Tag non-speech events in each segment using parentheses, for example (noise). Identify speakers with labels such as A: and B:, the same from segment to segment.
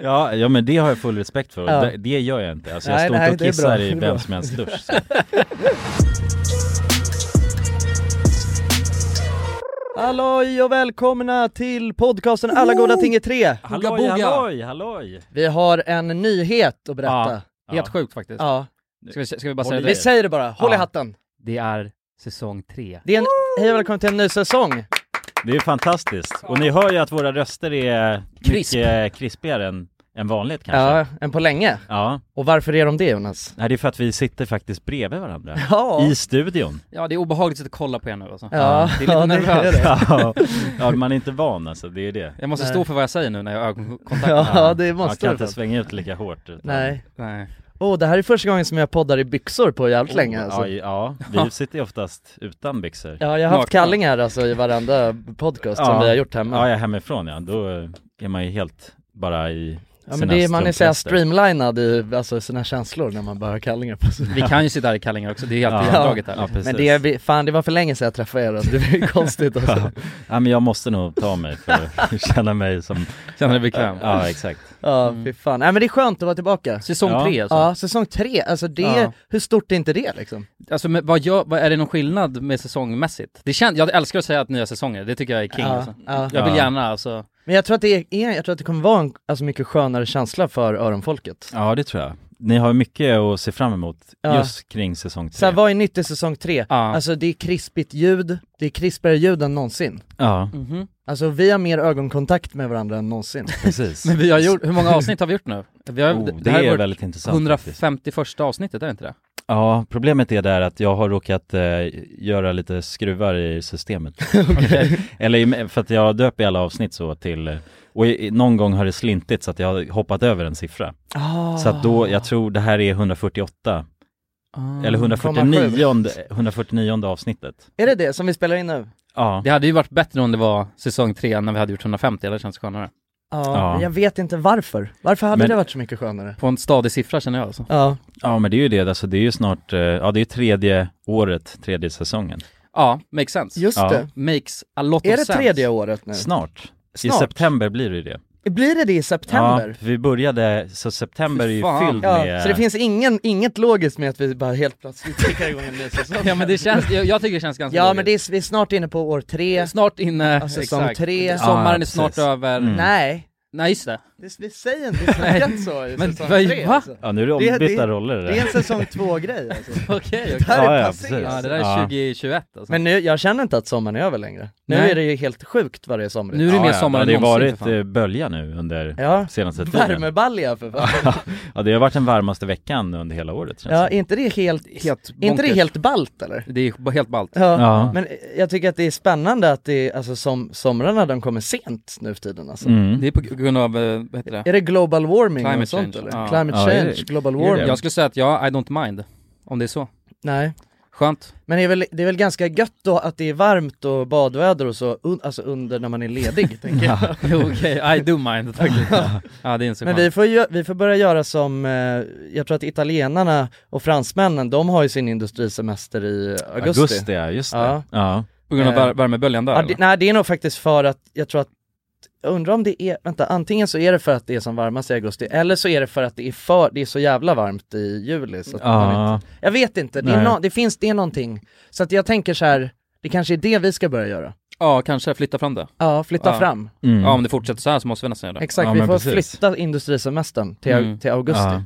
A: Ja, ja men det har jag full respekt för.
B: Ja.
A: Det, det gör jag inte. Alltså, jag
B: Nej,
A: står
B: nej,
A: inte
B: det är
A: och
B: bra.
A: kissar
B: Det
A: i
B: är bra.
A: vem som helst dusch.
B: (laughs)
A: Så.
B: Halloj och välkomna till podcasten Alla goda ting är tre!
A: Halloj, halloj, halloj!
B: Vi har en nyhet att berätta.
C: Helt sjukt faktiskt.
B: Ja.
C: Ska, vi, ska vi bara säga
A: Håll
B: Vi
C: det?
A: i.
B: säger det bara, håll i
C: Ja.
B: hatten!
C: Det är säsong tre.
B: Det är en... Hej och välkommen till en ny säsong!
A: Det är fantastiskt. Och ni hör ju att våra röster är
C: Krisp.
A: mycket krispigare än, än vanligt kanske. Ja.
B: Ja, en på länge.
A: ja.
B: Och varför är de det Jonas?
A: Nej, det är för att vi sitter faktiskt bredvid varandra.
B: Ja,
A: I studion.
C: Ja, det är obehagligt att kolla på er nu alltså.
B: ja.
C: Det är lite
B: (laughs) ja,
C: nervöst.
B: det.
A: Ja, ja, man är inte van alltså, det är det.
C: Jag måste
B: Nej.
C: stå för vad jag säger nu när jag har ögonkontakt.
B: Ja, det
A: Man
B: måste
A: kan
B: du.
A: inte
B: fan.
A: svänga ut lika hårt. Utan...
B: Nej.
C: Nej.
B: Åh, det här är första gången som jag poddar i byxor på jävligt länge alltså.
A: Ja, ja, vi sitter ju oftast utan byxor.
B: Ja, jag har haft
C: Nakna.
B: kallingar alltså i varenda podcast som
A: Ja.
B: vi har gjort hemma.
A: Ja, ja, hemifrån ja. Då är man ju helt bara i
B: Ja men
A: sina
B: det är, man är såhär
A: strumpfester.
B: streamlinad i alltså, sina känslor när man bara har kallingar på sig
C: Vi kan ju sitta här i kallingar också, det är helt
A: Ja.
C: igendraget här.
A: Ja, precis.
B: Men det, är, vi- fan det var för länge sedan jag träffade er, alltså. det
A: (laughs)
B: är konstigt alltså.
A: Ja, men jag måste nog ta mig för att känna mig som...
C: Känner dig bekväm?
A: Ja, exakt.
B: Ja fy fan, nej men det är skönt att vara tillbaka
C: Säsong
A: Ja.
C: tre alltså.
B: Ja, säsong tre, alltså det,
C: Ja.
B: hur stort är inte det liksom?
C: Alltså men vad, gör, vad är det någon skillnad med säsongmässigt? Det känns, jag älskar att säga att nya säsonger, det tycker jag är king
B: ja,
C: alltså.
B: ja.
C: Jag vill
A: Ja.
C: gärna alltså,
B: Men jag tror att det är, jag tror att det kommer vara en alltså, mycket skönare känsla för öronfolket
A: Ja, det tror jag. Ni har mycket att se fram emot
B: Ja.
A: just kring säsong
B: så
A: tre.
B: här, vad är nytt i säsong tre?
C: ja.
B: Alltså det är krispigt ljud, det är krispigare ljud än någonsin
A: (laughs) Ja,
C: Mhm.
B: Alltså vi har mer ögonkontakt med varandra än någonsin
A: precis.
C: Men vi har gjort, hur många avsnitt har vi gjort nu? Vi har,
A: oh, det,
C: det här
A: är
C: är vårt
A: väldigt intressant faktiskt.
C: 151 avsnittet, är det inte det?
A: Ja, problemet är där att jag har råkat eh, göra lite skruvar i systemet. (laughs) Eller i- för att jag döper alla avsnitt så till... eh, Och i, någon gång har det slintit så att jag har hoppat över en siffra.
B: ah. Mm,
A: Så att då, jag tror det här är 148,
C: Ah.
A: eller 149, 149 avsnittet.
B: Är det det som vi spelar in nu?
A: Ja,
C: Det hade ju varit bättre om det var säsong tre när vi hade gjort 150, eller känns skönare.
B: Ja,
A: Ja.
B: men jag vet inte varför. Varför hade
A: Men-
B: det varit så mycket skönare?
C: På en stadig siffra känner jag alltså.
B: Ja,
A: ja men det är ju det, alltså det är ju snart, eh, ja det är ju tredje året, tredje säsongen.
C: Ja, makes sense.
B: just
A: Ja.
B: det.
C: Makes a lot
B: Är
C: of
B: det
C: sense.
B: tredje året nu?
A: Snart.
B: Snart.
A: I september blir det ju det.
B: Blir det det i september?
A: Ja, vi började, så september är
C: Fy
A: ju
C: fan.
A: fylld
B: Ja,
A: med...
B: så det finns ingen, inget logiskt med att vi bara
C: (laughs)
B: helt plötsligt kickar igång en ny säsong?
C: Ja men det känns, jag, jag tycker det känns ganska
B: (laughs) Ja
C: logiskt.
B: men det är, vi är snart inne på år tre,
C: Snart inne,
B: Alltså, säsong
C: exakt.
B: tre.
A: Ja,
C: Sommaren är
A: precis.
C: snart över.
A: Mm.
B: nej,
C: Nej just det.
B: det, vi säger inte vi snackar inte så i
C: Men
B: säsong
C: vad-
B: tre
C: va?
B: alltså.
A: Ja, nu är det
B: Det-
A: ombytta
B: det-
A: roller det
B: Det är en säsong två-grej alltså.
C: Okej, okej.
B: Det här
A: Ja,
B: är
A: ja,
B: passé
A: precis.
C: Ja det
B: alltså.
C: där är
A: Ja.
C: 2021 alltså.
B: Men nu, jag känner inte att sommaren är över längre. Nu
C: Nej.
B: är det ju helt sjukt vad det är sommar
C: nu är det mer sommar
A: ja,
C: än
A: det har
C: någonsin
A: varit
C: för fan.
A: eh, bölja nu under
B: Ja,
A: senaste tiden. (laughs)
B: värmebalja för fan.
A: Ja, det har varit den varmaste veckan under hela året känns
B: Ja,
A: det.
B: är inte det eh, helt,
C: Helt
B: är inte det
C: bonkers.
B: helt balt eller?
C: Det är helt ballt.
B: Ja,
A: Ja.
B: men eh, jag tycker att det är spännande att det är, alltså som, somrarna de kommer sent nu för tiden alltså.
A: Mm.
C: Det är på grund av, eh, vad heter det?
B: Är det global warming
C: Climate
B: och sånt
C: change,
B: eller?
C: ja.
B: Climate
A: Ja,
B: change,
A: är det-
B: global
A: är det
B: warming?
A: det?
C: Jag skulle säga att ja, I don't mind. Om det är så.
B: Nej.
C: Skönt.
B: Men det är, väl, det är väl ganska gött då att det är varmt och badväder och så, un, alltså under när man är ledig
C: (laughs)
B: tänker jag.
C: Jo, Okej, I do mind faktiskt. Ja det är inte så
B: Men
C: skönt.
B: vi får, ju, vi får börja göra som, eh, jag tror att italienarna och fransmännen, de har ju sin industrisemester i augusti.
A: Augusti, ja, just det.
B: Ja.
A: Ja.
C: På grund av
B: Eh,
C: vär- värmeböljan där
B: Ja,
C: eller?
B: det, nej det är nog faktiskt för att, jag tror att, jag undrar om det är, vänta, antingen så är det för att det är som varmast i augusti, eller så är det för att det är för, det är så jävla varmt i juli så att man inte,
A: Ja.
B: Jag vet inte, det, är
A: Nej.
B: nå- det finns, det är någonting. Så att jag tänker så här, det kanske är det vi ska börja göra.
C: Ja, kanske flytta fram det.
B: Ja, flytta
C: Ja.
B: fram.
A: Mm.
C: Ja om det fortsätter så här så måste vi nästan göra det.
B: Exakt,
A: Ja,
B: vi
A: men
B: får
A: precis.
B: flytta industrisemestern till,
C: Mm.
B: till augusti.
A: Ja.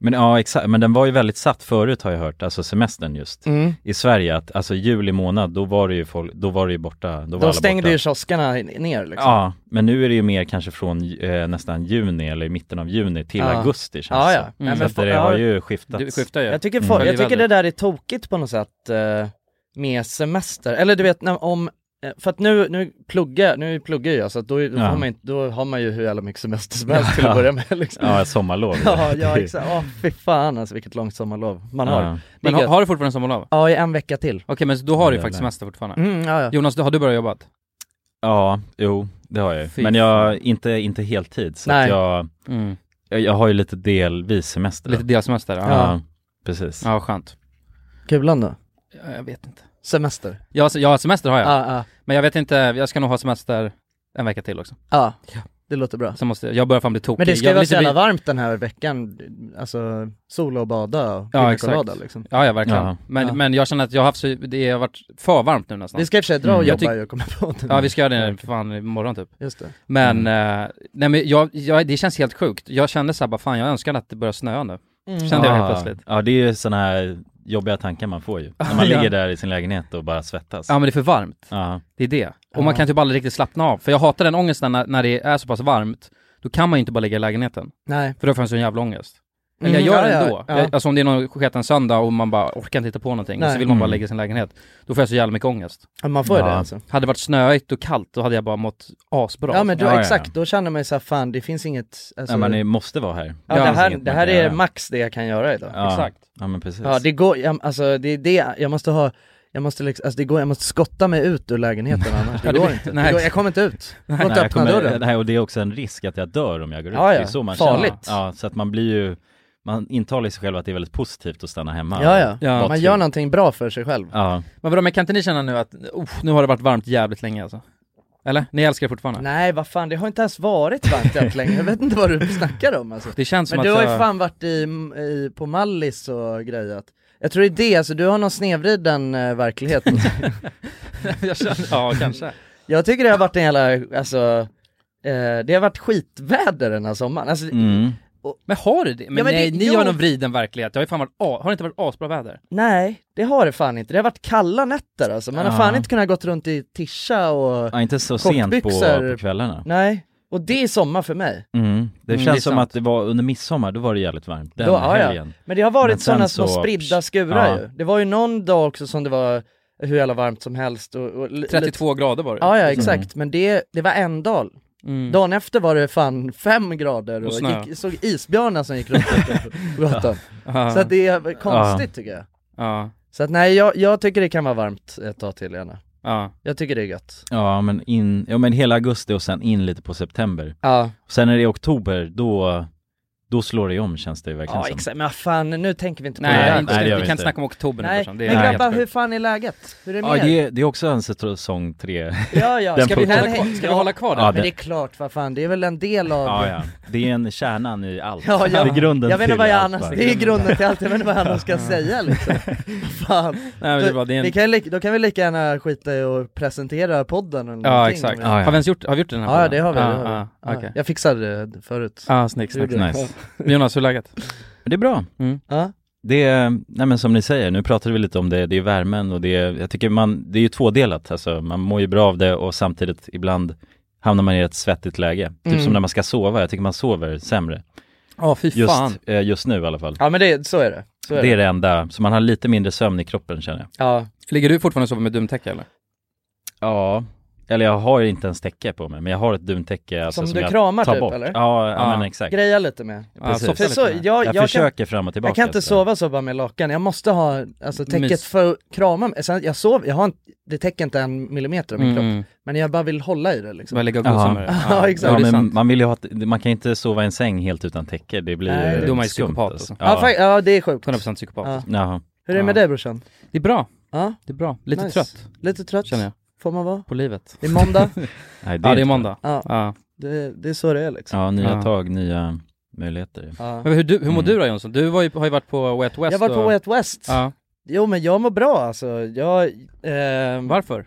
A: Men ja, exakt. Men den var ju väldigt satt förut har jag hört, alltså semestern just.
B: Mm.
A: I Sverige, att alltså juli månad, då var det ju folk, då var det ju borta. Då, var
B: Då
A: alla
B: stängde
A: borta.
B: ju kioskerna i- ner liksom.
A: Ja, men nu är det ju mer kanske från eh, nästan juni eller mitten av juni till
B: Ja.
A: augusti känns
B: ja. ja.
A: det.
B: Nej,
C: Mm.
A: Så
B: men
A: att det
B: fo-
A: har
B: ja,
A: ju skiftat.
C: Det skiftar ju.
B: Jag tycker,
A: Mm.
B: fo- jag
C: Väldigt
B: tycker det där är tokigt på något sätt eh, med semester. Eller du vet, när, om eh, för att nu, nu pluggar, nu pluggar jag så att då, då,
A: Ja.
B: har man inte, då har man ju hur jävla mycket semester som helst till att börja med liksom.
A: Ja,
C: (laughs)
A: ett sommarlov.
B: (laughs) Ja, ja
A: Det är-
B: exakt. Åh fy fan alltså vilket långt sommarlov man har.
A: Ja.
B: Det är
C: Men har,
B: gött.
C: har du fortfarande sommarlov? Okej
B: Ja, i en vecka till.
C: men då har du ju
A: Jävlar.
C: faktiskt semester fortfarande.
B: Mm, ja, ja.
C: Jonas, du, har du börjat jobba?
A: Ja, jo, det har jag ju.
C: Fy
A: Men jag, inte, inte heltid, så
B: Nej.
A: att jag,
B: Mm.
A: jag, jag har ju lite delvis semester.
C: Lite delsemester? Ja.
A: Ja,
C: ja.
A: precis.
C: Ja, skönt.
B: Kulan då?
C: Ja, Jag vet inte.
B: Semester?
C: Ja, se- ja semester har jag.
B: Ja, ja.
C: Men jag vet inte, jag ska nog ha semester en vecka till också.
B: Ja. det låter bra.
C: Så måste, jag börjar fan bli tokig.
B: Men det ska
C: jag
B: ju
C: vill
B: vara
C: inte
B: så jävla
C: bli-
B: varmt den här veckan, alltså sola och bada och
C: Ja,
B: ja,
C: exakt.
B: colada liksom.
C: Ja, ja verkligen.
A: Ja.
C: Men,
B: Ja.
C: men jag känner att jag har haft så, det har varit för varmt nu nästan.
B: Vi ska i och för sig dra och
A: Mm.
C: Jag
B: jobba
C: tyck-
B: ju och komma på det.
C: Ja vi ska göra det fan imorgon typ.
B: Just det.
C: Men, eh, nej men jag, jag, det känns helt sjukt. Jag kände såhär bara fan jag önskar att det börjar snöa nu.
B: Mm.
C: Kände jag helt plötsligt.
A: Ja, det är ju sådana här jobbiga tankar man får ju. När
C: (laughs)
A: man
C: Ja.
A: ligger där i sin lägenhet och bara svettas.
C: Ja men det är för varmt.
A: Ja.
C: Det är det. Och
B: Ja.
C: man kan typ aldrig riktigt slappna av. För jag hatar den ångesten när, när det är så pass varmt. Då kan man ju inte bara ligga i lägenheten.
B: Nej.
C: För då får jag en sån jävla ångest. Eller
B: Mm,
C: jag gör
B: ja,
C: det
B: ja,
C: ändå.
B: ja.
C: Jag, alltså om det är någon sketen söndag och man bara orkar inte hitta på någonting. Och så
B: Nej.
C: vill man bara
A: Mm.
C: lägga i sin lägenhet. Då får jag så jävla mycket ångest.
B: Ja, man får ju
A: Ja.
B: det alltså.
C: Hade det varit snöigt och kallt då hade jag bara mått asbra. alltså.
B: Ja men då,
A: Ja, ja, ja.
B: exakt, då känner man ju såhär fan det finns inget, alltså,
A: ja, man är, måste vara här.
B: ja,
C: Ja,
B: det
A: finns
B: här,
A: inget man
B: det här
A: kan
B: är
A: göra.
B: max det jag kan göra idag.
A: Ja.
C: Exakt.
A: Ja, men precis.
B: Ja det går, jag, alltså det är det, jag måste ha, jag måste liksom, alltså det går, jag måste skotta mig ut ur
A: (laughs)
B: lägenheten annars,
C: Ja,
B: det
C: det
B: går
C: blir-
B: inte.
C: nej.
B: Det går, jag kommer inte ut. Gå
A: Nej,
B: inte
A: jag
B: öppna dörren.
A: Nej, och det är också en risk att jag dör om jag går ut.
B: Ja,
A: Det är
B: ja.
A: så man
B: Farligt.
A: känner. Ja, så att man blir ju, man intalar sig själv att det är väldigt positivt att stanna hemma.
B: Ja, ja.
C: Ja.
A: Vad
B: Man
A: trevligt.
B: gör någonting bra för sig själv.
A: Ja,
C: Men vadå, men kan inte ni känna nu att uff, nu har det varit varmt jävligt länge alltså? Eller? Ni älskar det fortfarande?
B: Nej vad fan, det har inte ens varit varmt jävligt länge, jag vet inte vad du snackar om alltså.
C: Det känns som
B: Men
C: att
B: du har ju
C: jag-
B: fan varit i, i, på Mallis och grejat. Jag tror det är det, alltså du har någon snedvriden eh, verklighet.
C: (laughs)
A: (laughs)
C: jag känner, ja kanske.
B: (laughs) jag tycker det har varit en jävla, alltså, eh, det har varit skitväder den här sommaren. Alltså,
A: mm.
C: Men har du det? Men,
B: Ja, men
C: nej,
B: det-
C: ni
B: jag-
C: har någon vriden verklighet. Det har ju fan varit, a- har det inte varit asbra väder?
B: Nej, det har det fan inte. Det har varit kalla nätter alltså, man har
A: Ja.
B: fan inte kunnat gått runt i tisha och,
A: ja inte så sent på,
B: Kortbyxor.
A: på kvällarna.
B: nej. Och det är sommar för mig.
A: Mm. Det
C: Mm,
A: känns
C: det är
A: som
C: sant.
A: att det var under midsommar, då var det jävligt varmt. Den
B: Då- ja, ja.
A: helgen.
B: Men det har
A: Men
B: varit
A: sen
B: sådana
A: så-
B: små spridda skurar
A: Ja.
B: ju. Det var ju någon dag också som det var hur jävla varmt som helst och, och li- lite-
C: 32 grader var det
B: Ja, ja exakt,
A: Mm.
B: men det, det var en dag.
C: Mm.
B: Dagen efter var det fan fem grader och,
C: Och snö.
B: gick, såg isbjörnar som gick runt ute på gatan.
C: Ja.
B: Så att det är konstigt tycker jag.
C: Mm. ja.
B: Så att nej, jag, jag tycker det kan vara varmt ett tag till gärna.
C: ja.
B: Jag tycker det är gött.
A: Ja, men in, ja men hela augusti och sen in lite på september.
B: Ja,
A: Sen när det är oktober, då, då slår det om känns det ju verkligen
B: ja
A: som.
B: exakt, men fan nu tänker vi inte på
C: Nej,
B: det.
A: Nej,
C: inte,
A: nej, det
C: vi
A: gör
C: kan
A: vi
C: inte
A: inte.
C: snacka om oktober nu
B: Nej,
C: farsan. Det är
B: men
A: Nej.
B: grabbar
C: helt
B: hur
C: sjukt.
B: fan är läget? Hur är det
A: Ja,
B: med
A: det
B: er?
A: är, det är också en säsong- säsong tre.
B: Ja, ja,
A: Den
B: ska vi,
A: punkten.
B: nej,
C: Hålla kvar-
B: nej,
C: Ska vi
B: ja,
C: hålla kvar
A: Ja,
C: den?
B: men det är klart, vad fan, det är väl en del av
A: (laughs) Ja, ja. Det är en kärnan i allt.
B: Ja, ja.
A: Det är grunden
B: jag vet inte
A: till
B: vad jag
A: allt
B: annars,
A: bara.
B: det är grunden till allt, jag vet inte vad jag annars ska säga liksom. Fan.
C: Nej, men det är bra. Det är en...
B: vi kan, li- då kan vi lika gärna skita i att presentera podden eller
C: Ja,
B: någonting.
C: exakt.
B: Men-
A: Ja, ja.
C: Har vi ens gjort, har vi gjort den här
B: Ja, ja, det har vi.
C: Ja,
B: det har vi.
C: ja,
B: Ja,
C: okej.
B: Jag fixade det förut.
C: Ja, snyggt, snyggt.
B: Gjorde det.
A: Nice.
C: Jonas, hur är läget?
A: Men Det är bra.
B: Ja.
A: Det är, nej men som ni säger, nu pratade vi lite om det, det är värmen och det är, jag tycker man, det är ju tvådelat alltså, man mår ju bra av det och samtidigt ibland hamnar man i ett svettigt läge. Typ
B: Mm.
A: som när man ska sova, jag tycker man sover sämre.
C: Ja, fy
A: Just,
C: fan.
A: eh, just nu i alla fall.
B: ja, men det, så är det. Så är
A: det
B: det.
A: är det enda, så man har lite mindre sömn i kroppen känner jag.
B: Ja.
C: Ligger du fortfarande och sover med dumtäcke eller?
A: Ja, eller jag har ju inte ens täcke på mig, men jag har ett duntäcke alltså,
B: Som
A: som,
B: du
A: jag
B: kramar
A: tar
B: typ,
A: bort.
B: eller?
A: Ja, ja,
C: Ja.
A: men exakt.
B: Greja lite med.
C: Ja,
A: Precis.
C: softa
B: Så,
C: lite
B: så,
C: med.
B: jag, jag,
A: jag,
B: kan,
A: försöker fram och tillbaka.
B: jag kan inte
A: så.
B: sova så bara med lakan, jag måste ha alltså, täcket
C: Mys.
B: för att krama mig. Sen, jag sover, jag har en, det täcker inte en millimeter av min kropp,
C: Mm.
B: men jag bara vill hålla i det
C: Så
B: liksom.
C: bara ligga och gosa
A: Ja.
C: med det.
B: (laughs) Ja, exakt.
A: Ja,
C: det är
A: men
C: sant.
A: man vill ju ha, ett- man kan inte sova i en säng helt utan täcke, det blir
B: Nej,
A: eh,
C: då är man ju
A: skumt,
C: psykopat,
A: alltså.
B: Ja, fa- ja det är sjukt.
C: 100% psykopat.
B: Ja.
A: Jaha.
B: Hur är det med
C: Ja.
B: dig brorsan?
C: Det är bra.
B: Ja,
C: Det är bra. Lite
B: Nice.
C: trött,
B: lite trött
C: känner jag,
B: får man vara.
C: på livet.
B: Det är
C: (laughs)
B: måndag,
A: Nej, det
C: Ja,
A: är
C: det är
A: inte-
C: måndag.
B: ja,
C: Ja.
B: det, det är så det är liksom.
A: Ja, nya
C: Ja.
A: tag, nya möjligheter.
B: Ja.
C: Men hur, du, hur mår
A: Mm.
C: du då Jonsson? Du var ju, har ju varit på Wet West
B: Jag var på
C: och...
B: Wet West.
C: Ja.
B: Jo men jag mår bra alltså, jag... ehm,
C: Varför?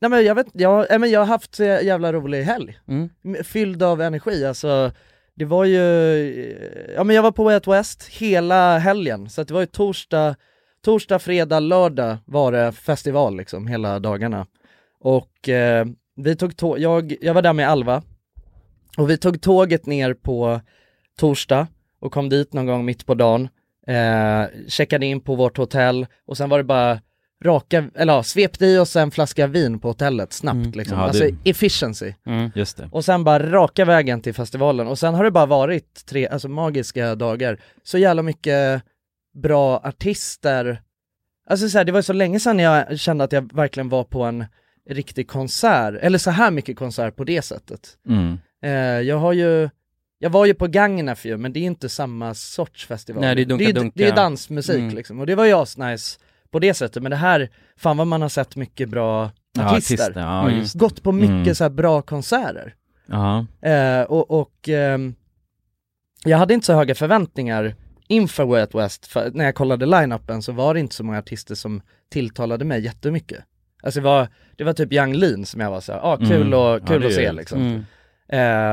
B: nej men jag vet jag, nej, men jag har haft så jävla rolig helg.
C: Mm.
B: M- Fylld av energi alltså. Det var ju, eh, ja men jag var på Way Out West hela helgen, så att det var ju torsdag, torsdag, fredag, lördag var det festival liksom hela dagarna. Och eh, vi tog tå- jag, jag var där med Alva, och vi tog tåget ner på torsdag och kom dit någon gång mitt på dagen, eh, checkade in på vårt hotell och sen var det bara raka, eller ja, svepte i oss en flaska vin på hotellet snabbt
C: Mm.
B: liksom.
A: Ja,
B: alltså
A: det-
B: efficiency.
C: Mm.
A: Just det.
B: Och sen bara raka vägen till festivalen och sen har det bara varit tre, alltså magiska dagar. Så jävla mycket bra artister. Alltså så här, det var så länge sedan jag kände att jag verkligen var på en riktig konsert, eller så här mycket konsert på det sättet.
A: Mm.
B: Eh, jag har ju, jag var ju på Gagnef ju, men det är inte samma sorts festival.
C: Nej, det är dunka,
B: det, ju-
C: dunka.
B: det är ju dansmusik
C: Mm.
B: liksom, och det var ju asnice på det sättet, men det här, fan vad man har sett mycket bra
A: Ja,
B: artister.
A: artister. Ja,
C: Mm.
A: just
B: Gått på mycket
A: Mm.
B: så här bra konserter.
A: det.
D: Ja.
B: Eh, och och ehm, jag hade inte så höga förväntningar inför Way Out West, för när jag kollade line-upen så var det inte så många artister som tilltalade mig jättemycket. Alltså det var, det var typ Yung Lean som jag var såhär, ah, kul,
A: Mm.
B: och,
A: Ja,
B: kul
A: det
B: att
A: är
B: se
A: ju-
B: liksom.
D: Mm.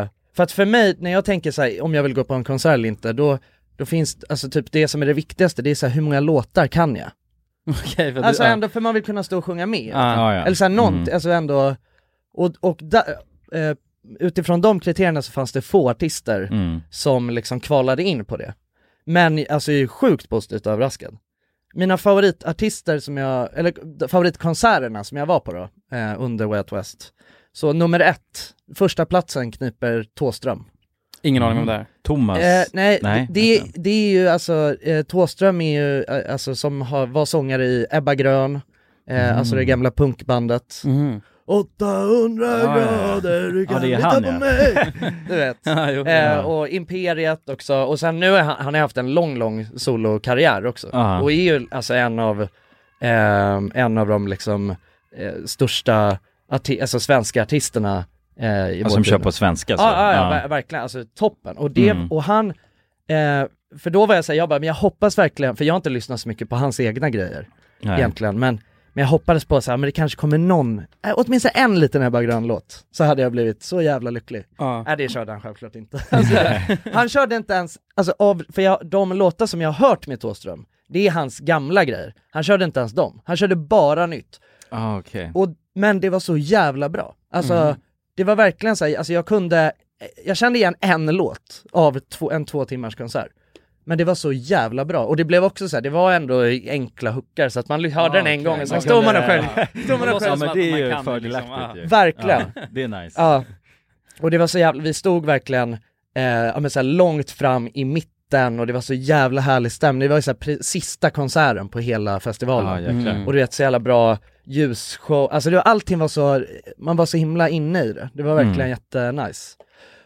B: Eh, för att för mig, när jag tänker så här, om jag vill gå på en konsert eller inte, då, då finns alltså typ det som är det viktigaste, det är så här, hur många låtar kan jag?
D: (laughs) Okej, för
B: Alltså
D: du, Ah,
B: ändå, för man vill kunna stå och sjunga med.
D: Ja.
B: Eller såhär nånt,
A: Mm.
B: alltså ändå, och, och da, eh, utifrån de kriterierna så fanns det få artister
A: Mm.
B: som liksom kvalade in på det. Men alltså jag är sjukt positivt överraskad. Mina favoritartister som jag, eller d- favoritkonserterna som jag var på då, eh, under Way Out West. Så nummer ett, första platsen kniper Tåström.
D: Ingen aning om det här.
A: Thomas, alltså,
B: Eh, nej,
A: nej,
B: det,
A: vänta.
B: det är ju alltså, eh, Thåström är ju, eh, alltså som har, var sångare i Ebba Grön, eh,
A: Mm.
B: alltså det gamla punkbandet.
D: Mhm.
B: 800
A: ja, ja.
B: grader, du
A: Ja,
B: kan
A: det är
B: lita
A: han,
B: på
A: ja. (laughs)
B: mig! Du vet.
D: Ja, (laughs) jo.
B: Eh, och Imperiet också, och sen nu har han, han har haft en lång, lång solokarriär också.
A: Ja.
B: Och är ju alltså en av, ehm, en av de liksom eh, största arti- alltså svenska artisterna eh, i vår
A: som
B: tid
A: kör
B: nu.
A: på svenska så.
B: Ja, ja, ja,
A: Ja.
B: ver- verkligen, alltså toppen. Och, det,
A: Mm.
B: och han, eh, för då var jag såhär, jag bara, men jag hoppas verkligen, för jag har inte lyssnat så mycket på hans egna grejer
A: Nej.
B: egentligen, men, men jag hoppades på såhär, men det kanske kommer någon, eh, åtminstone en liten Ebba Grön-låt, så hade jag blivit så jävla lycklig.
D: Ja.
B: Nej det körde han självklart inte. Alltså, han körde inte ens, alltså av, för jag, de låtar som jag har hört med Thåström, det är hans gamla grejer. Han körde inte ens dem, han körde bara nytt.
A: Ah, okej.
B: Och, men det var så jävla bra. Alltså det var verkligen såhär, alltså jag kunde, jag kände igen en låt av två, en två timmars konsert. Men det var så jävla bra, och det blev också så här, det var ändå enkla hookar så att man hörde den en
D: okej.
B: gång och sen
D: Man
B: stod man
D: kunde-
B: och sjöng. Stod man och
D: låtsas
A: Ja
D: som
B: sjöng.
A: men
D: att
A: det
D: man
A: är ju
D: kan det, liksom.
A: fördelaktigt ju.
B: Verkligen.
A: Ja, Det är nice.
B: Ja. Och det var så jävla, vi stod verkligen eh, ja, men så här långt fram i mitten och det var så jävla härlig stämning. Det var ju så här pre- sista konserten på hela festivalen.
A: Ja, jäklar.
D: Mm.
B: Och du vet så jävla bra ljusshow, alltså det var, allting var så, man var så himla inne i det. Det var verkligen
A: Mm.
B: jättenice.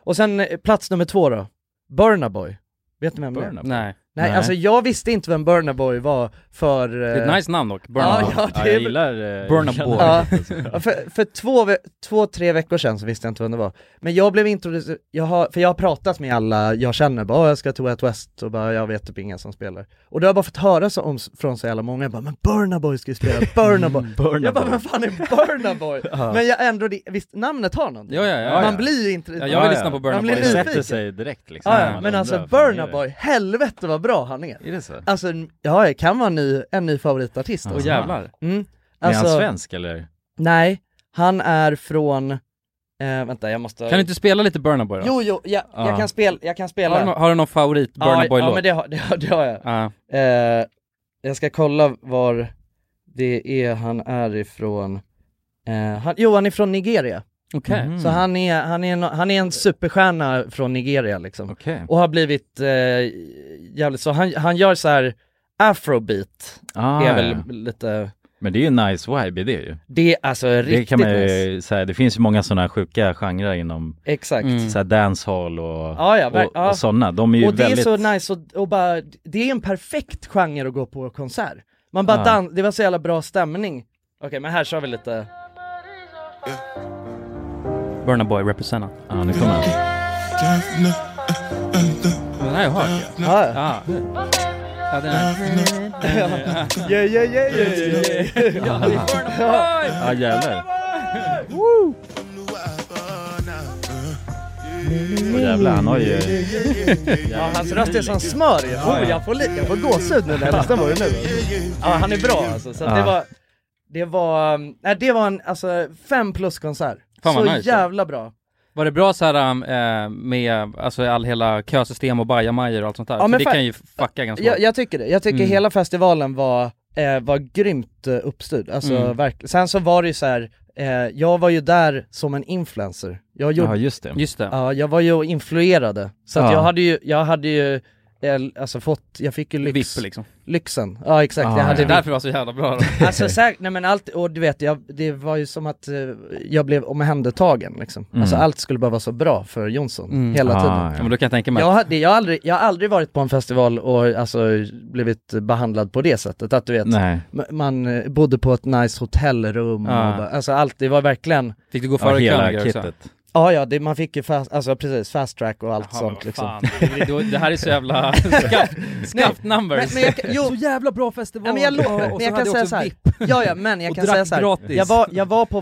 B: Och sen eh, plats nummer två då, Burna Boy. Vet ni vem det är?
A: Burna Boy.
D: Nej.
B: Nej,
A: Nej.
B: alltså jag visste inte vem Burna Boy var för...
D: Det är
B: eh,
D: ett nice namn dock. Burn Out.
B: Ja, ja, det är
A: jag
B: väl-
A: gillar... eh,
D: Burna
A: jag
D: Boy.
A: gillar det.
B: Ja, för, för två, ve- två, tre veckor sedan så visste jag inte vem det var. Men jag blev introducerad, jag har, för jag har pratat med alla jag känner, bara "Åh, jag ska till Way Out West och bara jag vet typ ingen som spelar. Och då har jag bara fått höra så om, från så jävla många, bara men Burna Boy ska
D: (laughs)
B: ju spela, Burna Boy.
D: Mm,
A: Burna
B: jag bara
A: Boy.
B: vem fan är Burna Boy? Men jag ändå, det- visst namnet har någonting?
D: Ja, ja, ja,
B: Man
D: ja.
B: blir ju inte...
D: Ja,
A: Ja,
D: jag vill
A: ja.
D: lyssna på Burn
B: Man
D: Out
B: blir
A: Det
D: Boy.
B: nyfiken.
A: sätter sig direkt liksom.
B: ja,
A: när
B: ja,
A: man
B: men
A: undrar,
B: alltså
A: fan, är
B: Burna
A: det-
B: Boy, helvete vad bra han är.
A: Är det så?
B: Alltså, ja, jag kan vara en ny, en ny favoritartist.
A: Ja.
D: Åh jävlar.
B: Mm.
A: Är han
B: Alltså-
A: svensk eller?
B: Nej, han är från, eh, vänta jag måste...
D: Kan du inte spela lite Burn Out Boy då?
B: Jo, jo, ja, jag
A: Ah. Ja.
B: kan spela, jag kan spela.
D: Har du, nå- har du någon favorit Burn
B: ja,
D: Out Boy-låt?
B: ja, men det har, det har, det har jag.
D: Ja.
B: Eh, jag ska kolla var det är han är ifrån. Eh, han, jo, han är från Nigeria.
D: Okej.
A: Mhm.
B: Så han är, han, är en, han är en superstjärna från Nigeria liksom.
A: Okej.
B: Och har blivit eh, jävligt så, han, han gör så här afrobeat,
A: Ah,
B: är väl
A: ja.
B: lite,
A: Men det är ju en nice vibe i det ju.
B: det är alltså riktigt
A: Det kan man
B: nice.
A: ju säga, det finns ju många sådana sjuka genrer inom
B: Exakt.
D: Mm.
A: så här dancehall och,
B: Ja, ja, ver-
A: och,
B: ja.
A: och sådana. De är ju
B: Och det är
A: väldigt...
B: så nice och, och bara, det är en perfekt genre att gå på konsert. Man bara
A: Ja.
B: dan- det var så jävla bra stämning. Okej men här kör vi lite, Mhm.
D: Burn Out Boy representa.
A: Ja, nu kommer han.
D: Den här har jag hört ju.
B: ja.
D: Ja. Ja, den här.
B: Yeah, yeah, yeah, yeah, yeah, yeah.
A: Ja, jävlar. Åh jävlar, han har ju...
B: Ja, hans röst är som smör ju. oh, jag får, li- jag får gåshud nu när jag lyssnar på det nu. Ja han är bra alltså, så att det
A: Ja.
B: var, det var, um, nej det var en, alltså fem plus konsert.
D: Fan, vad
B: så
D: nice.
B: jävla bra.
D: Var det bra så här um, eh, med alltså all hela kösystem och bajamajor och allt sånt där?
B: Ja,
D: För
B: men
D: det
B: fa-
D: kan ju fucka ganska
B: Jag,
D: hårt.
B: jag tycker det, jag tycker
D: Mm.
B: hela festivalen var, eh, var grymt eh, uppstyrd, alltså
D: Mm.
B: verkligen. Sen så var det ju så här. Eh, jag var ju där som en influencer, jag, gjorde,
A: Ja, just det.
D: Just det.
B: ja, jag var ju och influerade, så att
A: Ja.
B: jag hade ju, jag hade ju eh, Alltså fått, jag fick ju lyx,
D: Vipp liksom.
B: lyxen, ja exakt,
A: Ah,
B: jag hade
D: Det är
B: ja.
D: därför det var så jävla bra då.
B: Alltså säkert, nej men allt, och du vet, jag, det var ju som att eh, jag blev omhändertagen liksom
A: Mm.
B: Alltså allt skulle bara vara så bra för Jonsson,
D: Mm.
B: hela
A: Ah,
B: tiden
A: ja.
D: Ja, men då kan jag tänka mig.
B: jag, hade, jag, har aldrig, jag har aldrig varit på en festival och alltså, blivit behandlad på det sättet, att du vet,
A: Nej.
B: m- man eh, bodde på ett nice hotellrum,
D: Ja.
B: och bara, alltså allt, det var verkligen,
D: Fick du gå
A: Ja,
D: före kön och
A: hela
D: grejer också?
A: kittet.
B: Ja ja, det, man fick ju fast, alltså precis, fast track och allt
D: Jaha, men
B: sånt
D: vad
B: liksom
D: fan. Det, det, det här är så jävla skaft, skaft
B: men,
D: numbers.
B: men jag, kan- jo,
E: Så jävla bra festival!
B: Ja, men jag lovar,
E: Ja,
B: men
E: och så
B: jag kan
E: hade
B: säga
E: också
B: så här.
E: VIP.
B: ja, ja men jag
E: Och
B: kan säga
E: drack
B: så här.
E: gratis.
B: Jag var, jag var på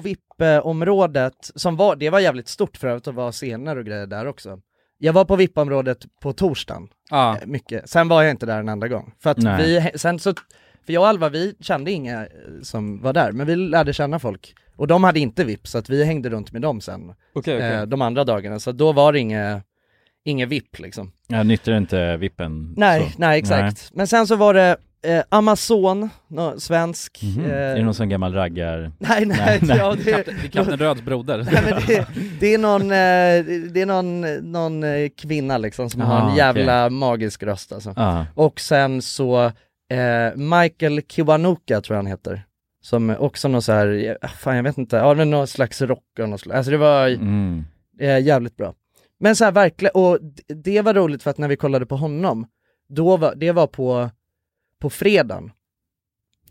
B: VIP-området, som var, det var jävligt stort för övrigt att vara scener och grejer där också. Jag var på VIP-området på torsdagen,
D: Ja.
B: eh, mycket. Sen var jag inte där en enda gång. För att
A: Nej.
B: vi, sen så, för jag och Alva vi kände inga eh, som var där, men vi lärde känna folk. Och de hade inte VIP, så att vi hängde runt med dem sen,
E: Okej, okej.
B: eh, de andra dagarna. Så då var det inget, inget VIP liksom.
A: Jag nyttjar inte vippen
B: Nej,
A: så.
B: nej exakt. Men sen så var det eh, Amazon, nå, svensk.
A: Mhm.
B: eh,
A: Är det någon sån gammal raggar...
B: Nej, nej,
A: Nej,
B: Ja, det,
D: Kapten- Det är
B: (laughs)
D: Kapten Röds broder.
B: nej, men det, det är någon, eh, det är någon, någon eh, kvinna liksom som har
A: Ah,
B: en jävla magisk röst alltså.
A: Ja,
B: Och sen så eh, Michael Kiwanuka tror jag han heter. Som också någon så här, ja, fan jag vet inte, ja men någon slags rock och något slags, alltså det var
A: mm.
B: eh, jävligt bra. Men så här verkligen, och d- det var roligt för att när vi kollade på honom, då var, det var på, på fredagen.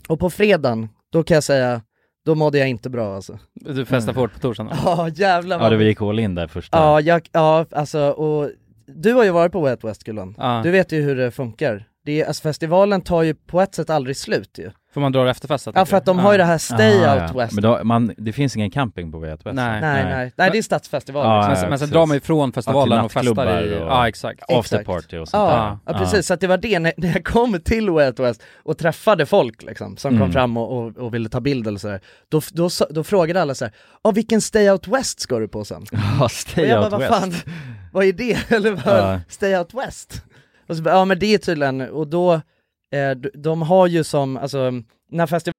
B: Och på fredagen, då kan jag säga, då mådde jag inte bra alltså.
D: Du festar för hårt på torsdagen.
B: (laughs) Ja jävlar
A: ja
B: vad...
A: du gick all in där första.
B: Ja, jag, ja alltså och du har ju varit på Wet West Gullan.
D: Ja.
B: Du vet ju hur det funkar. Det är, alltså festivalen tar ju på ett sätt aldrig slut ju.
D: Får man dra det efter festen?
B: Ja för att de har ju det här Stay
A: Ah,
B: Out
A: ja.
B: West.
A: Men då, man, det finns ingen camping på Vet West?
D: Nej.
B: nej, nej, nej. det är stadsfestival.
A: Ja,
B: liksom.
D: Men,
A: ja,
D: sen- men sen
A: precis.
D: drar man ju ifrån festivalen
A: Ja,
D: och
A: till
D: festar i...
A: nattklubbar och-
D: Ja, exakt.
B: Exakt.
A: Afterparty och sånt
B: Ja,
A: där.
B: ja, precis. Så att det var det, när, när jag kom till Way Out West och träffade folk liksom, som
A: Mm.
B: kom fram och, och, och ville ta bild eller sådär, då, då, sa- då frågade alla såhär, ja vilken Stay Out West ska du på
A: (laughs)
B: sen?
A: Ja,
B: Och
A: Stay
B: jag bara,
A: Out
B: vad
A: West.
B: fan, vad är det? (laughs) eller vad,
A: Ja.
B: Stay Out West? Och så, bara, ja men det är tydligen, och då, eh, d- de har ju som, alltså, när festivalen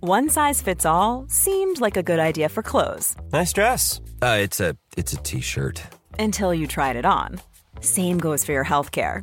F: One size fits all seemed like a good idea for clothes
G: Nice dress. Uh, it's a it's a t-shirt.
F: until you tried it on. Same goes for your healthcare.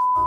H: a-"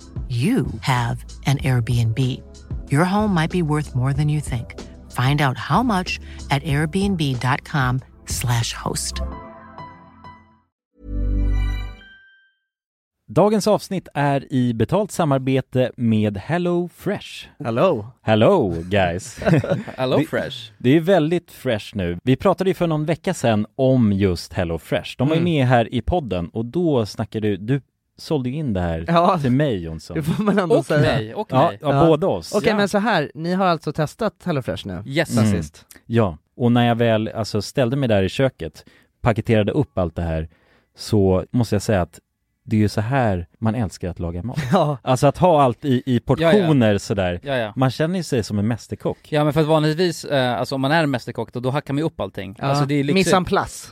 I: you have an Airbnb. Your home might be worth more than you think. Find out how much at airbnb.com/slash host.
A: Dagens avsnitt är i betalt samarbete med Hello Fresh.
B: Hello!
A: Hello guys! (laughs)
D: Hello
A: Det-
D: Fresh.
A: Det är väldigt fresh nu. Vi pratade ju för någon vecka sedan om just Hello Fresh. De var ju
D: Mm.
A: med här i podden och då snackade du, du sålde ju in det här
B: Ja.
A: till mig Jonsson.
B: det får man ändå
D: Och
B: säga.
D: mig, och
A: Ja,
D: mig.
A: ja,
B: Ja.
A: båda oss.
B: Okej
D: Ja.
B: men så här, ni har alltså testat HelloFresh nu?
D: Yes.
A: Mm.
B: Sist.
A: Ja, och när jag väl alltså, ställde mig där i köket, paketerade upp allt det här, så måste jag säga att det är ju så här man älskar att laga mat.
B: (laughs) Ja.
A: Alltså att ha allt i, i portioner sådär.
D: Ja, ja.
A: Man känner ju sig som en mästerkock.
D: Ja men för att vanligtvis, eh, alltså om man är en mästerkock då, då hackar man ju upp allting.
B: Ja.
D: Alltså det är lyxigt.
B: Mise en place.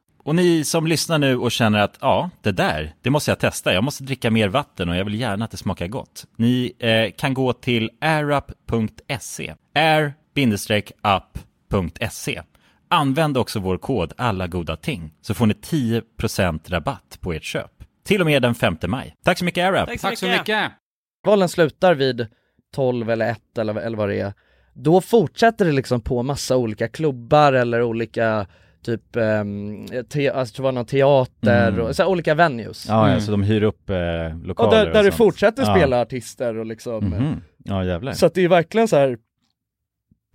A: Och ni som lyssnar nu och känner att ja, det där, det måste jag testa. Jag måste dricka mer vatten och jag vill gärna att det smakar gott. Ni eh, kan gå till airup.se. air-up.se. Använd också vår kod alla goda ting så får ni 10% rabatt på ert köp. Till och med den 5 maj. Tack så mycket AirUp!
D: Tack så mycket!
B: Valen slutar vid 12 eller 1 eller, eller vad det är. Då fortsätter det liksom på massa olika klubbar eller olika typ, um, te- alltså, jag tror det var någon teater
A: Mm.
B: och så här, olika venues.
A: Ja, ja, så de hyr upp eh, lokaler
B: och Mm. där, där du
A: sånt.
B: fortsätter
A: Ja.
B: spela artister och liksom eh,
A: Mhm. Ja, jävlar.
B: Så att det är verkligen så här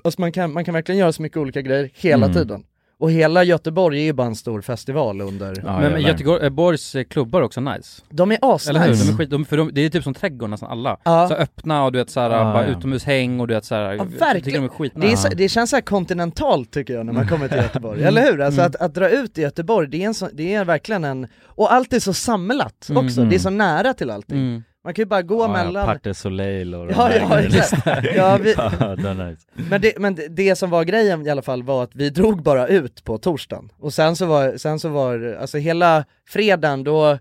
B: alltså man kan, man kan verkligen göra så mycket olika grejer hela
A: Mm.
B: tiden. Och hela Göteborg är ju bara en stor festival under,
A: ja,
D: men men
A: jävlar.
D: Göteborgs eh, klubbar är också nice.
B: de är
D: Eller hur?
B: asnice.
D: De är skit, de, för de, det är typ som trädgård nästan alla.
B: Ja. Ah,
D: Så öppna och du vet såhär,
A: Ja,
D: bara
A: ja.
D: utomhushäng och du vet såhär.
B: Ja,
D: Jag tycker
B: verkligen.
D: de är skitnice.
B: Det, är så, det känns så här kontinentalt tycker jag när man kommer till Göteborg, eller hur? Alltså att, att dra ut i Göteborg, det är, en så, det är verkligen en, och allt är så samlat också, det är så nära till allting.
D: Mm.
B: Man kan ju bara gå mellan,
A: Parte Soleil och de
B: Ja,
A: där
B: ja,
A: grejerna.
B: exakt. Ja, vi-
A: (laughs) Ja, det är nice.
B: Men, det, men det- det som var grejen i alla fall var att vi drog bara ut på torsdagen. Och sen så var, sen så var alltså hela fredagen då,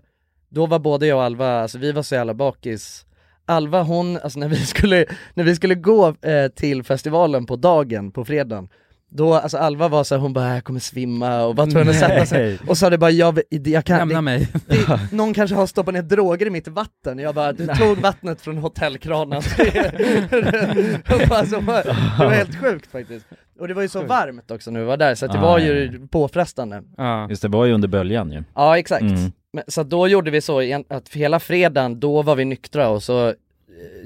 B: då var både jag och Alva, alltså vi var så jävla bakis. Alva hon, alltså när vi skulle, när vi skulle gå eh, till festivalen på dagen på fredagen, då, alltså Alva var så här, hon bara jag kommer svimma och var tvungen att sätta sig.
A: Nej.
B: Och sa det bara jag, vill- jag kan,
D: Lämna
B: det, (laughs)
D: mig. (laughs)
B: det, någon kanske har stoppat ner droger i mitt vatten, jag bara du tog vattnet från hotellkranen. (laughs) Och bara så, det var helt sjukt faktiskt. Och det var ju så varmt också när vi var där så att det
A: Ah,
B: var
A: ja,
B: ju påfrestande.
D: Ja.
A: Just det, var ju under böljan ju.
B: Ja exakt.
A: Mm.
B: Men, så att då gjorde vi så igen- att hela fredagen, då var vi nyktra och så eh,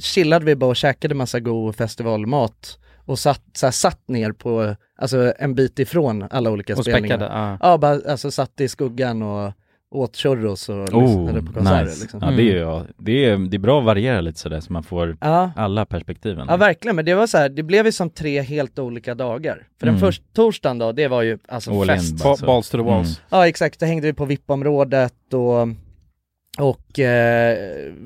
B: chillade vi bara och käkade massa god festivalmat och satt, så här, satt ner på, alltså en bit ifrån alla olika
D: Och
B: spelningar.
D: späckade. Ja.
B: Ja, bara, alltså satt i skuggan och åt churros och lyssnade på konserter liksom.
A: Oh, Ja, det är ju, ja, det är, det är bra att variera lite sådär så man får
B: Ja.
A: alla perspektiven.
B: ja, verkligen, men det var så här, det blev ju som tre helt olika dagar. För den
A: Mm.
B: första torsdagen då, det var ju alltså
A: All in,
B: fest.
A: bara.
D: Ba- Balls to the walls.
B: Ja exakt, då hängde vi på VIP-området och, och eh,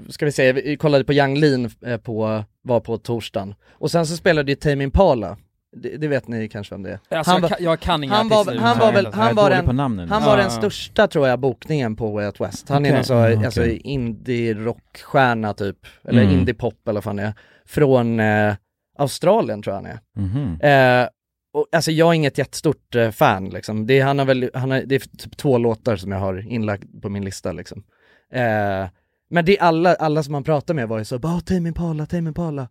B: ska vi säga, vi kollade på Yang Lean eh, på, var på torsdagen. Och sen så spelade ju Tame Impala, det, det vet ni kanske vem det är.
D: Alltså,
B: han,
D: jag,
B: var,
D: kan, jag kan inga
B: han var-
D: artister
B: han var väl-
D: överhuvudtaget.
B: han
A: Mm. Jag är
B: var
A: dålig
B: den-
A: på namnen.
B: han var
D: Ja,
B: den
D: ja.
B: största tror jag bokningen på Way Out West. Han är
D: Okej.
B: någon så,
A: Ah,
B: alltså
A: okej.
B: indie-rockstjärna typ, eller
A: Mm.
B: indie-pop eller vad fan det är, från eh, Australien tror jag han är.
A: Mhm.
B: Eh, och, alltså jag är inget jättestort eh, fan liksom. Det, är- han har väl, han har, det är typ två låtar som jag har inlagt på min lista liksom. Eh, men det är alla, alla som man pratar med var ju så bara "Ah, Tame Impala, Tame Impala.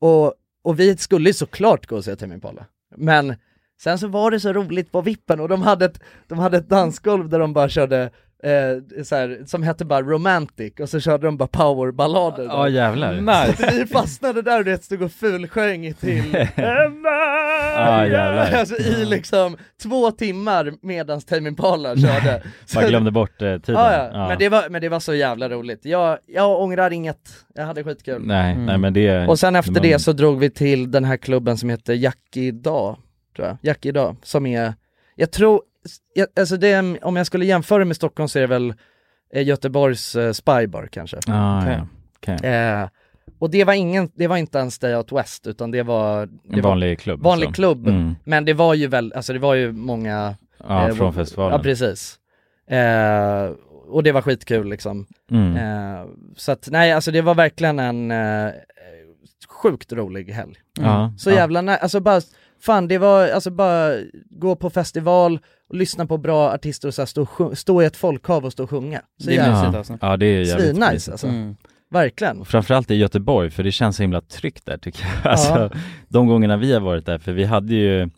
B: Och, och vi skulle ju såklart gå och se Tame Impala. Men sen så var det så roligt på vippen och de hade ett, de hade ett dansgolv där de bara körde eh, så här, som hette bara Romantic och så körde de bara powerballader.
A: Ja, jävlar. (laughs)
D: Nice.
B: Så vi fastnade där och det stod och fulsjöng till Emma!
A: Ah, jävlar.
B: alltså i liksom två timmar medans Tame
A: (laughs)
B: Impala körde. Så-
A: Bara glömde bort eh, tiden.
B: Ah, ja. Men, det var, men det var så jävla roligt. Jag, jag ångrar inget, jag hade skitkul.
A: Nej, nej men det...
B: Mm. Och sen efter
A: men-
B: det så drog vi till den här klubben som heter Jack idag, tror jag. Jack idag, som är, jag tror, jag, alltså det, är- om jag skulle jämföra med Stockholm så är det väl eh, Göteborgs eh, Spybar kanske.
A: Ah,
D: Okej.
A: ja. Okej.
B: Eh, och det var, ingen, det var inte ens Day Out West utan det var... Det
A: En vanlig klubb.
B: Var, vanlig
A: alltså.
B: klubb.
A: Mm.
B: Men det var ju väl, alltså det var ju många...
A: Ja,
B: eh,
A: från
B: Ja,
A: festivalen.
B: precis. Eh, och det var skitkul liksom.
A: Mm.
B: Eh, så att nej, alltså det var verkligen en eh, sjukt rolig helg.
C: Mm.
A: Ja,
D: Mm.
B: Så
A: ja.
B: jävla nä- alltså bara, fan det var, alltså bara gå på festival och lyssna på bra artister och så här, stå, och sjung- stå i ett folkhav och stå och sjunga. Så
D: Det är
B: jävla,
D: mysigt
A: ja.
D: alltså.
A: Ja, det är jävligt mysigt.
B: svinnice alltså.
D: Mm.
B: Verkligen.
A: Och Framförallt i Göteborg, för det känns så himla tryggt där tycker jag. (laughs) Alltså, De gångerna vi har varit där, för vi hade ju,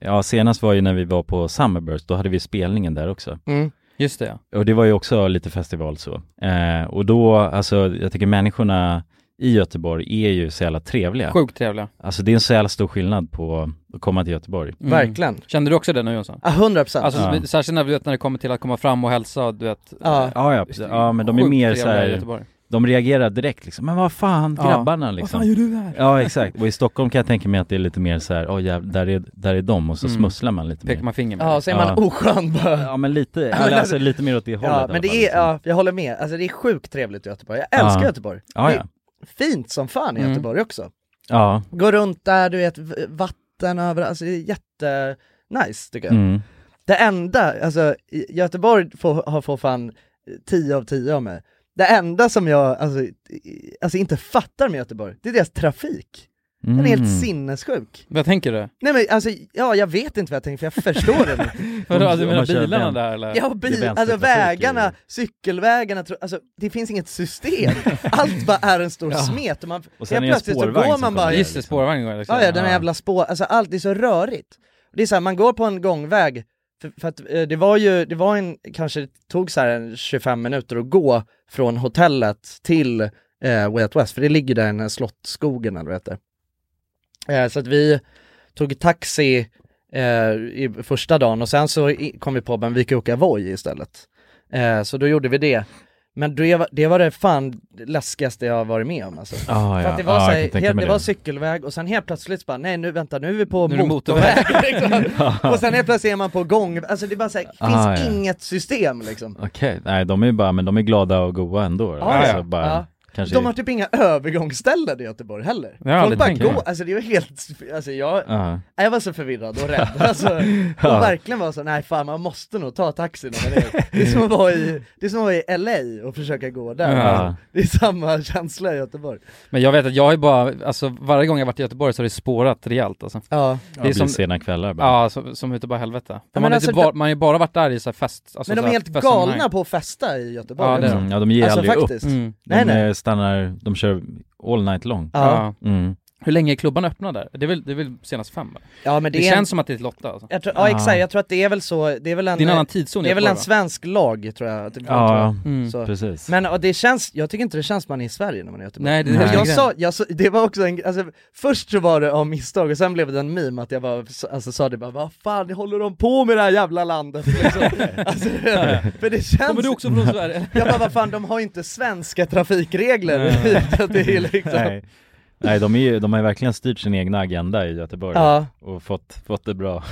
A: ja senast var ju när vi var på Summerburst, då hade vi spelningen där också.
B: Mm.
D: Just det, ja.
A: Och det var ju också lite festival så. Eh, och då, alltså jag tycker människorna i Göteborg är ju så jävla trevliga.
D: Sjukt trevliga.
A: Alltså det är en så jävla stor skillnad på att komma till Göteborg.
D: Mm.
B: Verkligen.
D: Kände du också det nu Jonsson?
B: Ja, 100 procent.
D: Alltså,
A: Ja.
D: spe- särskilt när, du vet, när det kommer till att komma fram och hälsa och du vet... eh,
B: ja.
A: Ja, ja, precis. ja men de är
D: Sjukt
A: mer
D: trevliga
A: så
D: i
A: här,
D: Göteborg.
A: de reagerar direkt liksom, men vad fan
D: Ja.
A: grabbarna liksom.
D: Vad fan gör du här?
A: Ja exakt, och i Stockholm kan jag tänka mig att det är lite mer så här, oh, jäv, där, är, där är de och så
D: Mm.
A: smusslar man lite
D: Pekar
A: mer.
D: man finger med.
B: ja, så är man
A: Ja.
B: oskön bara.
A: Ja men lite, eller, alltså lite mer åt det hållet i
B: Ja,
A: alla
B: men det
A: fall,
B: är,
A: liksom.
B: ja, jag håller med. Alltså det är sjukt trevligt i Göteborg. Jag älskar
A: Ja.
B: Göteborg.
A: ja,
B: Det
A: ja.
B: är fint som fan i
D: Mm.
B: Göteborg också.
A: ja.
B: Gå runt där, du vet, v- vatten överallt, alltså det är jätte nice tycker jag.
A: Mm.
B: Det enda, alltså i- Göteborg får, har får fan 10 av 10 av mig. Det enda som jag alltså, i- alltså inte fattar med Göteborg, det är deras trafik. Den är
A: Mm.
B: helt sinnessjuk.
D: Vad tänker du?
B: Nej men alltså, ja jag vet inte vad jag tänker för jag förstår det nu.
D: Vadå,
A: Om-
D: alltså,
A: om
D: menar
A: man kör
D: bilarna
A: den.
D: där eller?
B: Ja,
A: Det
B: bil,
A: är
B: alltså
A: vänstertrafik
B: vägarna,
A: i-
B: cykelvägarna, tro- alltså det finns inget
A: (laughs)
B: system. Allt bara är en stor smet och man,
A: Och sen
B: helt
A: är det en
B: plötsligt så
A: spårvagn
B: går
A: som
B: man bara,
A: kommer.
D: Just det, spårvagn går liksom.
B: ja, ja den här
A: Ja.
B: jävla spår, alltså allt är så rörigt. Det är så här, man går på en gångväg, för, för att eh, det var ju, det var en, kanske det tog så här en 25 minuter att gå från hotellet till eh, Way Out West, för det ligger där i den här slottskogen eller vad det heter. Eh, så att vi tog taxi eh, i första dagen och sen så i, kom vi på men vi kan åka Voi istället. Eh, så då gjorde vi det. Men det var, det var det fan läskigaste jag har varit med om alltså.
A: Ja, ja.
B: För att det var,
A: ja,
B: så
A: jag
B: här,
A: kan tänka
B: helt,
A: mig
B: det var cykelväg och sen helt plötsligt bara, nej nu vänta nu är vi på
D: Nu är det
B: motorväg. (laughs)
A: (laughs)
B: liksom. och sen helt plötsligt är man på gång, alltså det är bara så här, finns
A: Ah, ja.
B: inget system liksom.
A: Okej, nej de är ju bara, men de är glada och goa ändå.
B: Ja,
A: alltså,
D: ja.
A: Bara,
B: Ja.
A: Kanske...
B: De har typ inga övergångsställen i Göteborg heller.
D: Det har jag
B: Folk
D: aldrig
B: bara
D: tänkt
B: går,
D: på.
B: alltså det var helt, alltså jag,
A: Ja.
B: nej, jag var så förvirrad och
A: (laughs)
B: rädd. Alltså,
A: Ja.
B: Och verkligen var så, nej fan man måste nog ta taxin. när man är- Det är som att vara i, det är som att vara i LA och försöka gå där.
A: Ja.
B: Det är samma känsla i Göteborg.
D: Men jag vet att jag har ju bara, alltså varje gång jag varit i Göteborg så har det spårat rejält alltså.
B: Ja.
A: Det
D: Det är
A: blir
D: som-
A: sena kvällar bara.
D: Ja, som, som ute bara helvete. man,
B: men
D: har ju
B: alltså,
D: typ bara,
B: de-
D: man har ju bara varit där i så här fest, alltså,
B: Men de
D: så
B: är
D: här
B: helt
D: festsammanhang.
B: galna på att festa i Göteborg.
D: Ja, det är
B: också.
D: de.
A: mm, ja, de ger
B: Alltså
A: aldrig
B: faktiskt.
A: upp.
D: Mm.
A: De
B: Nej, nej.
A: eh, stannar, de kör all night long.
D: Ja.
B: Ja.
A: Mm.
D: Hur länge är klubban öppna där? Det är väl, det är väl senast fem? va?
B: ja, men
D: Det,
B: det, är
D: känns
B: en,
D: som att det är Lotta alltså.
B: jag tror, ja exakt, jag tror att det är väl så, det är väl en,
D: Det är en annan tidszon i
B: det är väl en
D: Göteborg, va?
B: svensk lag tror jag. att det-
A: Ja,
D: Mm.
B: så.
A: precis.
B: Men och det känns, jag tycker inte det känns som man är i Sverige när man är i Göteborg.
D: Nej, det är
A: Nej.
D: det som är
B: Jag
D: grejen.
B: sa, jag sa, det var också en, alltså, först så var det av misstag och sen blev det en meme att jag bara, alltså, sa det bara vad fan håller de på med det här
D: (laughs)
B: jävla landet? Liksom. alltså, för det känns,
D: Kommer du också från Sverige?
B: jag bara vad fan de har inte svenska trafikregler. Så att (laughs) det är liksom,
A: Nej. Nej, de, är ju, de har ju verkligen styrt sin egna agenda i Göteborg
B: ja.
A: och fått, fått det bra.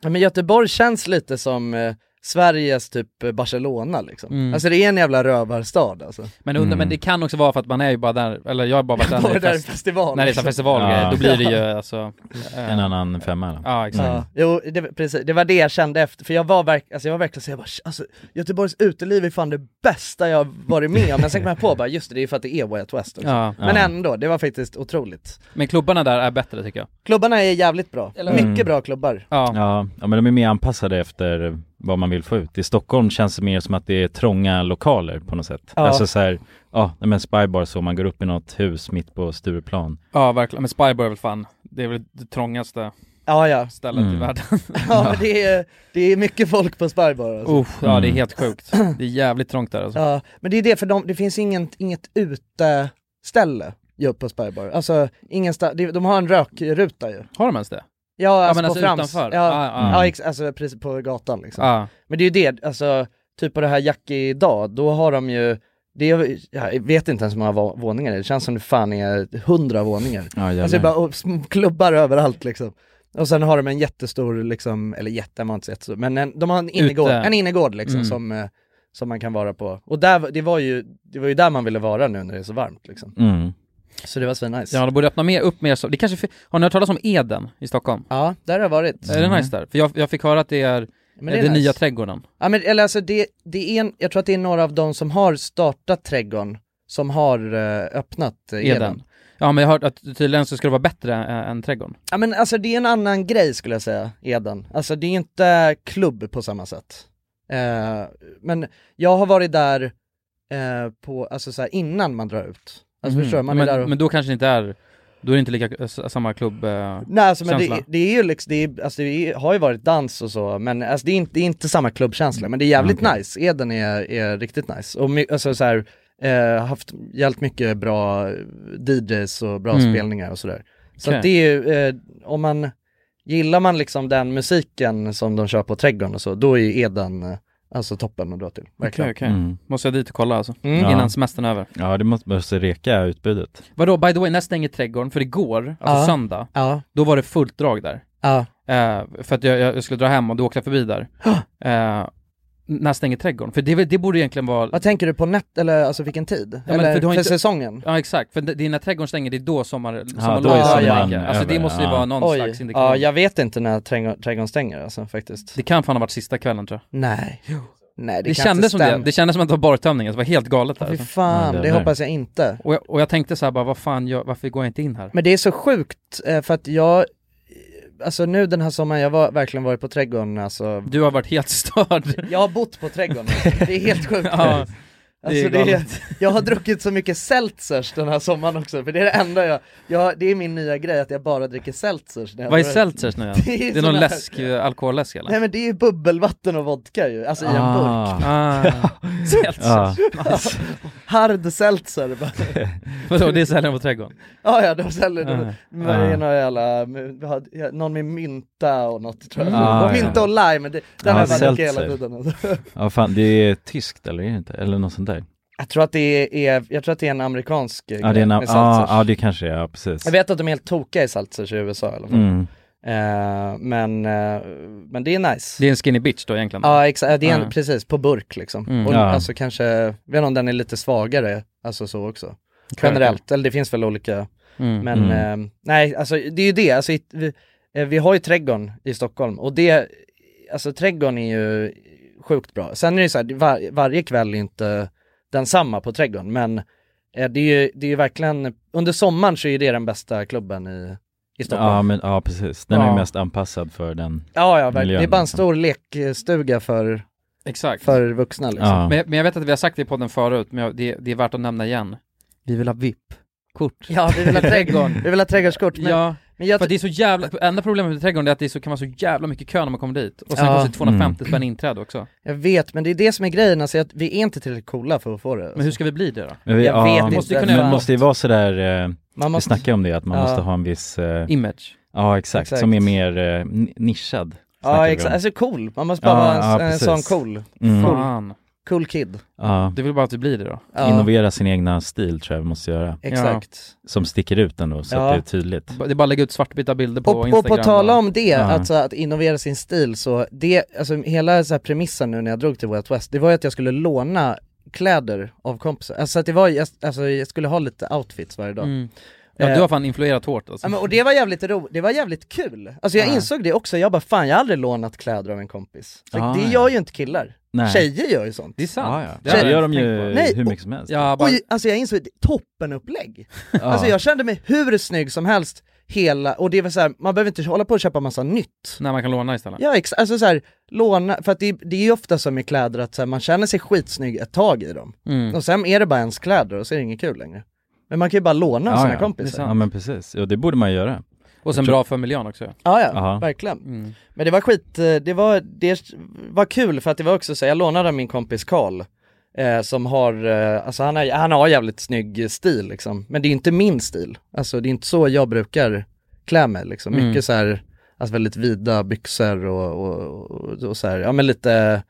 B: Ja, men Göteborg känns lite som eh, Sveriges typ eh, Barcelona liksom.
D: Mm.
B: Alltså det är en jävla rövarstad
D: (laughs)
B: alltså.
D: Men, undrar,
A: Mm.
D: men det kan också vara för att man är ju bara där, eller jag har bara varit där,
B: Var
D: när
B: det
D: det är
B: där
D: fest,
B: festival?
D: när det är så här festival och grejer,
A: Ja.
D: då blir det ju alltså... eh,
A: En annan femma då.
D: Ja, exakt.
B: Ja, jo, det, precis. Det var det jag kände efter, för jag var, verk, alltså jag var verkligen så jag bara, "Sh- alltså, Göteborgs uteliv är fan det bästa jag varit med om. Men sen kom jag på bara, just det, det är ju för att det är Way Out West också.
D: Ja.
B: Men
A: Ja.
B: ändå, det var faktiskt otroligt.
D: Men klubbarna där är bättre tycker jag.
B: Klubbarna är jävligt bra. Mycket bra klubbar.
D: Ja.
A: Ja, ja, men de är mer anpassade efter vad man vill få ut. I Stockholm känns det mer som att det är trånga lokaler på något sätt.
B: Ja.
A: Alltså så här, ja, nej, men Spybar så, man går upp i något hus mitt på Stureplan.
D: Ja verkligen, men Spybar är väl fan, det är väl det trångaste
B: Ja, ja. (laughs)
D: stället i
C: (laughs)
A: Mm.
D: världen.
B: ja men det, är, det är mycket folk på Spybar alltså.
D: Usch, ja det
C: Mm.
D: är helt sjukt. Det är jävligt trångt där alltså.
B: Ja, men det är det för de, det finns inget, inget uteställe ju på Spybar. Alltså, ingen sta, de, de har en rökruta ju.
D: Har de ens det?
B: Ja,
D: Ja
B: alltså
D: men
B: på
D: alltså
B: Frams.
D: utanför? ah.
B: Ja,
D: Ja, ja.
B: ja ex, alltså precis på gatan liksom.
D: ja.
B: Men det är ju det, alltså, typ på det här Jackie idag, då har de ju det är, jag vet inte ens hur många va- våningar det är, det känns som det fan är hundra våningar.
A: Ja, jävlar.
B: Alltså det är bara och, små klubbar överallt liksom. Och sen har de en jättestor, liksom, eller jätte, man har inte sett så, men en, de har en innergård, en innergård liksom
D: Mm.
B: som, eh, som man kan vara på. Och där, var- det, var ju, det var ju där man ville vara nu när det är så varmt liksom.
A: Mm.
B: Så det var svinnice.
C: Ja, de borde öppna mer, upp mer så. Det kanske, fi- har ni hört talas om Eden i Stockholm?
B: ja, där har jag varit.
C: Är det nice där? För jag, jag fick höra att det är,
B: Men
C: eh,
B: är
C: den
B: nice.
C: nya trädgården.
B: Ja men eller alltså det, det är en, jag tror att det är några av de som har startat trädgården som har eh, öppnat eh, Eden.
C: Eden. Ja, men jag har hört att tydligen så ska det vara bättre eh, än trädgården.
B: Ja men alltså det är en annan grej skulle jag säga, Eden. Alltså det är inte klubb på samma sätt. Eh, men jag har varit där eh, på, alltså så här, innan man drar ut. Alltså
C: Mhm.
B: förstår du? Man
C: men,
B: är där och...
C: men då kanske det inte är, då är det inte lika, s- samma klubb. eh,
B: Nej alltså men det,
C: känsla.
B: det är ju liksom, det, är, alltså, det är, har ju varit dans och så, men alltså, det, är inte, det är inte samma klubbkänsla. Men det är jävligt
C: Ah,
B: nice, Eden är, är riktigt nice. Och my, alltså så här, eh, haft jävligt mycket bra DJs och bra
C: Mm.
B: spelningar och sådär. Så
C: Okej.
B: att det är ju, eh, om man, gillar man liksom den musiken som de kör på trädgården och så, då är ju Eden eh, alltså toppen att dra till. Verkligen.
C: Okej, okej.
A: Mm.
C: Måste jag dit och kolla alltså,
B: Mm.
A: Ja.
C: innan semestern är över.
A: Ja, det måste, måste reka utbudet.
C: Vadå, by the way, när stänger trädgården? För igår, alltså
B: Ja.
C: söndag,
B: Ja,
C: då var det fullt drag där.
B: ja.
C: Eh, för att jag, jag skulle dra hem och då åkte jag förbi där. Eh, när stänger trädgården? För det, är väl- det borde egentligen vara...
B: Vad tänker du på nät, eller alltså vilken tid?
C: men
B: eller
C: för
B: för,
C: du har inte-
B: säsongen?
C: Ja exakt, för det, det är när trädgården stänger, det är då sommar, sommarlovet
A: då är
C: börjar.
B: sommaren
C: Alltså det
A: över,
C: måste ju
A: ja.
C: vara någon
B: Oj,
C: slags indikation.
B: ja, jag vet inte när trädgården trädgården stänger alltså faktiskt.
C: Det kan fan ha varit sista kvällen tror jag.
B: Nej. Nej, det,
C: Det,
B: kan
C: kändes
B: inte
C: som det,
B: stämma.
C: det kändes som att det var borrtömning, alltså, det var helt galet där.
B: Fy
C: Alltså.
B: fan,
A: Ja, det
B: det
A: där.
B: hoppas jag inte.
C: Och, jag, och jag tänkte så här bara, vad fan, jag, varför går jag inte in här?
B: Men det är så sjukt, eh, för att jag, alltså nu den här sommaren, jag har verkligen varit på trädgården alltså.
C: Du har varit helt störd.
B: Jag har bott på trädgården, det är helt sjukt.
C: (laughs) ja, det
B: Alltså
C: är
B: det är,
C: galet.
B: jag har druckit så mycket seltzers den här sommaren också, för det är det enda jag, jag det är min nya grej att jag bara dricker seltzers när jag
C: Vad är
B: drar ut.
C: seltzers nu igen?
B: (laughs) Det är
C: Det är
B: sån
C: någon
B: här-
C: läsk, eh, alkoholläsk eller?
B: Nej men det är ju bubbelvatten och vodka ju, alltså i en burk.
C: Ah, seltzers.
A: Ja.
B: Hard seltzer (laughs) bara.
C: Vadå, det säljer de på trädgården?
B: Ja ja, de säljer,
C: Ah.
B: de, men det är några jävla, vi har- någon med mynta och något tror jag.
A: Mm. Ah,
B: och
A: ja.
B: mynta och lime, det, den
A: Ah,
B: har jag bara druckit
A: seltzer.
B: hela tiden alltså.
A: Ja, fan, det är tyskt eller är det inte? Eller något sånt där?
B: Jag tror att det är, jag tror att det är en amerikansk grej
A: Ja, det är en,
B: med
A: ja,
B: seltzers.
A: ja, det kanske är, ja precis.
B: Jag vet att de är helt tokiga i seltzers i USA i alla fall.
A: Mm.
B: Eh, men, eh, men det är nice.
C: Det är en skinny bitch då egentligen?
B: Ja exakt, det är en,
C: Ja.
B: precis, på burk liksom.
C: Mm.
B: och
A: Ja.
B: alltså kanske, jag vet inte om den är lite svagare, alltså så också.
C: Okej,
B: Generellt, eller det finns väl olika,
C: Mm.
B: men
A: Mm.
B: eh, nej alltså det är ju det, alltså, i, vi, eh, vi har ju trädgården i Stockholm och det, alltså trädgården är ju sjukt bra. Sen är det ju så här, det- var, varje kväll är inte densamma på trädgården men eh, det är ju, det är ju verkligen, under sommaren så är ju det den bästa klubben i, i Stockholm.
A: Ja, men, ja precis. Den är
C: Ja.
A: ju mest anpassad för den.
B: Ja, ja, verkligen.
A: miljön,
B: Det är bara en
A: liksom.
B: stor lekstuga för,
C: Exakt.
B: för vuxna liksom.
A: Ja.
C: Men, jag- men jag vet att vi har sagt det i podden förut, men jag, det, det är värt att nämna igen. Vi vill ha VIP-kort.
B: Ja, vi vill ha trädgården. Vi vill ha trädgårdskort. Men,
C: (laughs) ja,
B: men jag
C: för att
B: ty-
C: det är så jävla, enda problemet med trädgården är att det är så, kan vara så jävla mycket kö när man kommer dit. Och sen
B: Ja.
C: kostar det 250 spänn inträde också.
B: jag vet, men det är det som är grejen, alltså, att vi är inte tillräckligt coola för att få det. Alltså.
C: Men hur ska vi bli det då?
A: Men vi-
B: Jag vet
A: ja,
B: inte.
A: måste
C: Måste kunna
A: men
C: göra
A: måste ju vara sådär, eh,
B: Man
A: vi
B: måste...
A: snackar om det, att man
B: Ja.
A: måste ha en viss, eh,
C: Image.
A: ja exakt,
B: Exakt.
A: som är mer eh, n- nischad. snackar
B: Ja,
A: vi
B: exakt.
A: om.
B: Alltså cool. Man måste bara
A: Ja,
B: vara en,
A: ja,
B: en
A: precis.
B: sån cool.
A: Mm.
C: Fan.
B: Cool kid.
A: Ja.
C: Det vill bara att vi blir det då.
B: Ja,
A: Innovera sin egna stil tror jag vi måste göra,
B: Exakt.
A: som sticker ut ändå så
B: Ja.
A: att det är tydligt.
C: Det är bara att lägga ut svartvita bilder på
B: och, och
C: Instagram.
B: på tala om det,
A: Ja.
B: alltså att innovera sin stil, så det, alltså hela så här premissen nu när jag drog till Wild West, det var ju att jag skulle låna kläder av kompisar. Alltså att det var, jag- alltså jag skulle ha lite outfits varje dag.
C: Mm. Ja, du har fan influerat hårt alltså.
B: Ja, men, och det var jävligt ro, det var jävligt kul. Alltså jag
C: Ja.
B: insåg det också, jag bara fan jag har aldrig lånat kläder av en kompis. Så
A: Ah,
B: det
A: ja.
B: gör ju inte killar.
A: Nej.
B: Tjejer gör ju sånt.
C: Det är sant.
A: Ja, ja.
C: har
A: Det
C: jag
A: gör de
C: inte
A: ju
C: tänkt
B: Nej,
A: hur
B: och-
A: mycket som helst.
C: på. Ja, bara,
B: Och ju- alltså jag insåg, det- toppenupplägg!
A: Ja.
B: Alltså jag kände mig hur snygg som helst hela, och det var så här, man behöver inte hålla på och köpa massa nytt.
C: när man kan låna istället.
B: Ja ex- alltså så här, låna, för att det, det är ju ofta som med kläder att så här, man känner sig skitsnygg ett tag i dem.
C: Mm.
B: Och sen är det bara ens kläder och så är det inget kul längre. Men man kan ju bara låna av
A: Ja,
B: sina
A: ja.
C: Det är
B: kompisar.
C: sant.
A: Ja men precis, ja, det borde man göra.
C: Och sen bra för miljön också.
B: Ja ja,
A: Aha.
B: verkligen.
C: Mm.
B: Men det var skit, eh, det var, det var kul för att det var också så, jag lånade av min kompis Karl eh, som har, eh, alltså han har, han har jävligt snygg stil liksom, men det är ju inte min stil. Alltså det är inte så jag brukar klä mig liksom,
C: Mm.
B: mycket så här, alltså väldigt vida byxor och, och, och, och så här, ja men lite,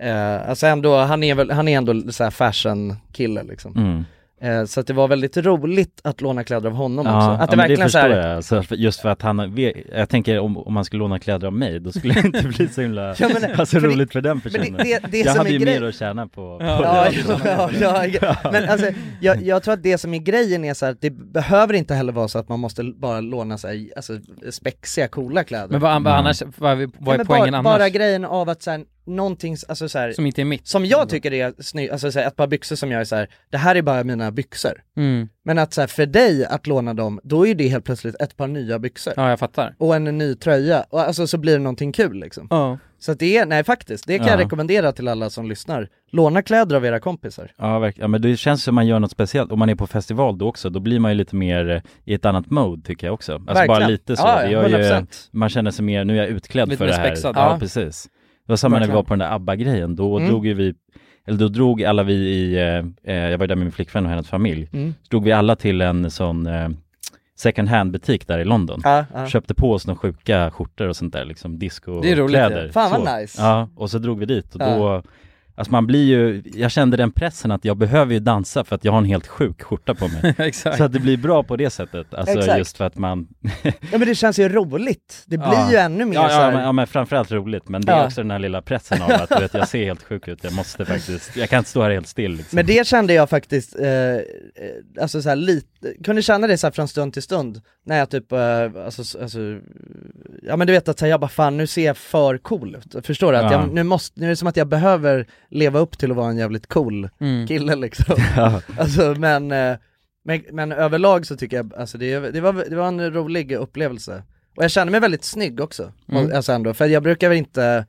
B: eh, alltså ändå, han är väl, han är ändå så här fashion kille liksom.
A: Mm.
B: Eh, Så att det var väldigt roligt att låna kläder av honom
A: Ja,
B: också. Att det
A: ja, men
B: verkligen
A: det
B: så
A: förstår
B: här,
A: jag. Alltså, för- just för att han, ve- jag tänker om, om man skulle låna kläder av mig, då skulle det inte bli så himla
B: Ja, men-
A: (laughs) alltså,
B: för det-
A: roligt för den
B: men det-
A: personen.
B: det- det
A: jag
B: som
A: hade
B: är
A: ju
B: grej-
A: mer att tjäna på, på
B: Ja,
A: det.
B: ja, ja, ja, men alltså, jag, jag tror att det som är grejen är så här, att det behöver inte heller vara så att man måste bara låna så här, alltså, spexiga, coola kläder.
C: Men vad, vad, annars, vad, vad är
B: Nej,
C: poängen
B: men bara,
C: annars?
B: Bara grejen av att så här, någonting, s- alltså så här,
C: Som inte är mitt.
B: som jag tycker är snyggt, alltså så här, ett par byxor som jag är så här, det här är bara mina byxor.
C: Mm.
B: Men att så här, för dig att låna dem, då är det helt plötsligt ett par nya byxor.
C: Ja, jag fattar.
B: Och en ny tröja, och alltså så blir det någonting kul liksom. Så att det är, nej faktiskt, det kan jag
A: Ja.
B: rekommendera till alla som lyssnar. Låna kläder av era kompisar.
A: Ja, verkligen. Ja, men det känns som man gör något speciellt. Om man är på festival då också, då blir man ju lite mer eh, i ett annat mode tycker jag också. Alltså bara
B: Verkligen.
A: lite så.
B: Ja, ja,
A: det gör ju,
B: 100%.
A: man känner sig mer, nu är jag utklädd
C: Lite
A: för
C: mer
A: det här.
C: spexad.
A: Ja,
C: Ja.
A: precis. Det var samma när vi
C: Verkligen.
A: var på den där ABBA-grejen, då
C: Mm.
A: drog ju vi, eller då drog alla vi i, eh, eh, jag var ju där med min flickvän och hennes familj,
B: Mm.
A: så drog vi alla till en sån eh, second hand butik där i London.
B: Ja, ja.
A: Köpte på oss några sjuka skjortor och sånt där liksom, disco
B: Det är roligt
A: kläder.
B: ju. Fan vad
A: Så.
B: nice.
A: Ja, och så drog vi dit och
B: Ja.
A: då Alltså man blir ju, jag kände den pressen att jag behöver ju dansa för att jag har en helt sjuk skjorta
B: (laughs)
A: på mig.
C: (laughs) Exakt.
A: Så att det blir bra på det sättet, alltså
B: Exakt.
A: just för att man...
B: Ja men det känns ju roligt, det blir ju ännu mer
A: ja,
B: så här,
A: ja, men, ja men framförallt roligt, men det är
B: Ja.
A: också den här lilla pressen av att du vet, jag ser helt sjuk ut, jag måste faktiskt, jag kan inte stå här helt still liksom.
B: Men det kände jag faktiskt, eh, eh, alltså så här lite, kunde känna det så här från stund till stund, när jag typ, eh, alltså, s- alltså, ja men du vet att så här, jag bara fan nu ser jag för cool ut, förstår du? Att
A: Ja.
B: jag, nu, måste, nu är det som att jag behöver leva upp till att vara en jävligt cool
C: Mm. (laughs)
B: kille liksom.
A: Ja.
B: Alltså men, eh, men, men överlag så tycker jag, alltså det, det, var, det var en rolig upplevelse. Och jag kände mig väldigt snygg också,
C: Mm.
B: alltså ändå, för jag brukar väl inte,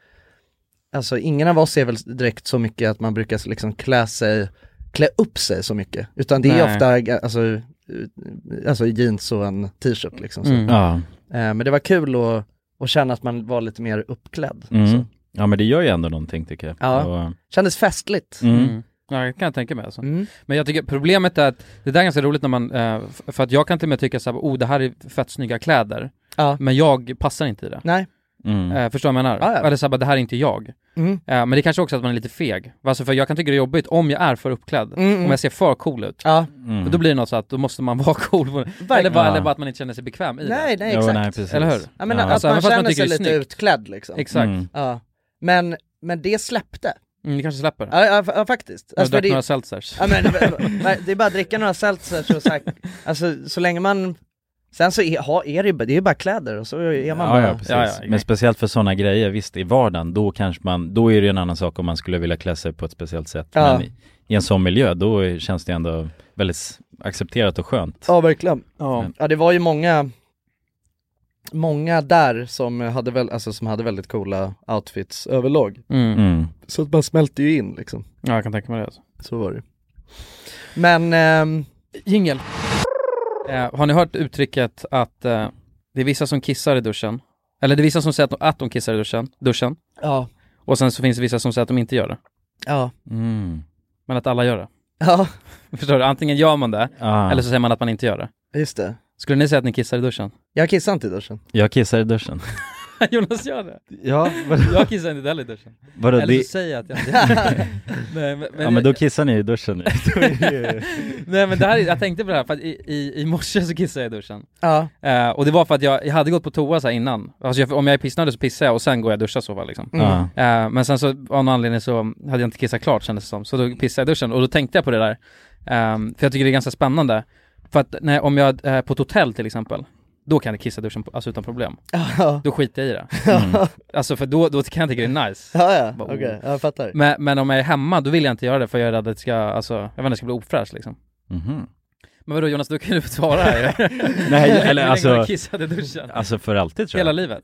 B: alltså ingen av oss är väl direkt så mycket att man brukar liksom klä sig, klä upp sig så mycket, utan det
C: Nej.
B: är ofta alltså, eh, alltså jeans och en t-shirt liksom. Så.
C: Mm.
A: Ja.
B: Eh, men det var kul att, att känna att man var lite mer uppklädd.
A: Mm.
B: Så.
A: Ja men det gör ju ändå någonting tycker jag.
B: Ja. Mm.
A: Och,
B: Kändes festligt. Mm.
A: mm.
C: Mm. Ja, det kan jag tänka mig alltså. Men jag tycker problemet är att det där är ganska roligt när man, eh, f- för att jag kan till och med tycka såhär, oh det här är fett snygga kläder,
B: Ja.
C: men jag passar inte i det.
B: Nej.
A: Mm.
B: Äh,
C: Eh, förstår du vad jag menar?
B: Ja, ja.
C: Eller såhär, bara, det här är inte jag.
B: Mm.
C: Eh, men det kanske också är att man är lite feg. Alltså för jag kan tycka det är jobbigt om jag är för uppklädd,
B: Mm, mm.
C: om jag ser för cool ut.
B: Ja,
A: Mm.
C: Då blir det något så att då måste man (laughs) vara cool. Eller bara, eller bara att man inte känner sig bekväm i
B: nej,
C: det.
B: nej
A: Jo,
B: exakt.
A: nej, precis.
C: Eller hur?
B: Ja men
A: Ja.
B: att
C: Alltså,
B: man
C: även fast man
B: känner
C: tycker
B: sig
C: det är
B: lite
C: snyggt.
B: utklädd liksom.
C: Exakt.
A: Mm.
C: Mm.
B: Ja. Men, men det släppte.
C: det kanske släpper.
B: Ja, ja, fa- ja faktiskt.
C: jag
B: Alltså,
C: drack
B: för det,
C: några seltzers.
B: ja, men, det är bara att dricka några seltzers och så här, alltså så länge man, sen så är, ha, är det ju bara- det är ju bara kläder och så är man
A: Ja,
B: bara...
A: ja, precis.
C: Ja, ja,
A: Men speciellt för sådana grejer, visst i vardagen, då kanske man, då är det en annan sak om man skulle vilja klä sig på ett speciellt sätt.
B: Ja.
A: Men i, i en sån miljö, då är- känns det ändå väldigt s- accepterat och skönt.
B: Ja, verkligen.
C: Ja.
B: Ja det var ju många, många där som hade, väl, alltså, som hade väldigt coola outfits överlag.
C: Mm.
A: Mm.
B: Så att man smälte ju in liksom,
C: ja, jag kan tänka mig det. Alltså.
B: så var det Men, ehm,
C: Jingel. Eh, har ni hört uttrycket att eh, det är vissa som kissar i duschen? Eller det är vissa som säger att de, att de kissar i duschen, duschen.
B: ja,
C: Och sen så finns det vissa som säger att de inte gör det.
B: ja,
A: Mm.
C: Men att alla gör det.
B: ja,
C: Förstår du? Antingen gör man det,
A: Ah,
C: eller så säger man att man inte gör det.
B: just det.
C: Skulle ni säga att ni kissar i duschen?
B: Jag kissade inte i duschen.
A: jag kissar i duschen.
C: (laughs) Jonas gör det.
A: (laughs) Ja,
C: Jag kissar inte heller i duschen.
A: vadå,
C: Eller så
A: det,
C: säger jag
A: (laughs)
C: att jag inte gör det. Nej, men, men,
A: ja men då kissar ni i duschen.
C: nej, men det här, är- jag tänkte på det här, för att i, i, i morse så kissade jag i duschen.
B: Ja,
C: Eh, och det var för att jag, jag hade gått på toa så här innan. Alltså jag, om jag är pissnödig så pissar jag och sen går jag och duschar så va liksom.
B: Mm.
A: Ja.
C: Eh, men sen så av någon anledning så hade jag inte kissat klart kändes det som. Så då pissade jag i duschen och då tänkte jag på det där. Ehm, för jag tycker det är ganska spännande. För att när, om jag är på ett hotell till exempel, då kan jag kissa i duschen på- alltså, utan problem.
B: ja,
C: Då skiter jag i det.
A: (laughs) Mm.
C: Alltså för då, då kan jag tycka det är nice.
B: (laughs) ja, ja.
C: Bara,
B: okej,
C: oh.
B: ja, jag fattar.
C: Men, men om jag är hemma, då vill jag inte göra det för jag är rädd att det ska, alltså, jag vet inte, det ska bli ofräscht liksom.
A: Mhm.
C: Men vadå Jonas, då kan du svara här (laughs)
A: Nej,
C: Hur länge
A: (laughs) eller
C: har du
A: alltså,
C: kissat i duschen.
A: alltså för alltid tror jag.
C: Hela livet.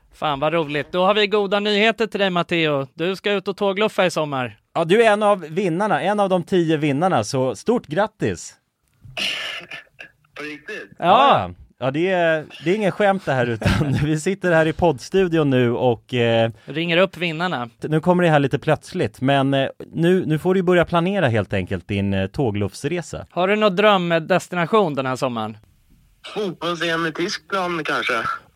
B: Fan vad roligt. Då har vi goda nyheter till dig Matteo. Du ska ut och tågluffa i sommar.
E: Ja, du är en av vinnarna, en av de tio vinnarna, så stort grattis! På riktigt? Ja! Ja, det är, det är ingen skämt det här utan (laughs) vi sitter här i poddstudion nu och eh,
B: Ringer upp vinnarna.
E: nu kommer det här lite plötsligt men eh, nu, nu får du börja planera helt enkelt din eh, tågluffsresa.
B: Har du någon drömdestination den här sommaren?
C: Fotbolls-EM i Tyskland kanske?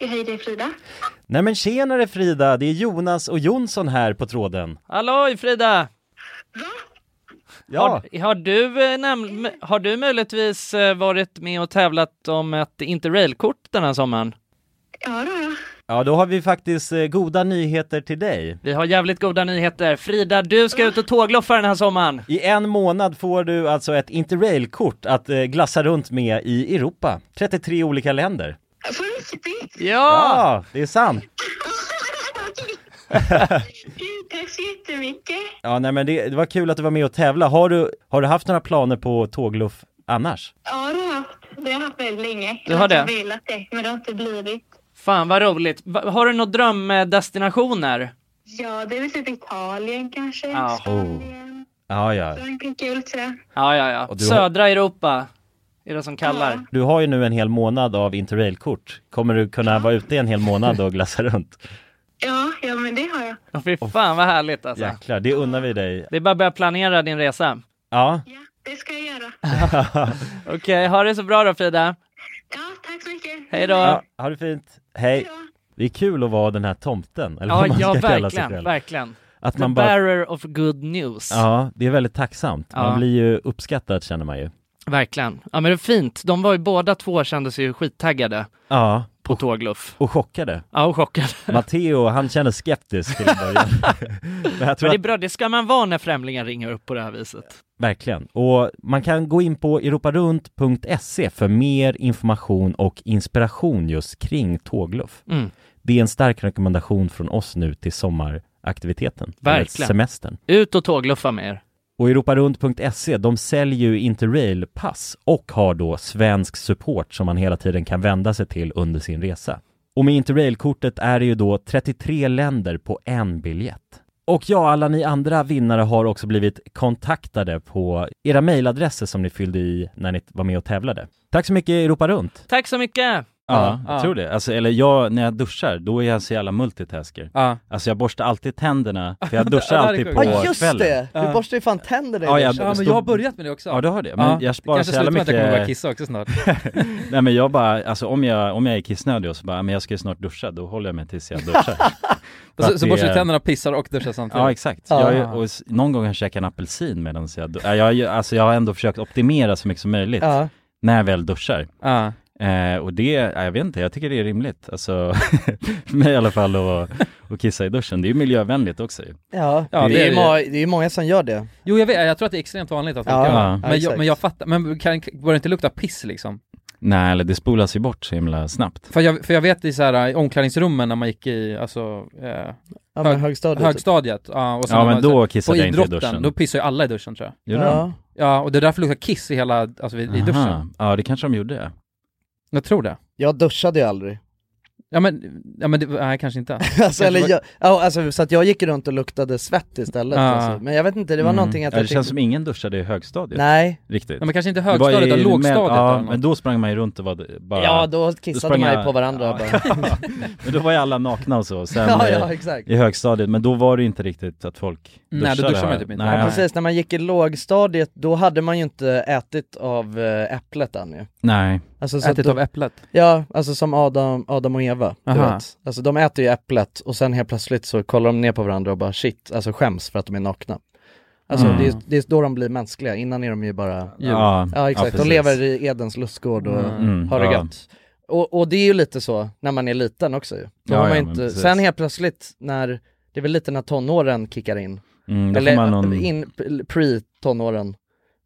J: Hej, det är Frida.
E: Nej men tjenare Frida, det är Jonas och Jonsson här på tråden.
B: Halloj Frida!
E: Ja,
B: Har, har, du, eh, näm- har du möjligtvis eh, varit med och tävlat om ett interrailkort den här sommaren?
J: Ja, då, ja.
E: ja då har vi faktiskt eh, goda nyheter till dig.
B: Vi har jävligt goda nyheter. Frida, du ska ut och tågloffa den här sommaren.
E: I en månad får du alltså ett interrailkort att eh, glassa runt med i Europa. 33 olika länder.
B: Ja!
E: Ja, det är sant!
J: Gud, tack så jättemycket.
E: Ja nej men det, det var kul att du var med och tävla. Har du, har du haft några planer på tågluff annars?
J: Ja, det har jag haft. Det har jag haft väldigt länge.
E: Du har
J: jag har
E: det?
J: inte velat det, men det har inte blivit.
B: Fan vad roligt. Va- Har du några drömdestinationer?
J: Ja, det är väl typ Italien kanske.
B: Ja.
E: Ja, ja.
J: Frankrike och lite sådär.
B: Ja, ja, ja.
E: Och du har-
B: Södra Europa är det som kallar.
E: Du har ju nu en hel månad av interrailkort. Kommer du kunna vara ute i en hel månad och glassa (laughs) runt?
J: Ja, ja, men det har jag.
B: Ja. Fy fan vad härligt alltså.
E: Jäklar, det unnar vi dig.
B: Det är bara att börja planera din resa.
E: Ja.
J: Det ska jag göra.
B: Okej, ha det så bra då Frida.
J: Tack så mycket.
B: Hej då.
E: ja ha det fint. Hej. Det är kul att vara den här tomten, eller
B: Ja,
E: vad man
B: ja
E: ska kalla sig
B: verkligen,
E: själv.
B: verkligen.
E: Att
B: The
E: man bara-
B: bearer of good news.
E: Ja, det är väldigt tacksamt.
B: Ja.
E: Man blir ju uppskattad känner man ju.
B: Verkligen. Ja men det är fint. De var ju båda två kände sig ju skittaggade
E: Ja,
B: på tågluff.
E: och chockade.
B: Ja, och chockade. (laughs)
E: Matteo, han känner skeptisk till en början. Men jag tror
B: Men det är
E: att,
B: bra, det ska man vara när främlingar ringer upp på det här viset.
E: verkligen. Och man kan gå in på europarunt.se E för mer information och inspiration just kring tågluff.
B: Mm.
E: Det är en stark rekommendation från oss nu till sommaraktiviteten. eller
B: Verkligen.
E: Semestern.
B: Ut och tågluffa med er.
E: Och europarunt.se, de säljer ju Interrail-pass och har då svensk support som man hela tiden kan vända sig till under sin resa. Och med Interrail-kortet är det ju då 33 länder på en biljett.
A: Och ja, alla ni andra vinnare har också blivit kontaktade på era mejladresser som ni fyllde i när ni var med och tävlade. Tack så mycket Europa runt!
E: Tack så mycket!
A: Ja, jag tror det. Alltså, eller jag, när jag duschar, då är jag så jävla multitasker.
C: Ja.
A: Alltså jag borstar alltid tänderna,
C: (laughs)
A: för jag duschar
C: Ja, det är
A: alltid
C: sjukt.
A: på
C: Ja, just
A: kvällen.
B: det! Du borstar ju fan tänderna i
A: Ja, jag-
B: duschen.
C: Ja men jag har börjat med det också.
A: Ja du har det, men jag sparar
C: kanske
A: så jävla
C: slutar med att jag kommer
A: mycket-
C: börja kissa också snart.
A: Nej men jag bara, alltså om jag, om jag är kissnödig och så bara, "Ah, men jag ska ju snart duscha, då håller jag mig tills jag
B: (laughs)
A: duschar. För
C: så
A: att
C: så
A: det-
C: borstar du tänderna, pissar och duschar samtidigt.
A: Ja exakt,
C: Ja.
A: jag, är- och s- någon gång har jag käkat en apelsin medan jag, du- äh, jag, jag- alltså jag har ändå försökt optimera så mycket som möjligt
C: Ja.
A: när jag väl duschar.
C: Ja.
A: Eh, och det, äh, jag vet inte, jag tycker det är rimligt, alltså (laughs) för mig i alla fall att, att kissa i duschen, det är ju miljövänligt också ju.
B: Ja,
C: Ja,
B: det,
C: det
B: är
C: är
B: ju ma- det är ju många som gör det.
C: Jo jag vet, jag tror att det är extremt vanligt att folk
B: Ja,
C: gör
A: ja,
C: det. Men, jag,
B: exakt.
C: men jag fattar, men kan, bör det inte lukta piss liksom?
A: Nej eller det spolas ju bort så himla snabbt.
C: För jag, för jag vet i så här, i omklädningsrummen när man gick i, alltså, eh,
B: men högstadiet typ.
C: högstadiet ja, och sen
A: Ja,
C: när
A: men
C: man-
A: då
C: på
A: kissade jag inte i
C: idrotten,
A: duschen.
C: Då pissar ju alla i duschen tror jag.
A: Gjorde Ja. de?
C: Ja, och det är därför det luktar kiss i hela, alltså vid, i
A: Aha.
C: duschen.
A: Ja det kanske de gjorde.
C: Jag tror det.
B: Jag duschade ju aldrig. (laughs)
C: Ja men, ja men det, nej kanske inte.
B: Alltså, eller jag, ja, alltså, så att jag gick runt och luktade svett istället
C: Ja.
B: alltså. Men jag vet inte, det var
A: Mm.
B: någonting att
A: ja,
B: jag
A: det känns
B: tyckte-
A: som ingen duschade i högstadiet.
B: Nej.
A: Riktigt.
C: Ja, men
A: (laughs)
C: kanske inte
A: Det var
C: högstadiet,
A: i-
C: utan
A: men-
C: lågstadiet eller
A: Ja,
C: något.
A: men då sprang man ju runt och var bara... (laughs)
B: Ja, då kissade
A: sprang
B: man ju på varandra bara.
A: men då var ju alla nakna och så.
B: (laughs)
A: Sen,
B: Ja, ja,
A: eh,
B: exakt.
A: I högstadiet, men då var det ju inte riktigt att folk
C: Nej,
A: duschade.
C: då duschar man
A: här.
C: typ inte.
A: Nej,
B: Ja, precis, när man gick i lågstadiet då hade man ju inte ätit av eh, äpplet än ju.
A: Nej.
B: så att
C: Ätit
B: då-
C: av äpplet?
B: Ja, alltså som Adam, Adam och Eva, du
C: Aha.
B: vet. Alltså de äter ju äpplet och sen helt plötsligt så kollar de ner på varandra och bara shit, alltså skäms för att de är nakna. Alltså
A: Mm.
B: det, är, det är då de blir mänskliga, innan är de ju bara
A: Djur.
B: ja
A: Ja, ja,
B: exakt,
A: precis.
B: de lever i Edens lustgård och
A: Mm,
B: har det
A: ja.
B: gött. Och, och det är ju lite så när man är liten också ju. Då
A: Ja,
B: har man
A: ja,
B: ju
A: men
B: inte,
A: precis.
B: sen helt plötsligt när, det är väl lite när tonåren kickar in.
A: Mm, då får
B: Eller
A: man någon-
B: in, pre-tonåren,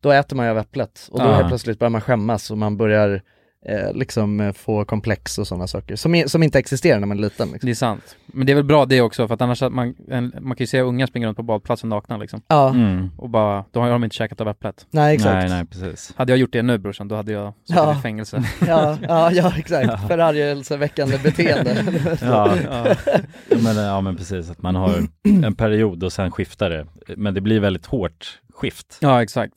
B: då äter man ju av äpplet och då
A: Ja.
B: helt plötsligt börjar man skämmas och man börjar eh, liksom eh, få komplex och sådana saker som, är, som inte existerar när man är liten. Liksom.
C: Det är sant. Men det är väl bra det också, för att annars att man, en, man kan ju se unga springa runt på badplatsen nakna liksom.
B: Ja.
A: Mm.
C: Och bara, då har de inte käkat av äpplet.
B: Nej, exakt.
A: Nej, nej, precis.
C: Hade jag gjort det nu brorsan, då hade jag suttit
B: Ja.
C: i
B: (laughs)
C: fängelse.
B: Ja, ja, ja exakt, förargelseväckande beteende.
A: (laughs) Ja, ja. Men, ja men precis, att man har en period och sen skiftar det. Men det blir väldigt hårt skift.
C: Ja exakt.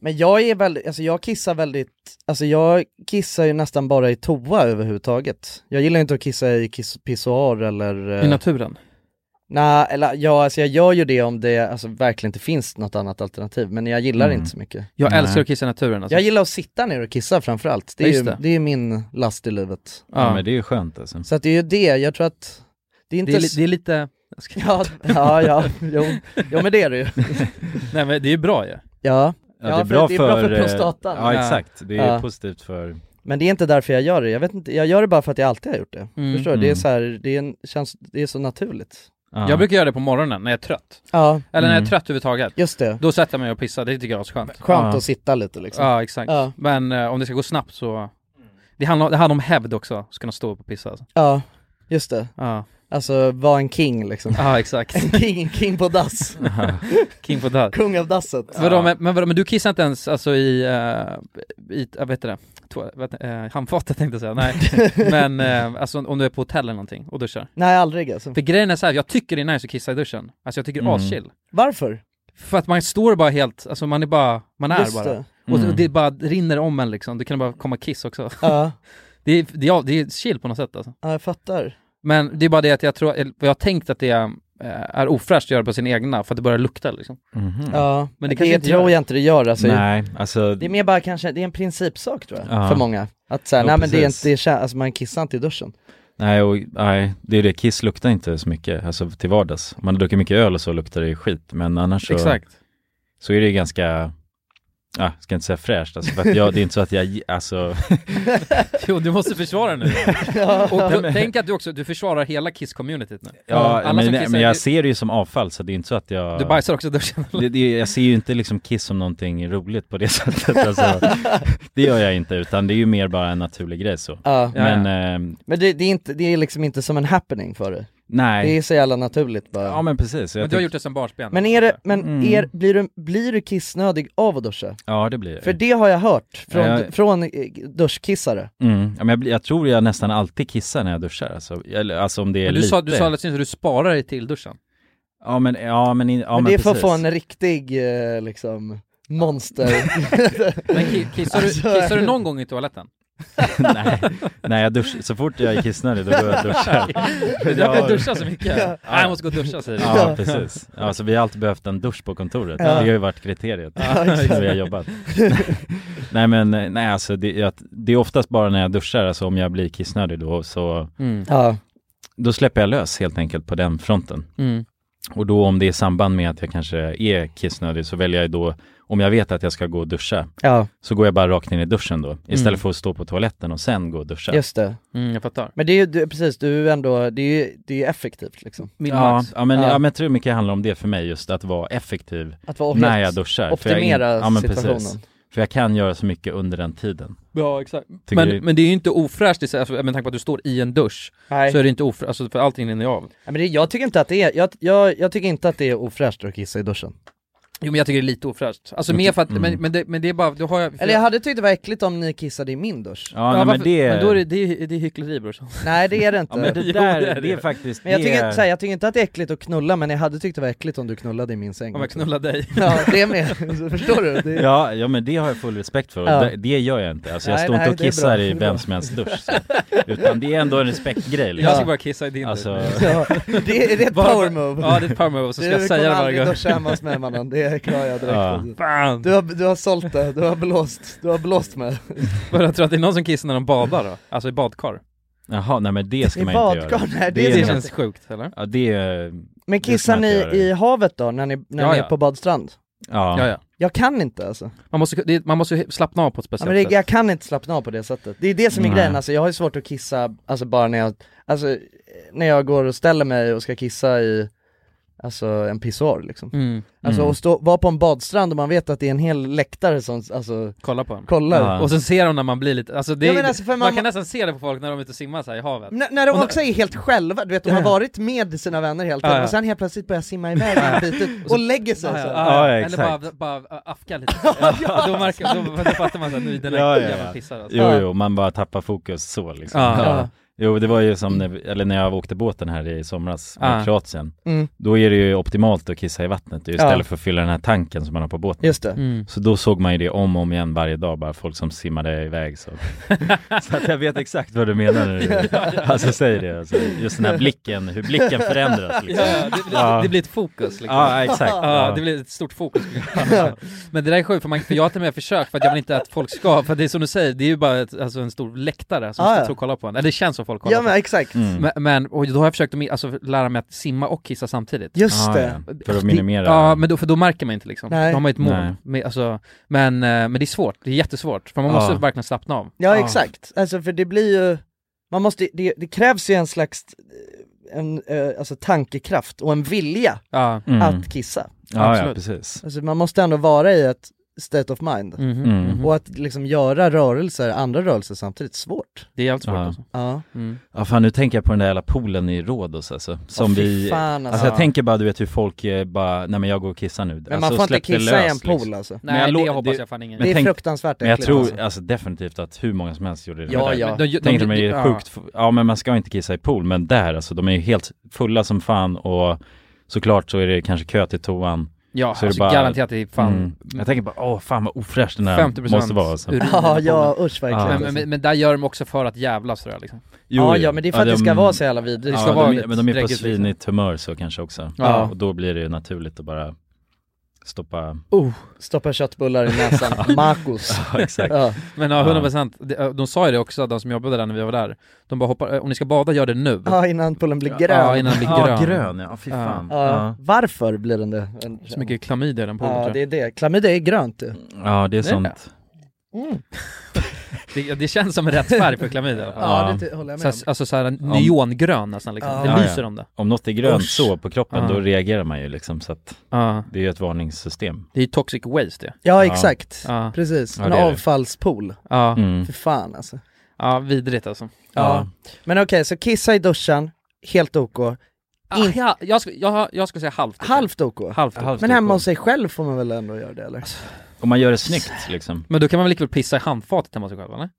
B: Men jag är väldigt, alltså jag kissar väldigt, alltså jag kissar ju nästan bara i toa överhuvudtaget. Jag gillar inte att kissa i kiss, pissoar eller... eh,
C: I naturen.
B: Nej, eller ja, alltså jag gör ju det om det alltså, verkligen inte finns något annat alternativ, men jag gillar det
C: Mm.
B: inte så mycket.
C: Jag älskar att kissa i naturen alltså.
B: Jag gillar att sitta ner och kissa framförallt. Det är,
C: Ja, just
B: ju, det.
C: det.
B: är min last i livet.
A: Ja, men det är ju skönt alltså.
B: Så att det är ju det, jag tror att det är inte...
C: Det är
B: s-
C: li- det är lite- Jag ska-
B: (laughs) Ja, ja, ja, jo, jo men det är det ju.
C: (laughs) Nej men det är ju bra ju.
B: Ja.
A: Ja, det är bra
B: det är bra för
A: för, eh,
B: prostatan.
A: ja, exakt. Det är
B: Ja.
A: positivt för
B: Men det är inte därför jag gör det, jag vet inte, jag gör det bara för att jag alltid har gjort det.
C: Mm.
B: Förstår du? Det är
C: Mm.
B: så här, det, är en, känns, det är så naturligt.
C: Jag brukar göra det på morgonen när jag är trött.
B: Ja.
C: Eller när jag
B: Mm.
C: är trött överhuvudtaget.
B: Just det.
C: Då sätter jag mig och pissar, det tycker jag är skönt.
B: Skönt att sitta lite liksom.
C: Ja exakt.
B: Ja.
C: Men eh, om det ska gå snabbt så... Det handlar, det handlar om hävd också, ska kunna stå upp och pissa alltså.
B: Ja, just det.
C: Ja.
B: Alltså vara en
C: (laughs)
B: king liksom.
C: Ja exakt.
B: En king, en king på dass.
C: King på (laughs) dass.
B: Kung av dasset.
C: Vadå, men, men, vadå, men du kissar inte ens alltså i, eh, i jag vet det, toa- vet, eh, handfatet tänkte jag säga, nej. men (laughs) eh, alltså om du är på hotell eller någonting och duschar.
B: (laughs) Nej, aldrig alltså.
C: För grejen är så här, jag tycker det är nice att kissa i duschen. Alltså jag tycker det är
B: Mm.
C: aschill.
B: Varför?
C: För att man står bara helt, alltså man är bara, man är
B: Just
C: bara.
B: det.
C: Och
B: Mm.
C: det bara rinner om en liksom, det kan bara komma kiss också.
B: Ja.
C: det, är, det, är, det är chill på något sätt alltså.
B: Ja, jag fattar.
C: Men det är bara det att jag tror, eller jag har tänkt att det är, eh, är ofräscht att göra på sin egna för att det börjar lukta liksom.
A: Mhm.
B: Ja,
C: Men
B: men det,
C: det kanske inte
B: tror
C: gör.
B: jag inte det gör alltså.
A: Nej, alltså
B: Det är mer bara kanske, det är en principsak tror jag,
A: Ja.
B: för många. Att säga,
A: Ja,
B: nej men det är inte,
A: precis.
B: det är, kä- alltså man kissar inte i duschen.
A: Nej, och, nej, det är det. Kiss luktar inte så mycket, alltså till vardags. Om man dricker mycket öl och så luktar det skit, men annars så,
C: Exakt.
A: (laughs) så är det ju ganska, ah, ska inte säga fräscht, alltså, för att jag, det är inte så att jag, alltså,
C: Jo, du måste försvara (laughs) nu.
B: Ja.
C: Och
A: Nej,
C: du,
A: men-
C: tänk att du också, du försvarar hela Kiss-communityt nu.
A: (laughs) ja,
C: Alla som
A: men,
C: kissar
A: men
C: i-
A: jag ser det ju som avfall, så det är inte så att jag...
C: Du bajsar också i duschen, eller?
A: det, det, Jag ser ju inte liksom kiss som någonting roligt på det (laughs) sättet,
C: (laughs)
A: alltså, Det gör jag inte, utan det är ju mer bara en naturlig grej så.
B: Ja.
A: Men, eh,
B: Men det, det, är inte, det är liksom inte som en happening för dig.
A: Nej.
B: Det är så jävla naturligt bara.
A: ja men precis. Jag
C: Men du har
A: tyck-
C: gjort det som barnsben.
B: Men, är det, men
A: Mm.
B: är, blir, du, blir du kissnödig av att duscha?
A: Ja, det blir det.
B: För det har jag hört från,
A: Ja, jag-
B: från eh, duschkissare.
A: Mm. Ja, men jag, blir- jag tror jag nästan alltid kissar när jag duschar, alltså, eller, alltså om det är
C: Men du
A: lite.
C: sa, du sa alldeles nyss att du sparar dig till duschen.
A: Ja men, ja men, in- ja,
B: men,
A: men
B: det är för att
A: precis.
B: få en riktig eh, liksom monster
C: Men ki- (laughs) kissar, du, kissar du någon gång i (laughs) toaletten?
A: (laughs) Nej, nej jag dusch, så fort jag är kissnödig då går jag och duschar.
B: (laughs)
C: Det är därför jag duschar så mycket.
A: Ja.
C: Nej, jag måste gå och duscha, säger du.
A: Ja, precis. Ja, så vi har alltid behövt en dusch på kontoret.
C: Ja.
A: Det har ju varit kriteriet
C: Ja, exakt.
A: när vi har jobbat. (laughs) nej men, nej alltså det, jag, det är oftast bara när jag duschar, alltså om jag blir kissnödig då så,
B: Mm. Ja.
A: då släpper jag lös helt enkelt på den fronten.
B: Mm.
A: Och då om det är i samband med att jag kanske är kissnödig så väljer jag då, om jag vet att jag ska gå och duscha,
B: Ja.
A: så går jag bara rakt in i duschen då, istället
B: Mm.
A: för att stå på toaletten och sen gå och duscha.
B: Just det.
C: mm, jag fattar.
B: Men det är ju, du, precis, du är ju ändå, det är ju, det är ju effektivt liksom
A: Ja, ja, men, ja. men jag tror mycket handlar om det för mig, just att vara effektiv
B: Att vara
A: när
B: helt-
A: jag duschar. för
B: optimera
A: jag, ja, men precis.
B: situationen.
A: För jag kan göra så mycket under den tiden.
C: Ja, exakt.
A: Tycker
C: Men,
A: du-
C: men det är ju inte ofräscht i sig, alltså, med tanke på att du står i en dusch.
B: Nej.
C: Så är det inte ofräscht, alltså, för allting rinner ju av.
B: Ja, men det, jag tycker inte att det är, jag, jag, jag tycker inte att det är ofräscht att kissa i duschen
C: Jo men jag tycker det är lite ofräscht. Alltså mer för att, men, men, det, men det är bara, då har jag... för-
B: Eller jag hade tyckt det var äckligt om ni kissade i min dusch
A: Ja, nej, men
C: varför-
A: det...
C: men då är det, Mm. det, är, det är hyckleri brorsan.
B: Nej det är det inte
A: Ja,
B: (laughs)
A: men det där, det är faktiskt...
B: Men jag
A: det
B: tycker,
A: är-
B: inte, så här, jag tycker inte att det är äckligt att knulla, men jag hade tyckt det var äckligt om du knullade i min säng
C: Om jag knullade dig.
B: (laughs) Ja, det med. Så förstår du? Det...
A: Ja, ja men det har jag full respekt för och
B: Ja.
A: det, det gör jag inte. Alltså jag
B: Nej,
A: står
B: nej,
A: inte och
B: det är bra.
A: kissar i
B: Det är bra.
A: vem som helst dusch.
B: (laughs)
A: Så. Utan det är ändå en respektgrej.
C: Jag ska bara kissa i din dusch.
A: alltså,
B: Ja, det, är, det är ett
C: Bara-
B: power move
C: Ja, det är ett power move, och så ska
B: Du
C: jag säga det
B: kommer
C: varje
B: aldrig
C: gång.
B: duscha hemma hos mig mannen, det klarar jag
C: Ja.
B: direkt du, har, du har sålt det, du har blåst, du har blåst mig
C: Bara tror du att det är någon som kissar när de badar då? Alltså i badkar?
A: Jaha, nej men det ska
B: I
A: man inte göra.
B: badkar? Nej, det ska man
C: känns
B: inte.
C: sjukt eller?
A: Ja, det är...
B: Men
A: det ska
B: kissar
A: man inte
B: ni
A: göra.
B: i havet då, när ni, när
A: Ja,
B: ni är
A: ja.
B: på badstrand?
A: Ja.
C: Ja, ja.
B: Jag kan inte alltså
C: Man måste, det, man måste slappna av på ett
B: Ja,
C: speciellt
B: men det,
C: sätt.
B: jag kan inte slappna av på det sättet. Det är det som är
C: Nej.
B: grejen, alltså, jag har ju svårt att kissa, alltså bara när jag, alltså, när jag går och ställer mig och ska kissa i, alltså en pissoar liksom.
C: Mm.
B: Alltså
C: Mm.
B: att stå, vara på en badstrand och man vet att det är en hel läktare som, alltså,
C: Kolla på en.
B: kollar.
C: Och sen ser de när man blir lite, alltså det
B: Ja,
C: är,
B: men alltså, för Mm,
C: man,
B: man-
C: kan nästan se det på folk när de är ute och simmar så här i havet.
B: N- när de
C: Och
B: också är helt själva, du vet de har
C: Ja.
B: varit med sina vänner hela tiden
C: Ja, ja.
B: och sen helt plötsligt börjar simma iväg en bit ut och lägger sig alltså.
C: Ja, Ah, ja,
B: så.
C: ja,
A: Ja,
C: Eller
A: exakt.
C: bara, bara äh, afka
B: (laughs)
C: lite. ja, då, märker, då, då fattar man att nu den här jäveln pissar
B: (laughs)
C: alltså.
A: Jo, jo, man bara tappar fokus så liksom.
C: Ja.
A: Ja.
C: Ja.
A: Jo, det var ju som när, vi- eller när jag åkte båten här i somras med
C: Ja.
A: Kroatien.
B: Mm.
A: Då är det ju optimalt att kissa i vattnet ju,
B: Ja.
A: istället för att fylla den här tanken som man har på båten.
B: Just det. Mm.
A: Så då såg man ju det om och om igen varje dag, bara folk som simmade iväg så. så att jag vet exakt vad du menar (laughs) när du alltså, säger det. Alltså, just den här blicken, hur blicken förändras liksom.
C: (laughs) Ja, det, blir, det blir ett fokus liksom.
A: Ja, exakt.
C: Ja, det blir ett stort
B: (laughs)
C: fokus. Ja. Men det där är sjukt, för, man, för jag har till och med försökt, för att jag vill inte att folk ska, för det är som du säger, det är ju bara ett, alltså en stor läktare som
B: Ah, Ja,
C: står
B: ja.
C: och kollar på en. Eller det känns som folk kollar
B: Ja,
C: på
B: men
C: en.
B: exakt. Mm.
C: Men, men och då har jag försökt att mi- alltså, lära mig att simma och kissa samtidigt.
B: Just Ah, det. ja.
A: För att minimera-
C: Ja, men då, för då märker man inte liksom.
B: Nej.
C: Då har man ju ett mål.
A: Nej.
C: Men, alltså, men, eh, men det är svårt, det är jättesvårt, för man måste
A: Ja.
C: verkligen slappna av.
B: Ja
A: Ah.
B: exakt, alltså för det blir ju, man måste, det, det krävs ju en slags eh, en, eh, alltså tankekraft och en vilja
C: Ja.
A: Mm.
B: att kissa.
A: Ja, ja, precis.
B: Alltså man måste ändå vara i ett state of mind.
A: Mhm. Mm.
B: Och att liksom göra rörelser, andra rörelser samtidigt, svårt.
C: Det är jävligt svårt
A: Ja.
C: alltså.
B: Ja.
A: Ja fan nu tänker jag på den där jävla poolen i Rhodos alltså, som
B: fy
A: vi...
B: fan,
A: alltså.
B: alltså.
A: jag tänker bara du vet hur folk eh, bara, nej men jag går och kissar nu
B: Men man
A: alltså,
B: får inte
A: släpp det
B: kissa i en
A: löst,
B: pool,
A: liksom.
B: alltså.
A: Men
C: Nej,
A: lo-
C: det hoppas jag fan ingen
A: men
B: gör. Det är fruktansvärt
A: Men jag
B: äckligt,
A: tror
B: alltså.
A: alltså. definitivt att hur många som helst gjorde det
B: Ja,
A: med
B: ja.
A: det.
B: Men de- de-
A: Tänkte de, är
B: ja.
A: ju sjukt, f- ja men man ska inte kissa i pool, men där alltså de är ju helt fulla som fan och såklart så är det kanske kö till toan
C: Ja,
A: så är Mm.
C: alltså, garanterat det är fan-
A: Jag tänker bara, åh fan vad ofräsch den här
C: 50%
A: måste vara alltså.
C: urin i
B: (laughs) Ja,
C: poolen.
B: ja, usch, verkligen,
C: Men-
B: alltså.
C: Men, men där gör de också för att jävlas tror jag liksom.
A: Jo,
B: ja,
A: jo.
B: ja men det är för att det
A: de-
B: ska vara så jävla vidrigt.
A: Ja,
B: Det ska vara
A: de, är-
B: lite
A: men de är på
B: dräggigt, liksom.
A: svinigt humör så kanske också.
B: Ja.
A: Och då blir det ju naturligt att bara
B: (laughs)
A: stoppa...
B: Oh. Stoppa köttbullar i näsan, Marcus.
A: (laughs) Ja, exakt.
C: Men ja, 100 procent. De sa ju det också, de som jobbade där när vi var där. De bara hoppar, om ni ska bada, gör det nu.
B: Ja, innan poolen blir grön.
C: Ja, innan den blir grön.
B: Ja. Varför blir den det? En-
C: Så mycket klamydia i den poolen
B: Ja,
C: tror
B: det
C: jag.
B: är det. Klamydia är grönt ju.
A: Ja, det
C: Det-
A: är sånt.
C: det, det känns som en rätt färg för klamydia. i alla fall.
B: Ja, det ty- håller jag med
C: så,
B: om.
C: här- Alltså såhär neongrön nästan liksom.
B: Ja.
C: Det
A: Ja,
C: lyser
A: ja.
C: om det.
A: Om något är grönt
C: Usch.
A: så på kroppen,
C: Ja.
A: då reagerar man ju liksom så att
C: Ja.
A: det är ju ett varningssystem.
C: Det är ju toxic waste det.
B: Ja, exakt.
C: Ja.
B: Precis.
A: Ja,
B: en
A: det är det.
B: avfallspool.
C: Ja.
A: Mm.
B: För fan alltså.
C: Ja, vidrigt alltså.
B: Ja. Men okej, så kissa i duschen, helt OK.
C: Ah, ja, jag, ska, jag, jag ska säga halvt. liksom.
B: Halvt OK?
C: Halvt OK.
B: Men hemma hos sig själv får man väl ändå göra det eller?
A: Om man gör det snyggt liksom.
C: Men då kan man väl lika väl pissa i handfatet hemma hos sig själv eller?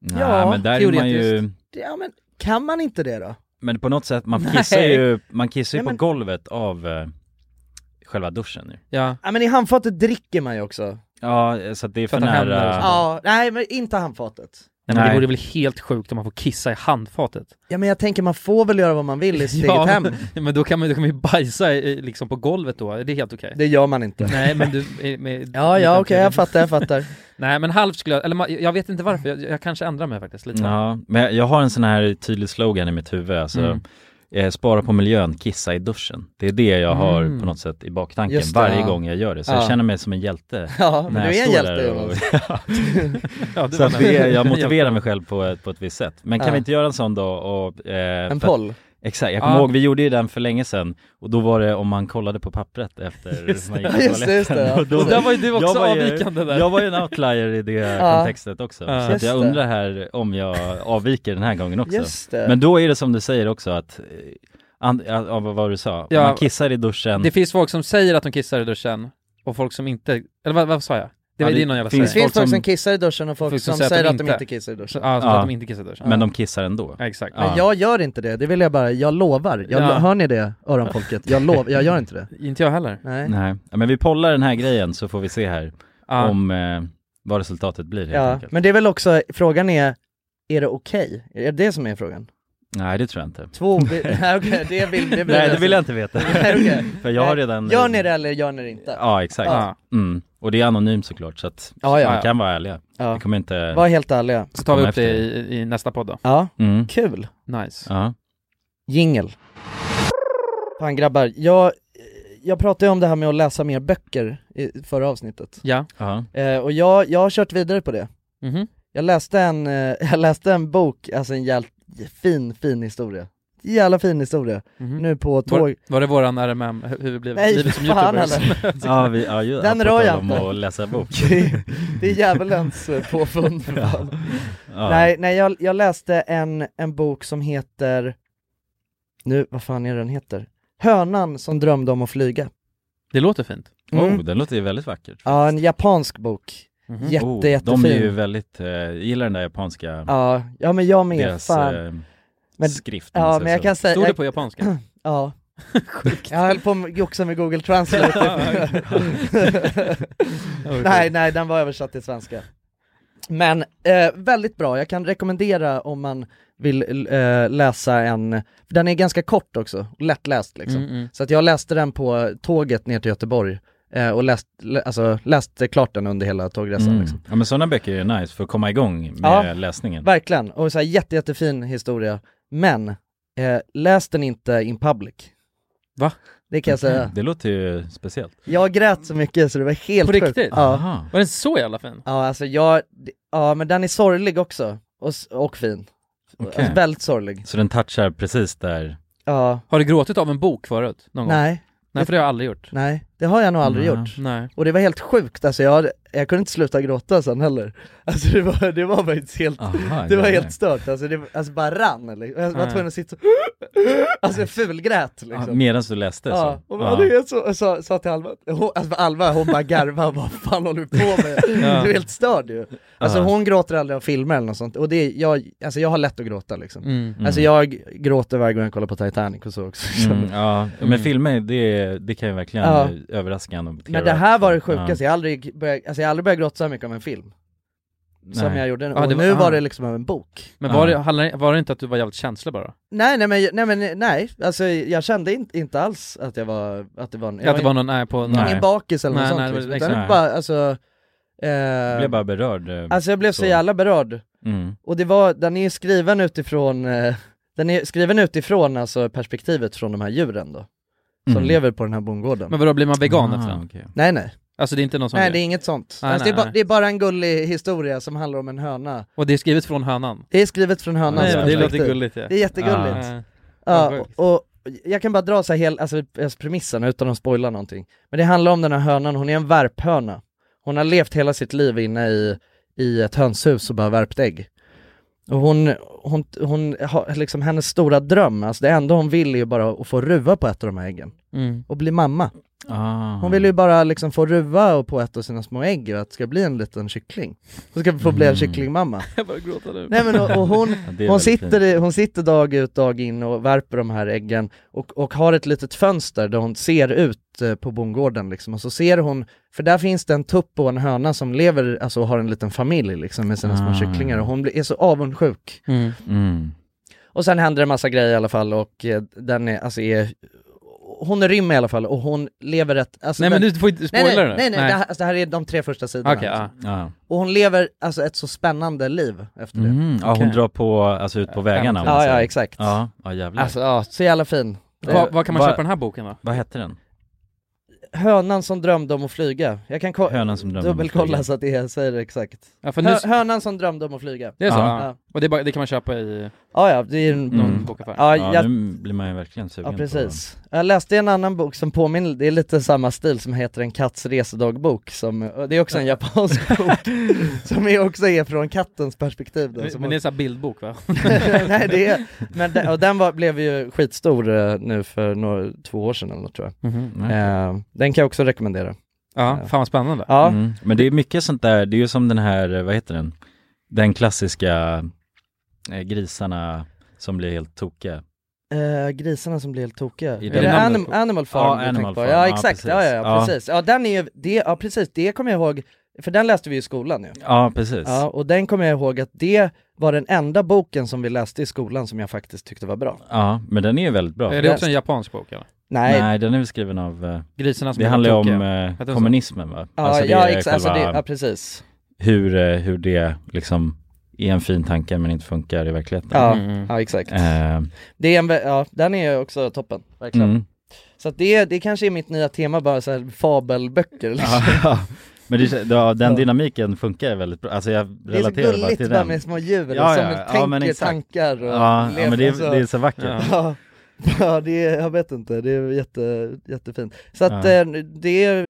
A: Nej, Ja, men där är man ju- teoretiskt.
B: Ja men, kan man inte det då?
A: Men på något sätt, man
B: Nej.
A: kissar ju, man kissar ju
B: Nej,
A: på
B: men-
A: golvet av eh, själva duschen ju.
C: Ja.
B: Ja men i handfatet dricker man ju också.
A: Ja, så att det är för,
C: att han
A: nära...
C: hamnar-
B: Ja, nej men inte handfatet.
C: Nej, men
A: Nej.
C: det vore väl helt sjukt om man får kissa i handfatet?
B: Ja men jag tänker man får väl göra vad man vill i sitt eget
C: (laughs)
B: hem.
C: men, men då kan man, då kan man ju bajsa i, liksom på golvet då, det är helt okej.
B: Det gör
C: (laughs)
B: man inte.
C: Nej men du... eh, Med,
B: (laughs) Ja, ja, okej, jag fattar, jag fattar.
C: Nej men halvt skulle jag, eller ma- jag vet inte varför, jag, jag kanske ändrar mig faktiskt lite.
A: Ja, men jag- jag har en sån här tydlig slogan i mitt huvud, alltså (laughs)
C: Mm.
A: eh, spara på miljön, kissa i duschen. Det är det jag har
C: Mm.
A: på något sätt i baktanken
C: Just det,
A: varje
C: ja.
A: gång jag gör det, så
C: Ja.
A: jag känner mig som en hjälte.
C: Ja, men
A: när
C: du
A: jag
C: är en
A: står
C: hjälte,
A: där (laughs)
C: Jonas. Ja,
A: ja.
C: du
A: Så att
C: menar.
A: det, är-
C: (laughs)
A: jag motiverar mig själv på, ett- på ett visst sätt. Men kan
C: Ja.
A: vi inte göra en sån då?
B: (laughs)
A: Och, eh,
C: En
A: för att-
C: poll?
A: Exakt, jag kommer
C: Ja.
A: ihåg, vi gjorde ju den för länge sedan och då var det om man kollade på pappret efter
C: (laughs) Just
A: man
C: det.
A: gick på
C: Just det, just det,
A: toaletten.
C: ja.
A: Och då-
C: Och där var ju du också
A: jag ju-
C: avvikande där.
A: Jag var ju en outlier i
C: (laughs)
A: det
C: Ja.
A: kontextet också.
C: Ja.
A: Så att
C: Just
A: jag
C: det.
A: undrar här om jag avviker den här gången också.
C: Just det.
A: Men då är det som du säger också att, eh, an, ja, ja, vad var du sa,
C: Ja.
A: man kissar i duschen.
C: Det finns folk som säger att de kissar i duschen, och folk som inte, eller vad, vad sa jag? Det,
A: Ja,
C: var
A: det
C: det är någon jävla
A: finns
B: Det finns
A: folk
B: folk som
A: som
B: kissar i duschen och folk
C: folk som
B: som
C: säger
B: säger att de inte kissar i duschen.
C: Ja, som att de inte kissar i duschen.
A: Men de kissar ändå.
C: Ja, exakt.
B: Men jag gör inte det, det vill jag bara, jag lovar. Jag,
A: Ja.
B: Hör ni det, öronfolket? Jag lovar, jag gör inte det.
C: Inte jag heller.
B: Nej.
A: Nej, Ja, men vi pollar den här grejen så får vi se här
B: Ja.
A: om eh, vad resultatet blir helt
B: Ja,
A: enkelt.
B: men det är väl också, frågan är, är det okej? Är det det som är frågan?
A: Nej, det tror jag inte. (laughs)
B: Två, vi- nej okej, det (laughs) vill, det
A: Nej, det vill jag inte veta.
B: (laughs) Nej, okej.
A: (laughs) För jag har
B: Nej,
A: redan...
B: Gör ni det eller gör ni det inte?
A: Ja, exakt.
B: Ja.
A: Mm. Och det är anonymt såklart, så att
B: Ja, ja.
A: man kan vara ärliga.
B: Ja.
A: Vi kommer inte...
B: Var helt ärliga.
C: Så tar vi
A: komma
C: upp det
A: efter
C: i, i nästa podd då.
B: Ja,
A: Mm.
B: kul.
C: Nice.
A: Ja.
B: Jingel. Fan grabbar, jag, jag pratade ju om det här med att läsa mer böcker i förra avsnittet.
C: Ja.
B: (laughs) Eh, och jag, jag har kört vidare på det.
C: Mhm.
B: Jag, läste en, eh, (laughs) jag läste en bok, alltså en jävligt fin, fin historia. Jävla fin historia.
C: Mhm.
B: Nu på tåg...
A: (laughs)
C: Var, var det våran RMM, hu- hur vi blev
B: Nej,
C: livet som
B: fan
C: youtubers?
B: heller.
A: Ja, vi, ja, ju,
B: Den
A: på
B: rör
A: tal
B: jag
A: om
B: inte.
A: att
B: (laughs)
A: läsa bok.
B: Det är djävulens eh, påfund för
A: (laughs) Ja.
B: fan.
A: Ja.
B: Nej, nej jag, jag läste en, en bok som heter, nu, vad fan är den heter? Hönan som drömde om att flyga.
C: (laughs) Det låter fint.
B: Mm.
A: Oh, den låter ju väldigt vackert.
B: Ja, en japansk bok.
C: Mhm.
B: Jätte,
A: oh,
B: jättefin.
A: De är ju väldigt, eh, jag gillar den där japanska,
B: Ja, ja men jag med,
A: deras
B: fan.
A: eh,
B: Men-
A: skrift.
B: ja, men jag kan säga-
C: Stod
B: jag-
C: det på
B: (laughs)
C: japanska?
B: Ja. jag höll på att joxa med google
C: (laughs)
B: translate. (laughs) nej, nej, den var översatt till svenska. Men eh, väldigt bra, jag kan rekommendera om man vill eh, läsa en, den är ganska kort också, lättläst liksom.
C: Mm, mm.
B: Så att jag läste den på tåget ner till Göteborg eh, och läst, lä, alltså, läste klart den under hela tågresan.
A: Mm.
B: Liksom.
A: Ja men sådana böcker är nice för att komma igång med
B: Ja.
A: läsningen.
B: Verkligen, och så här, jätte, jättefin historia. Men eh, läs den inte in public.
C: Va? Mm.
B: Det kan jag säga.
A: Det låter ju speciellt.
B: Jag grät så mycket så det var helt
C: På riktigt?
B: Ja.
A: Aha.
C: Var den så jävla fin?
B: ja, alltså jag, ja men den är sorglig också, och, s- och fin.
A: Okej.
B: Alltså, väldigt sorglig.
A: Så den touchar precis där.
B: Ja,
C: Har du gråtit av en bok förut? Någon gång?
B: nej,
C: Nej, för det har jag aldrig gjort.
B: nej, det har jag nog aldrig
C: Nej.
B: gjort.
C: Nej.
B: Och det var helt sjukt, alltså jag, jag kunde inte sluta gråta sen heller. Alltså det var, det var faktiskt helt,
A: Aha,
B: (laughs) det var
A: jävlar.
B: helt stört, alltså det alltså bara rann eller, jag var
A: Ja.
B: tvungen att sitta så, alltså jag fulgrät
A: Ja,
B: liksom.
A: medan du läste
B: Ja,
A: så.
B: och bara, det är så, och sa, sa till Alva, hon, alltså Alva hon bara garvade, vad fan håller du på med?
A: Ja.
B: Du är helt störd ju. Alltså
A: Ja.
B: hon gråter aldrig av filmer eller något sånt, och det är, jag, alltså jag har lätt att gråta (laughs) liksom.
C: Mm.
B: Alltså jag gråter varje gång jag kollar på Titanic och så också.
A: Mm, ja, men filmer det, det kan ju verkligen
B: Ja.
A: överraska en. och
B: Men det
A: klara
B: här
A: upp.
B: var det sjukaste,
A: Ja.
B: jag har aldrig börjat, alltså jag har aldrig börjat gråta så här mycket om en film. Som
A: Nej.
B: jag gjorde nu,
C: Ja,
B: och
C: det var-
B: nu
C: ah.
B: var det liksom av en bok.
C: Men var,
A: Ja.
C: det, handlade- var det inte att du var jävligt känslig bara?
B: Nej nej men, nej, men, nej. alltså jag kände inte, inte alls att jag var, att det var, en- jag
C: att det var någon, nej, på,
B: ingen bakis eller något
C: Nej,
B: sånt
C: nej, det var-
B: liksom.
C: exakt.
B: Utan det bara, alltså, eh,
A: Jag blev bara berörd. eh,
B: alltså jag blev så, jävla berörd.
A: Mm.
B: Och det var, den är ju skriven utifrån, eh, den är skriven utifrån alltså perspektivet från de här djuren då. Som
C: Mm.
B: lever på den här bondgården.
C: Men vadå, blir man vegan
A: Ah,
C: efter den?
A: okej.
B: Nej nej,
C: Alltså det är inte någon sån
B: nej
C: grej?
B: det är inget sånt.
C: Nej,
B: alltså,
C: nej,
B: det, är bara,
C: nej.
B: det är bara en gullig historia som handlar om en höna
C: Och det är skrivet från hönan?
B: Det är skrivet från hönans
C: Nej, men det låter
B: perspektiv.
C: gulligt ja.
B: Det är jättegulligt.
C: Ja.
B: Ja,
C: Vad
B: och, och jag kan bara dra så här hel, alltså, alltså premissen utan att spoila någonting. Men det handlar om den här hönan, hon är en värphöna. Hon har levt hela sitt liv inne i, i ett hönshus och bara värpt ägg. Och hon, hon, hon har liksom hennes stora dröm, alltså det enda hon vill är ju bara att få ruva på ett av de här äggen
C: Mm.
B: och bli mamma.
A: Ah.
B: Hon vill ju bara liksom få ruva och på ett av sina små ägg och att det ska bli en liten kyckling. Hon ska få bli en kycklingmamma.
C: Jag börjar gråta nu.
B: Nej men och, och hon,
C: Ja, det är
B: hon,
C: väldigt
B: sitter,
C: fint.
B: i- hon sitter dag ut dag in och värper de här äggen och, och har ett litet fönster där hon ser ut eh, på bondgården liksom. Och så ser hon, för där finns det en tupp och en höna som lever, alltså har en liten familj liksom med sina
A: Ah.
B: små kycklingar och hon blir, är så avundsjuk.
C: Mm.
A: Mm.
B: Och sen händer en massa grejer i alla fall och eh, den är, alltså är hon är rymmer i alla fall och hon lever ett... Alltså
C: Nej,
B: den,
C: men du får inte
B: Nej,
C: spoila
B: nej,
C: det nu.
B: Nej, nej,
C: Nej.
B: Det, här, alltså, det här är de tre första sidorna.
C: Okej, ja.
A: Ja.
B: Och hon lever alltså ett så spännande liv efter det.
A: Mm. Ja, hon drar på, alltså ut på vägarna. om man
B: Äh, Ja,
A: säger.
B: ja, exakt.
A: Ja, ja jävlar.
B: Alltså, ja, så jävla fin.
C: Vad- vad kan man
A: Eh, Va-
C: köpa den här boken då?
A: Vad hette den?
B: Hönan som drömde om att flyga. Jag kan ko-
A: Hönan som drömde om att
B: dubbelkolla
A: flyga.
B: så att det- jag säger det exakt.
C: Ja, för
B: Hö-
C: nu-
B: Hönan som drömde om att flyga.
C: Det är så?
B: Ja.
C: Ja. Och det, är bara, det kan man köpa i...
B: Ja, ja, det är en
C: Någon bokaffär.
B: Ja,
A: Mm. Ja,
B: jag-
A: nu blir man ju verkligen sugen
B: Ja
A: på
B: precis. Jag läste en annan bok som påminner, det är lite samma stil som heter En katts resedagbok som, och det är också
C: (laughs)
B: en japansk bok som är också är från kattens perspektiv då, som
C: Men det är en sån här bildbok va?
B: (laughs) Nej det är, men den, och den var, blev ju skitstor eh, nu för några, två år sedan eller något, tror jag.
C: Mhm,
B: eh, den kan jag också rekommendera.
C: Ja,
B: Eh,
C: fan vad spännande.
B: Ja.
A: Mm. Men det är mycket sånt där, det är ju som den här, eh, vad heter den? Den klassiska eh, grisarna som blir helt tokiga.
B: Eh, grisarna som blir helt tokiga.
A: I
B: Är
A: den
B: det
A: namnet
B: anim-
A: på-
B: Animal Farm?
A: Ja,
B: du tänker
A: Animal
B: på?
A: Farm.
B: Ja
A: Ja,
B: exakt, ja, ja, ja,
A: precis.
B: precis. Ja den är ju, det, ja precis, det kommer jag ihåg, för den läste vi i skolan ju.
A: Ja, precis.
B: Ja, och den kommer jag ihåg att det var den enda boken som vi läste i skolan som jag faktiskt tyckte var bra.
A: Ja, men den är ju väldigt bra.
C: Är det också en japansk bok eller?
B: Nej.
A: Nej, den är väl skriven av... eh,
C: Grisarna som
A: Det
C: blev
A: handlar ju om
C: tokiga.
A: eh,
C: Heter den så?
A: kommunismen va?
B: Ja,
A: Alltså, det
B: ja,
A: är
B: exakt, alltså,
A: själva-
B: det- ja, precis.
A: Hur, eh, hur det liksom är en fin tanke men inte funkar i verkligheten.
B: Ja, Mm. ja, exakt.
A: Eh,
B: Det är en, vä- ja, den är ju också toppen, verkligen. (laughs)
A: Mm.
B: Så att det, det kanske är mitt nya tema, bara så här fabelböcker liksom.
A: Ja, men det, ja, den dynamiken funkar väldigt bra, alltså jag
B: Det är så
A: relaterar bara till
B: gulligt bara
A: den.
B: med små djur
A: Ja,
B: som
A: ja, ja, men
B: tänker
A: exakt.
B: tankar och
A: Ja, ja,
B: lever,
A: men det är-
B: alltså.
A: det är så vackert.
B: (laughs) Ja. Ja, det är, jag vet inte, det är jätte, jättefint. Så att
A: Ja.
B: eh, det är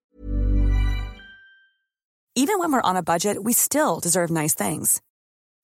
F: Even when we're on a budget, we still deserve nice things.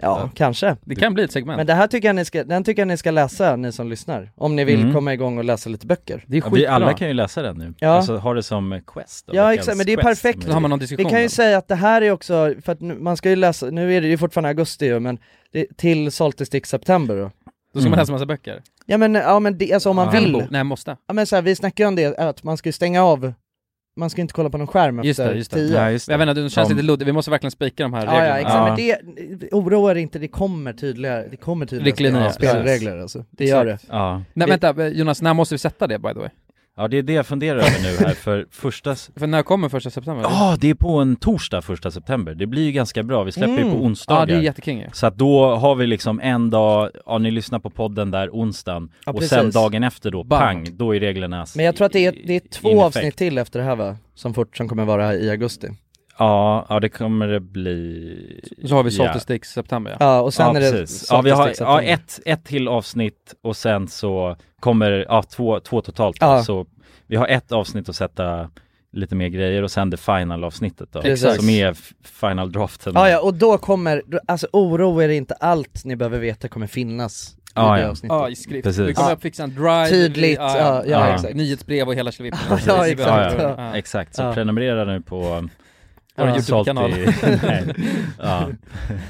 B: Ja, kanske.
C: Det kan bli ett segment.
B: Mm. Men det här tycker jag ni ska, den tycker jag ni ska läsa, ni som lyssnar. Om ni vill
A: Mm.
B: komma igång och läsa lite böcker.
C: Det är
A: Ja, vi alla kan ju läsa den nu.
B: Ja.
A: Alltså har det som quest. då,
B: Ja
A: veckans
B: exakt, men det är
A: quest.
B: perfekt.
A: Men-
B: Vi kan ju säga att det här är också, för att nu, man ska ju läsa, nu är det ju fortfarande augusti ju, men det, till Saltestick September då.
C: Då ska man läsa massa böcker.
B: Ja men, ja, men det, alltså om man
C: Ja.
B: vill.
C: En bok. Nej, måste.
B: Ja men så här, vi snackar ju om det, att man ska ju stänga av, man ska ju inte kolla på någon skärm
C: Just
B: efter
C: det, just det.
B: tio.
C: Ja, just det. Jag vet inte, det känns
A: Som-
C: lite luddigt. Vi måste verkligen spika de här
B: Ja,
C: reglerna.
B: ja, exakt, men det, oroa er inte, det kommer tydliga, det kommer tydliga
C: Riktlinjer.
B: spelregler alltså. Det gör det.
C: Exakt. Nej vänta, Jonas, när måste vi sätta det by the way?
A: Ja det är det jag funderar över nu här för första... s- (laughs)
C: För när kommer första september?
A: Ja, det är på en torsdag första september. Det blir ju ganska bra. Vi släpper ju
C: Mm.
A: på onsdagar.
C: Ja, det är jättekul ju.
A: Så att då har vi liksom en dag, ja ni lyssnar på podden där onsdagen
B: Ja,
A: och sen
B: precis.
A: dagen efter då,
B: Bam.
A: pang, då är reglerna... s-
B: Men jag tror att det är, det är
A: in
B: två
A: effekt.
B: avsnitt till efter det här va? Som, fort, som kommer vara i augusti.
A: Ja, ja det kommer det bli...
C: Så har vi Salt and Sticks september, ja.
B: Ja, och sen är det
A: precis.
B: Salt
A: Ja,
B: and
A: vi har
B: Sticks
A: ja,
B: september.
A: ett, ett till avsnitt och sen så kommer, ja två, två totalt då.
B: Ja.
A: Så vi har ett avsnitt att sätta lite mer grejer och sen det final avsnittet då.
B: Precis.
A: Som är f- final draften.
B: Ja, ja, och då kommer, då- alltså oro er inte, allt ni behöver veta kommer finnas i
A: Ja,
B: det
A: ja.
B: avsnittet.
A: Ja, i skrift. Precis.
C: Vi kommer
A: Ja.
C: att fixa en drive,
B: Tydligt,
C: vi-
B: ja, ja, exakt.
C: nyhetsbrev och hela tjolivippen.
B: Ja,
A: Precis.
B: exakt.
A: ja.
B: Ja.
A: exakt. Så
B: Ja.
A: prenumerera nu på
C: Vår
A: Ja.
C: YouTube-kanal.
A: Salty- (laughs) Nej. ja.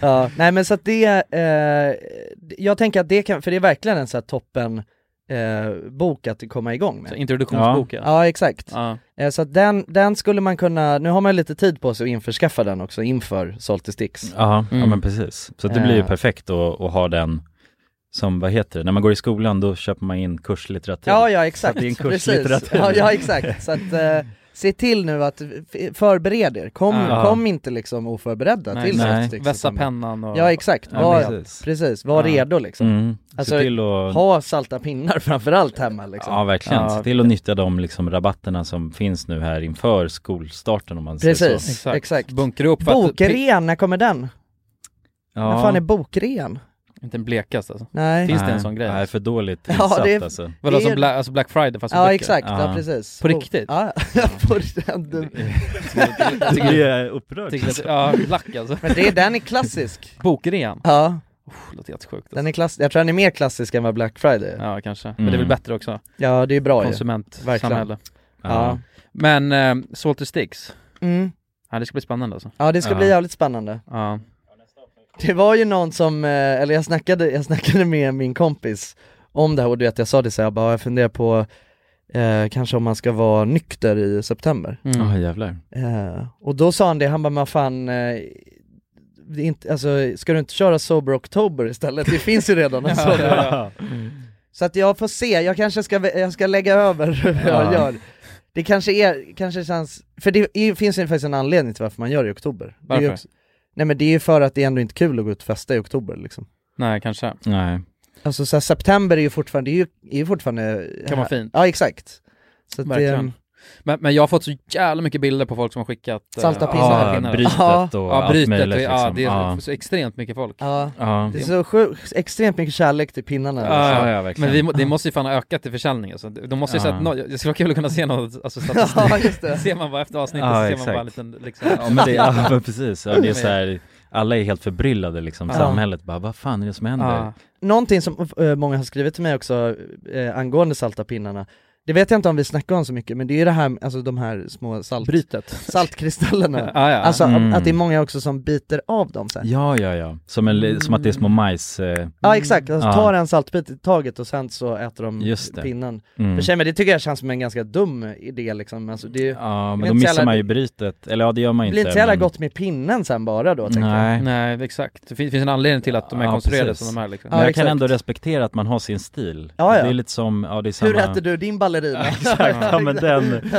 B: ja, nej men så att det, eh, jag tänker att det kan, för det är verkligen en så här toppen eh, bok att komma igång med.
C: Så introduktionsboken.
B: Ja, exakt.
C: Ja.
B: Eh, så att den, den skulle man kunna, nu har man lite tid på sig att införskaffa den också inför Salty
C: Mm.
B: Sticks.
A: Ja, ja men precis. Så att det blir ju perfekt att, att ha den som, vad heter det, när man går i skolan då köper man in kurslitteratur.
B: Ja, ja
A: Så att
B: exakt.
A: det är en
B: Precis.
A: kurslitteratur.
B: Ja, ja exakt. Så att eh, se till nu att f- förbered er. Kom,
A: Ja.
B: kom inte liksom oförberedda
A: Nej,
B: till
A: nej.
B: Salt Sticks.
C: Ah. Vässa pennan och-
B: Ja exakt,
C: Ja,
B: var,
C: precis. Ah.
B: precis. var
C: Ja.
B: redo liksom.
A: Mm. Se
B: Alltså
A: till att-
B: ha salta pinnar framförallt hemma liksom.
A: Ja, verkligen.
B: Ja.
A: Se till att nyttja de liksom, rabatterna som finns nu här inför skolstarten om man säger
B: Precis,
A: så.
B: exakt. exakt.
C: Bunkra upp för att-
B: Bokrean, när kommer den?
A: Ja.
B: När fan är bokrean?
C: Inte en blekast alltså.
B: Nej.
C: Finns det
A: Nej.
C: en sån grej?
A: Nej, för dåligt
B: Ja, insatt, det är-
A: alltså.
C: Vadå,
B: det
C: som
B: är-
C: Black, alltså Black Friday fast för
B: Ja
C: böcker?
B: exakt, ja, precis.
C: Ah. På riktigt?
B: Ja, (laughs) på
C: (laughs)
B: random.
C: Tycker-
A: Det är upprörd. (laughs)
C: tycker att- Ja, lack alltså.
B: Men det, den är klassisk.
C: Bokrean?
B: Ja.
C: Oh, låter jättesjukt.
B: Den är klass- jag tror den är mer klassisk än vad Black Friday
C: Ja kanske, men det
A: Mm.
C: är väl bättre också?
B: Ja det är bra ju. Verkligen.
C: Konsumentsamhälle.
B: Ja.
C: Men äh, Salty Sticks?
B: Mm.
C: Ja det ska bli spännande alltså.
B: Ja det ska bli jävligt spännande.
C: Ja. Mm.
B: Det var ju någon som, eh, eller jag snackade, jag snackade med min kompis om det här och du vet jag sa det så här, jag bara jag funderar på eh, kanske om man ska vara nykter i september.
A: Mm.
C: (laughs)
A: Ja, jävlar.
B: Eh, och då sa han det, han bara men fan eh, det är inte, alltså, ska du inte köra Sober October istället? Det finns ju
C: (laughs)
B: redan en sån.
A: Ja.
B: Så att jag får se, jag kanske ska, vä- jag ska lägga över (laughs) hur jag
A: Ja.
B: gör. Det kanske är, kanske känns, för det är, finns ju faktiskt en anledning till varför man gör det i oktober. Det är ju
C: Varför?
B: också, nej men det är ju för att det är ändå inte kul att gå ut och festa i oktober liksom.
C: Nej kanske.
A: Nej.
B: Alltså så här, september är ju fortfarande, det är ju, är ju fortfarande...
C: Kan vara fint.
B: Ja exakt. Så att ehm,
C: Verkligen.
B: det,
C: men, men jag har fått så jävla mycket bilder på folk som har skickat eh,
B: Salta pinnar.
C: salta
B: Ja,
C: pinnar.
B: brytet
C: ja.
A: och
C: ja,
A: allt
C: brytet
A: möjligt,
C: och, ja,
A: liksom.
C: det är
A: Ja.
C: så extremt mycket folk.
B: ja.
A: Ja.
B: det är så sjukt, extremt mycket kärlek till pinnarna.
C: Ja,
B: alltså.
A: ja, verkligen.
C: men vi, må- det måste ju fan ha ökat i försäljning alltså. De måste ju
A: Ja.
C: säga att nå- det skulle vara kul att kunna se något, alltså
B: (laughs) Ja, just det.
C: ser man bara efter avsnittet
A: Ja,
C: så ser man
A: exakt.
C: bara en liten liksom
A: (laughs) Ja men, det, ja,
C: (laughs)
A: men precis, ja, det är så här, alla är helt förbryllade liksom,
B: Ja.
A: samhället bara vad fan är det som händer?
B: Ja. Någonting som eh, många har skrivit till mig också eh, angående salta pinnarna, det vet jag inte om vi snackar om så mycket, men det är ju det här, alltså de här små salt...
C: Brytet.
B: saltkristallerna.
A: (laughs) Ja, ja.
B: Alltså
A: Mm.
B: att det är många också som biter av dem sen.
A: Ja ja ja, som, en, li- som att det är små majs... Eh,
B: Ja exakt, alltså,
A: ja.
B: tar en saltbit i taget och sen så äter de
A: Just det.
B: pinnan.
A: Mm.
B: För sig, men det tycker jag känns som en ganska dum idé liksom. Alltså, det är,
A: Ja
B: det
A: men
B: är
A: då
B: inte så
A: missar
B: jävla-
A: man ju brytet, eller ja det gör man
B: Det
A: ju
B: blir
A: inte.
B: inte så jävla
A: men-
B: gott med pinnen sen bara då tänker jag.
A: Nej.
C: Alltså- Nej exakt, det finns, finns en anledning till att de är
A: Ja,
C: konstruerade
A: precis.
C: som de är liksom. (laughs)
A: Men jag kan ändå respektera att man har sin stil.
B: Ja, ja.
A: Det är lite som, ja det är samma...
B: Hur äter du din ballerina? (laughs)
A: Exakt, (laughs) ja men den,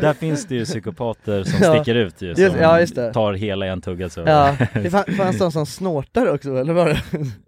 A: där finns det ju psykopater som
B: (laughs) Ja.
A: sticker ut ju, som
B: Just- ja, just det.
A: tar hela i en tugga så.
B: Ja, det fann- fanns de som snortar också eller var det?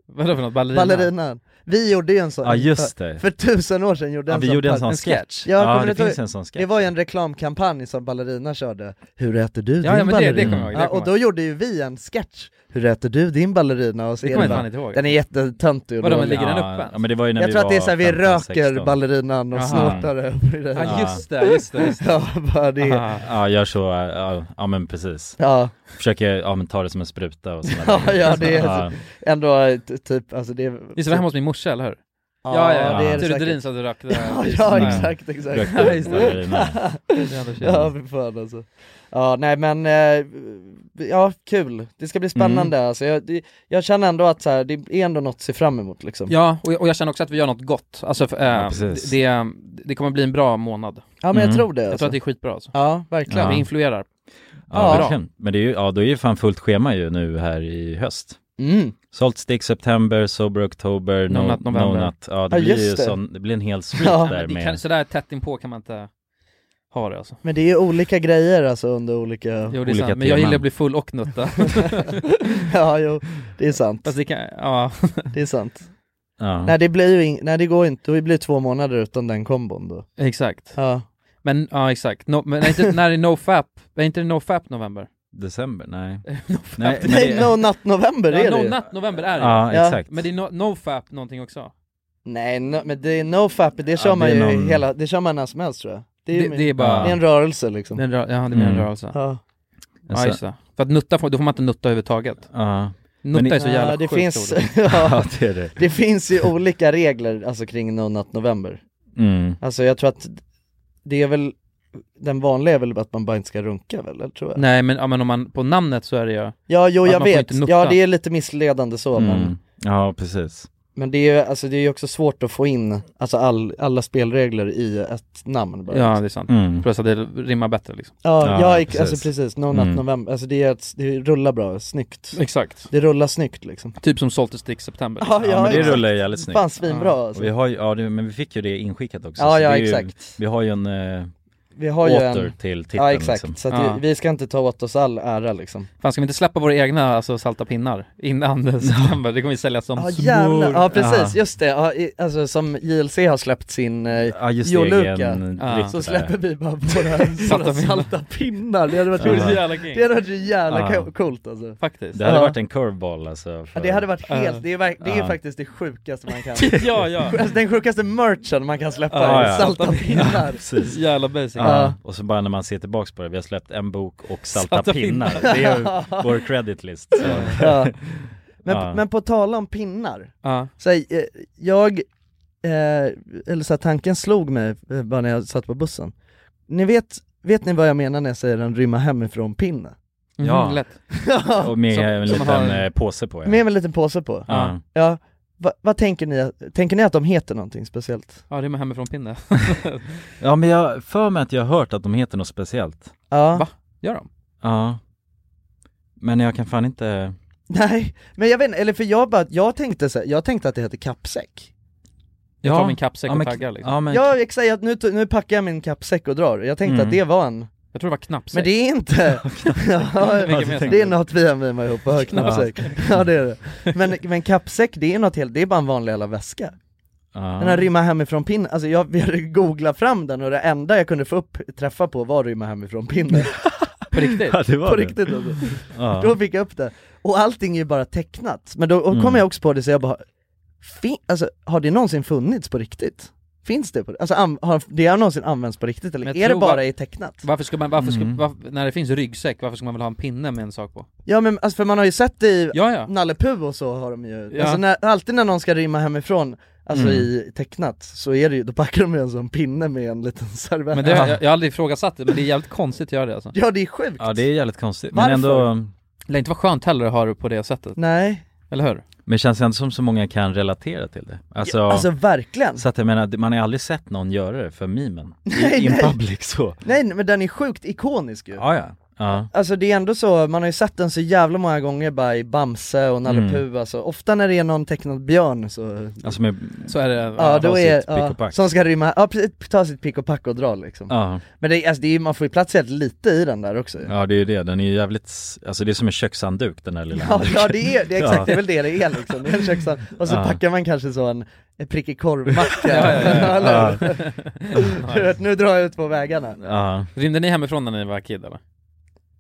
C: Vadå för något? Ballerina?
B: Ballerinan. Vi gjorde ju en sån
A: Ja, just det.
B: För, för tusen år sedan gjorde
A: Ja,
B: en
A: vi
B: sån
A: gjorde en
B: par-
A: sån sketch.
B: Ja,
A: Ja,
B: kommer
A: det
B: du ihåg-
A: finns en sån sketch.
B: Det var ju en reklamkampanj som Ballerina körde Hur äter du din
C: ja, men det- det
B: ballerina?
C: kommer jag ihåg, det
B: ja,
C: kommer
B: och då gjorde ju vi en sketch Hur äter du din ballerina? Och så
C: Det
B: är
C: kommer jag
B: bara-
C: fan inte ihåg.
B: Den är jättetöntig och
C: Vadå, men
B: dålig.
C: ligger den Ja, uppe? ja, men
A: det var ju när
B: Jag
A: vi
B: tror att det är
A: var
B: såhär, vi
A: 15,
B: röker
A: 16.
B: ballerinan och
A: Jaha.
B: snortar över den.
C: Ja just det, just det, just det.
B: Ja, bara (laughs) det.
C: Aha.
A: Ja, gör så, ja, ja men precis.
B: Ja. (laughs)
A: Försöker, ja men ta det som en spruta och sådana
B: Ja, (laughs)
A: där
B: ja
A: grejer.
B: det är
A: Ja.
B: ändå eh, t- typ, alltså det är...
C: Visst var det hemma hos min morsa eller hur?
B: Ja,
A: ja, det är det
C: Ture
A: säkert.
C: Durin som du rökte
B: (laughs) Ja, ja exakt, exakt.
C: Ja, just det.
B: (laughs) ja, för fan alltså. Ja, nej men, eh, ja kul. Det ska bli spännande
C: Mm.
B: alltså. Jag, det, jag känner ändå att så här, det är ändå något att se fram emot liksom.
C: Ja, och jag, och jag känner också att vi gör något gott. Alltså, för, eh,
B: Ja,
C: det,
B: precis.
C: det, det kommer bli en bra månad.
B: Ja, men jag Mm. tror det,
C: Jag
B: alltså.
C: tror att det är skitbra alltså.
B: Ja, verkligen.
C: Vi influerar.
A: Ja,
C: Bra.
A: verkligen. Men det är ju, ja då är ju fan fullt schema ju nu här i höst.
B: Mm.
A: Salt Stick September, Sober October, No,
C: No
A: no
C: Nut
A: Nut
C: November.
A: Ja, det
B: Ja,
A: blir
B: just
A: ju
B: det.
A: Sån, det blir
B: (laughs)
A: en hel street där
C: det
A: med...
C: kan, sådär tätt inpå kan man inte ha det alltså.
B: Men det är ju olika grejer alltså under olika...
C: Jo, det är sant. Men jag gillar att bli full och nutta.
B: (laughs) ja, jo, det är sant.
C: Fast det kan, ja.
B: Det är sant.
A: Ja.
B: Nej det blir ju in... nej det går inte, det blir två månader utan den kombon då.
C: Exakt.
B: Ja.
C: Men ja, exakt. No, men är inte, när är NoFap? Är inte det NoFap november? (laughs)
A: December? Nej.
C: Nej,
A: men
B: Nej,
A: det-
B: No Nut November
C: Ja,
B: är det
C: no
B: ju.
C: Nut november är det
A: Ja,
C: ju.
A: exakt.
C: Men det är no, NoFap någonting också.
B: Nej, no, men det är no fap, det kör
A: det
B: man
A: är
B: ju
A: någon-
B: hela, det kör man när som helst tror jag. Det är,
C: Det-
B: ju-
C: det är bara-
B: det är en rörelse liksom.
C: Det är en rö- ja, det blir en
A: Mm.
C: rörelse.
B: Ja.
C: Ja, just det. För att nutta, får- då får man inte nutta överhuvudtaget.
A: Alltså, Ja. (laughs)
C: Nutta är så jävla
B: ja, det
C: sjukt
B: finns, (laughs)
C: ord.
A: Ja, det är det.
B: det finns ju olika regler alltså kring No Nut November.
A: Mm.
B: Alltså jag tror att det är väl, den vanliga är väl att man bara inte ska runka väl, eller tror jag?
C: Nej men, ja, men om man, på namnet så är det ju
B: Ja, jo
C: att
B: jag
C: man får
B: vet.
C: inte nutta.
B: Ja, det är lite missledande så men,
A: Mm. Ja, precis.
B: men det är ju alltså, det är ju också svårt att få in alltså, all, alla spelregler i ett namn bara.
C: Ja
B: liksom.
C: det är sant,
A: Mm.
C: plus att det rimmar bättre liksom
B: Ja, ja,
A: precis.
B: precis. alltså precis, No Nut
A: Mm.
B: November, alltså det, är ett, det rullar bra, snyggt
C: Exakt
B: Det rullar snyggt liksom
C: Typ som Salt and Stick September
B: Ja,
C: liksom.
A: Ja, men det
B: exakt.
A: rullar ju jävligt snyggt.
B: Fan svinbra alltså.
A: Och vi har ju, ja, det, men vi fick ju det inskickat också.
B: Ja,
A: så
B: ja,
A: det är ju,
B: exakt.
A: Vi har ju en... Eh,
B: Vi har ju
A: åter
B: en...
A: till titeln
B: Ja exakt,
A: liksom.
B: så att
C: Ja.
B: vi, vi ska inte ta åt oss all ära liksom
C: Fan ska vi inte släppa våra egna alltså, salta pinnar innan september? Det kommer ju säljas som
B: Ja
C: smör
B: jävlar, ja precis, just det, ja, i, alltså som JLC har släppt sin eh,
A: Ja, just det,
B: Joluka
A: egen
C: Ja.
B: Så
A: där.
B: släpper vi bara (laughs) våra, våra salta pinnar, det hade varit
C: Det vore så
B: roligt.
C: jävla king.
B: Det hade varit så jävla
A: Ja.
B: co- coolt alltså
C: Faktiskt
A: Det hade
B: Ja.
A: varit en curveball alltså. för-
B: Ja, det hade varit helt,
A: Ja.
B: det är, verk- det är
A: Ja.
B: faktiskt det sjukaste man (laughs) kan
C: Ja ja,
B: Alltså den sjukaste merchen man kan släppa
A: Ja,
B: är
A: ja.
B: (laughs) salta pinnar
A: Precis.
C: jävla basic
A: Ja.
B: Ja.
A: Och så bara när man ser tillbaks på det, vi har släppt en bok och salta,
C: Salta
A: pinnar.
C: pinnar.
A: Det
B: (laughs)
A: är ju vår credit list. Så.
B: Ja. Men,
A: Ja.
B: men på tala om pinnar,
C: Ja. Mm,
B: så här, eh, jag, eh, eller så här, tanken slog mig eh, bara när jag satt på bussen Ni vet, vet ni vad jag menar när jag säger en rymma hemifrån-pinne?
A: Ja.
C: Mhm, lätt
A: Och med
C: Som-
A: en
C: som
A: liten
C: har-
A: eh, påse på ja.
B: Med en liten påse på?
A: Ja.
B: Ja, Va- vad tänker ni, att- tänker ni att de heter någonting speciellt?
C: Ja det är med hemifrån pinne
A: ja men jag för mig att jag har hört att de heter något speciellt.
B: Ja,
C: Va? Gör de?
A: Ja. Men jag kan fan inte...
B: nej, men jag vet inte, eller för jag bara, jag tänkte så här, jag tänkte att det heter kappsäck
C: Jag tar
A: Ja.
C: min kappsäck
A: Ja,
C: och
A: men-
C: taggar liksom
A: Ja men...
B: Ja exakt, jag- nu, nu packar jag min kappsäck och drar, jag tänkte
A: Mm.
B: att det var en
C: Jag tror det var knappsäck
B: Men det är
A: (laughs)
B: inte,
C: Vilken
B: (laughs) ja,
C: menar
B: det
C: du?
B: är något vi har mimat ihop och har knappsäck Ja det är det, men, men kappsäck det är något helt, det är bara en vanlig jävla väska
A: Ja.
B: Den här rymma hemifrån pinn, alltså jag, jag googlade fram den och det enda jag kunde få upp träffa på var rymma hemifrån pinnen
C: På
B: (laughs)
C: riktigt?
A: Ja, det var
B: På
A: det.
B: riktigt alltså.
A: Ja.
B: Då fick jag upp det, och allting är ju bara tecknat, men då och kom
A: Mm.
B: jag också på det så jag bara fin, alltså, har det någonsin funnits på riktigt? Finns det på Alltså an, har det har någonsin använts på riktigt eller
C: Men jag
B: är det
C: tror-
B: bara i tecknat?
C: Varför ska man, varför ska,
A: Mm.
C: varför, när det finns ryggsäck, varför ska man väl ha en pinne med en sak på?
B: Ja men alltså, för man har ju sett det i
C: Ja ja,
B: Nalle Puh och så har de ju,
C: Ja.
B: alltså när, alltid när någon ska rymma hemifrån, alltså
A: Mm.
B: i tecknat, så är det ju, då packar de ju en sån pinne med en liten (laughs) servett
C: men det, jag, jag har aldrig ifrågasatt det, men det är jävligt konstigt att göra det alltså
B: Ja det är sjukt!
A: Ja det är jävligt konstigt.
B: Varför?
A: Men ändå...
C: Det lär inte vara skönt heller att ha det på det sättet,
B: Nej,
C: eller hur?
A: Men det känns ändå som så många kan relatera till det. Alltså...
B: alltså verkligen!
A: Så att jag menar, man har ju aldrig sett någon göra det för memen.
B: Nej,
A: I in
B: nej.
A: public så.
B: Nej men den är sjukt ikonisk ju!
A: Ja, ja. Ja.
B: Alltså det är ändå så, man har ju sett den så jävla många gånger bara i Bamse och Nalle
A: Mm.
B: Puh alltså, ofta när det är någon tecknad björn så
A: Alltså med,
C: Så är det,
B: Ja,
C: ja,
B: då
A: ta
B: är,
A: sitt pick och
B: ja,
A: pack.
B: som ska rymma, ja precis, ta sitt pick och pack och dra liksom
A: ja.
B: Men det, är- alltså, det är, man får ju plats helt lite i den där också ju.
A: ja det är ju det, den är ju jävligt, s- alltså det är som en kökshandduk den där lilla
B: Ja,
A: handduken.
B: ja det är, det är exakt,
A: Ja.
B: det är väl det det är liksom, det är en köksand. Och så
A: Ja.
B: packar man kanske så en, en prickig korvmacka
C: (laughs) Ja, ja, ja.
B: (laughs) Eller hur?
C: Ja.
B: (laughs) Du vet, Nu drar jag ut på vägarna
A: (laughs) Ja.
C: Rymde ni hemifrån när ni var kid eller?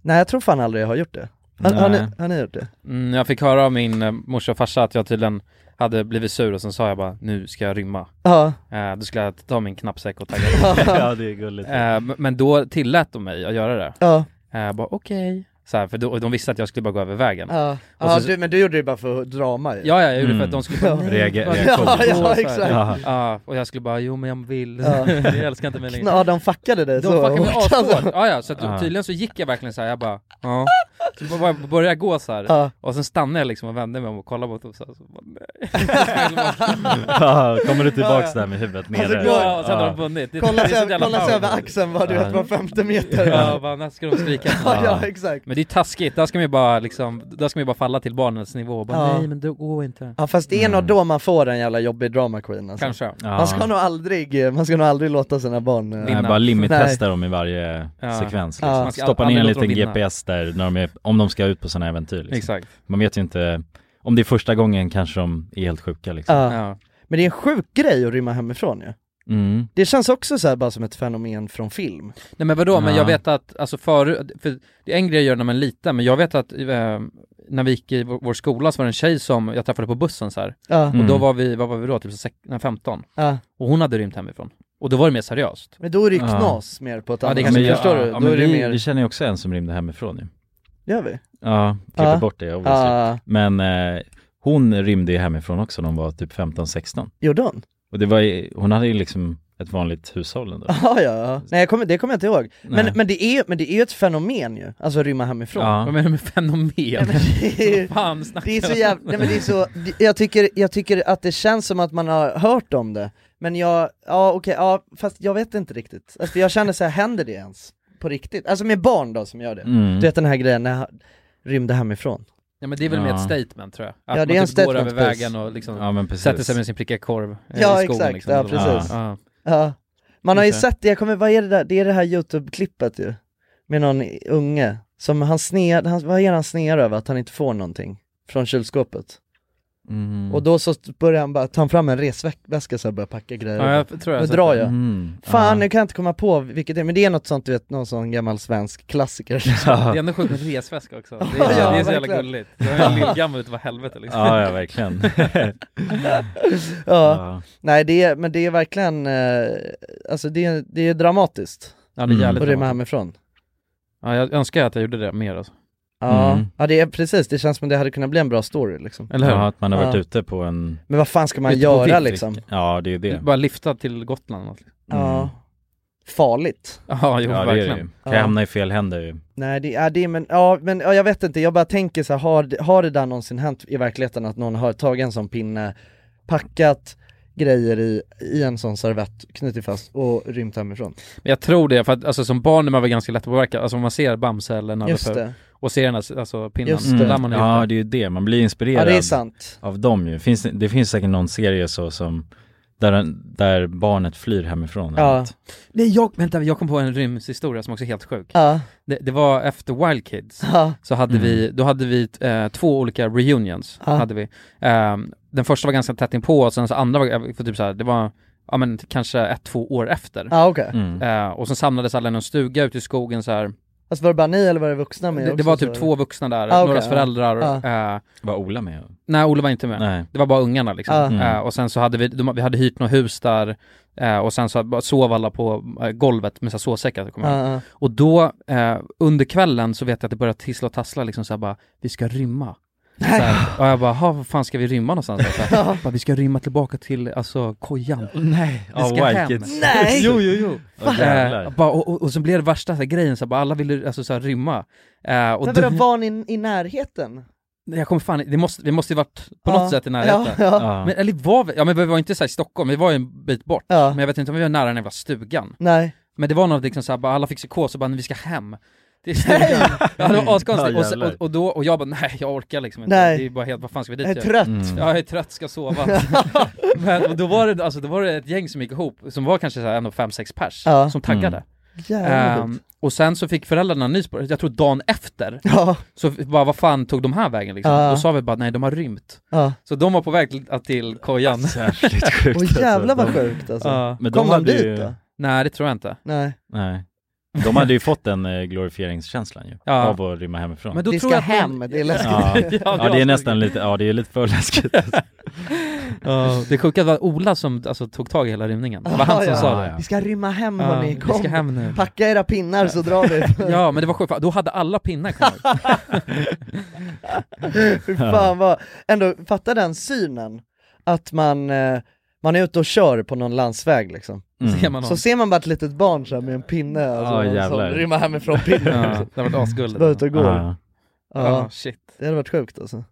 B: Nej jag tror fan aldrig jag har gjort det har, har, ni,
A: Nej.
B: har ni gjort det?
C: Mm, jag fick höra av min eh, morsa och farsa att jag tydligen hade blivit sur och sen sa jag bara nu ska jag rymma.
B: Ja,
C: Eh, då skulle jag ta min knappsäck och tagga
B: (laughs)
A: ja det är gulligt.
C: eh, m- Men då tillät de mig att göra det.
B: ja,
C: Eh, jag bara okej. Så här, för då, och de visste att jag skulle bara gå över vägen. Ja,
B: ja,
C: Och
B: ja
C: så-
B: du, men du gjorde det bara för drama ju
C: ja jag gjorde det för
A: Mm.
C: att de skulle bara nej,
A: Reager-
C: vad-
A: reaktion.
B: Ja, ja,
C: Så här.
B: exakt.
A: Ja.
C: Ja, och jag skulle bara jo men jag vill. (laughs)
B: Ja.
C: jag älskar inte mig längre.
B: Ja, de fuckade dig
C: De
B: Eh, så (laughs)
C: fuckade mig
B: hårt, alltså.
C: ashårt. Ah, Ja, ja, så att,
A: Ja.
C: tydligen så gick jag verkligen så här, jag bara ja. Så bara- bara började gå så här.
B: Ja.
C: och sen stannade jag liksom och vände mig om och kollade mot dem så här, så bara,
B: (laughs)
C: nej.
A: Ja, kommer du tillbaks där med huvudet nere?
C: Alltså, går, ja, och sen har de vunnit. Det-
B: Kollas
C: det är så
B: över-
C: jävla
B: kollas
C: power.
B: över axeln, vad du vet, var femte meter.
C: Ja, bara, när ska de skrika?
B: (laughs) Ja, ja, exakt.
C: Men det är taskigt, där ska man ju bara liksom, där ska man ju bara falla till barnens nivå och bara,
B: Ja. Alltså.
C: nej men det går inte.
B: Ja fast det är nog då man får en jävla jobbig drama queen alltså.
C: Mm. Kanske. Ja.
B: Man ska nog aldrig, man ska nog aldrig låta sina barn eh,
A: Nej, bara limit-testa dem i varje
B: Ja.
A: sekvens
B: Ja.
A: liksom.
B: Man ska
A: Stoppa
B: aldrig
A: ner en
B: låta dem
A: liten
B: vinna.
A: GPS där när de är, om de ska ut på sådana äventyr liksom.
C: Exakt.
A: Man vet ju inte, om det är första gången kanske de är helt sjuka liksom.
B: Ja. Men det är en sjuk grej att rymma hemifrån ju.
A: Mm.
B: Det känns också så här bara som ett fenomen från film.
C: Nej men vadå, men
B: Ja.
C: jag vet att, alltså för, för det är en grej jag gör när man är liten, men jag vet att eh, när vi gick i vår, vår skola så var det en tjej som jag träffade på bussen så här.
B: Ja.
C: Och då
B: Mm.
C: var vi, vad var vi då, typ så sex- nej, 15?
B: Ja.
C: Och hon hade rymt hemifrån. Och då var det mer seriöst.
B: Men då är det ju knas mer på ett
C: ja, det
B: annat
C: kanske
B: sätt,
C: jag-
B: förstår du?
A: Ja,
B: då
A: men
B: är det
A: vi,
B: mer,
A: vi känner ju också en som rymde hemifrån ju.
B: gör vi? Ah,
A: Ja, klipper
B: Ja.
A: bort det obviously.
B: Ja.
A: Men eh, hon rymde ju hemifrån också när hon var typ 15-16.
B: Gjorde hon?
A: Och det var ju, hon hade ju liksom ett vanligt hushåll ändå.
B: Ja, ja, ja. Nej jag kommer, det kommer jag inte ihåg.
A: Nej.
B: Men, men, det är, men det är ju ett fenomen ju, alltså att rymma hemifrån.
A: Ja. Vad
C: menar du med fenomen?
B: det,
C: (laughs)
B: är,
C: Fan,
B: det är så jävla, nej men det är så, det- jag tycker, jag tycker att det känns som att man har hört om det, men jag, ja okej, ja fast jag vet inte riktigt. Alltså, för jag känner så här, händer det ens? På riktigt? Alltså med barn då som gör det.
C: Mm.
B: Du vet den här grejen när jag rymde hemifrån.
C: Ja men det är väl mer
B: Ja.
C: ett statement tror jag. Att
B: Ja, det är
C: man
B: en
C: typ går
B: statement,
C: över
B: precis.
C: vägen och liksom
A: Ja, men precis.
C: sätter sig med sin prickiga korv eh,
B: Ja
C: i skogen
B: exakt,
C: liksom.
B: ja
C: Eller vad-
B: precis.
C: Ja.
B: Ja. Man har ju
C: Just det.
B: sett det, jag kommer, vad är det där, det är det här youtube-klippet ju, med någon unge, som han snear, han, vad är det han snear över? Att han inte får någonting från kylskåpet.
A: Mm.
B: Och då så börjar han bara, tar han fram en resväska så här och börjar packa grejer.
C: Ja, jag tror jag har
B: nu
C: sett
B: drar
C: det.
B: jag.
C: Mm.
B: Fan, nu kan jag inte komma på vilket det är, men det är något sånt du vet, någon sån gammal
C: (laughs)
B: svensk klassiker.
A: (laughs)
C: Det är ändå sjukt med resväska också. Det är, det är så jävla
B: verkligen.
C: gulligt. Det är
B: (laughs)
C: lillgammal ut vad helvete liksom.
A: Ja, ja verkligen.
B: ja. nej det är, men det är verkligen, eh, alltså det är, det är dramatiskt.
C: Ja, det är jävligt
B: Mm. Och rymma
C: dramatiskt.
B: hemifrån.
C: Ja, jag önskar att jag gjorde det mer alltså.
B: Ja,
C: Mm.
B: ja det är precis, det känns som det hade kunnat bli en bra story liksom.
C: Eller hur?
A: Ja, att man har varit
B: Ja.
A: ute på en...
B: Men vad fan ska man
C: Ute på
B: göra
C: vift,
B: liksom?
A: Ja, det är det.
C: Bara lifta till Gotland. Alltså.
B: Ja. Farligt.
C: (laughs) Ja, jo,
A: ja, det är det.
C: verkligen.
A: ju. Kan jag hamna i fel händer Mm. ju.
B: Nej det är det, men, ja, men ja, jag vet inte, jag bara tänker så här, har, det- har det där någonsin hänt i verkligheten att någon har tagit en sån pinne, packat grejer i, i en sån servett, knutit fast och rymt hemifrån?
C: Men jag tror det, för att alltså, som barn när man var ganska lättpåverkad, alltså om man ser Bamse eller Nalle
B: Just
C: Puh
B: det.
C: och ser den här alltså, pinnen,
B: Just
C: då
B: det.
C: lär man ju
A: Mm. Ja, det är ju det. Man blir inspirerad
B: Ja, det är sant.
A: av dem ju. Finns, det- det finns säkert någon serie så som där, där barnet flyr hemifrån. eller något.
C: Nej, jag, vänta, jag kom på en rymdshistoria som också är helt sjuk.
B: Ja.
C: Det, det var efter Wild Kids,
B: Ja.
C: så hade
A: Mm.
C: vi, då hade vi eh, två olika reunions.
B: Ja.
C: Hade vi. Ehm, den första var ganska tätt inpå och sen så andra var, eh, för typ så här, det var ja, men, kanske ett, två år efter.
B: Ja, okej.
A: Mm.
C: Eh, och sen samlades alla i någon stuga ute i skogen så här.
B: Alltså var det bara ni eller var det vuxna med
C: Det, det
B: också,
C: var typ
B: så?
C: två vuxna där,
B: Ah, okej,
C: någras
B: ja. Ah.
C: föräldrar.
B: Ja.
C: eh,
A: Var Ola med?
C: Nej, Olle var inte med.
A: Nej.
C: Det var bara ungarna liksom.
A: Ah. Mm.
C: Eh, och sen så hade vi, de, vi hade hyrt något hus där eh, och sen så bara sov alla på eh, golvet med så här sovsäckar. kommer jag ihåg.
B: Ah, ah.
C: Och då, eh, under kvällen så vet jag att det började tissla och tassla liksom så här bara, vi ska rymma. Så här, och jag bara, "Ha, vad fan ska vi rymma någonstans?
B: (laughs)
C: Så här, bara, vi ska rymma tillbaka till alltså kojan.
A: Nej,
C: vi
A: av
C: ska
B: oh,
A: Wild
C: hem.
A: Kids. Nej.
C: jo, jo, jo.
A: Åh, jävlar.
C: Eh, bara, och, och, och så blev det värsta så här, grejen, så här, bara, alla ville alltså, så här, rymma. Eh, och
B: Men
C: då-
B: vadå, var ni i närheten?
C: Nej, Jag kommer fan det måste, vi måste ju varit på
B: Ja.
C: något sätt i närheten.
B: Ja, ja.
C: Men, eller var vi, ja men vi var inte så här i Stockholm, vi var ju en bit bort. Men jag vet inte om vi var nära den jävla stugan.
B: Nej.
C: Men det var något liksom såhär, bara alla fick psykos och bara vi ska hem. Det, är ja, det var askonstigt.
A: Ja,
C: och, så-
A: jävlar.
C: och, och, då, och jag bara nej jag orkar liksom inte.
B: Nej.
C: Det är bara helt, vad fan ska vi dit
B: Jag är
C: göra?
B: trött. Mm.
C: Ja jag är trött, ska
B: (laughs)
C: sova. men och då var det, alltså då var det ett gäng som gick ihop, som var kanske såhär ändå fem, sex pers,
B: Ja.
C: som taggade.
B: Mm. Jävligt.
C: Ehm, och sen så fick föräldrarna nys på det, jag tror dagen efter,
B: Ja.
C: så vi bara vad fan tog de här vägen liksom?
B: Ja.
C: Då sa vi bara nej de har rymt.
B: Ja.
C: Så de var på väg till, till kojan.
A: (laughs) Jävligt sjukt
B: Åh, jävlar vad sjukt, alltså. Men de Kom de hade dit ju- då?
C: Nej det tror jag inte.
B: Nej.
A: Nej. De hade ju fått den eh, glorifieringskänslan ju,
C: Ja.
A: av att rymma
C: (laughs)
A: hemifrån.
C: Men då
B: Vi
C: tror
B: ska
C: jag att
B: hem,
C: man-
B: det är läskigt.
A: Ja,
C: (laughs) Ja, det är
A: ja det är
C: asläskigt.
A: nästan lite, ja det är lite för läskigt.
C: Ja, det sjuka var Ola som alltså, tog tag i hela rymningen. Det var han
B: Ja,
C: som
B: ja.
C: sa det.
B: Vi ska rymma hem
C: Ja,
B: hörni,
C: vi
B: kom.
C: ska hem nu.
B: Packa era pinnar så drar
C: (laughs)
B: vi.
C: Ja men det var sjukt, för då hade alla pinnar kommit.
B: (laughs) Fy fan vad, ändå fatta den synen, att man, eh, man är ute och kör på någon landsväg liksom.
C: Mm. Ser man
B: (laughs) så
C: någon.
B: ser man bara ett litet barn så här med en pinne, alltså,
A: Ja,
B: någon som
A: jävlar.
B: rymmmer hemifrån pinnen. liksom.
C: Ja, det hade varit asgulligt.
B: Bara ute och går.
A: Ja.
C: Ja, shit.
B: Det hade varit sjukt alltså.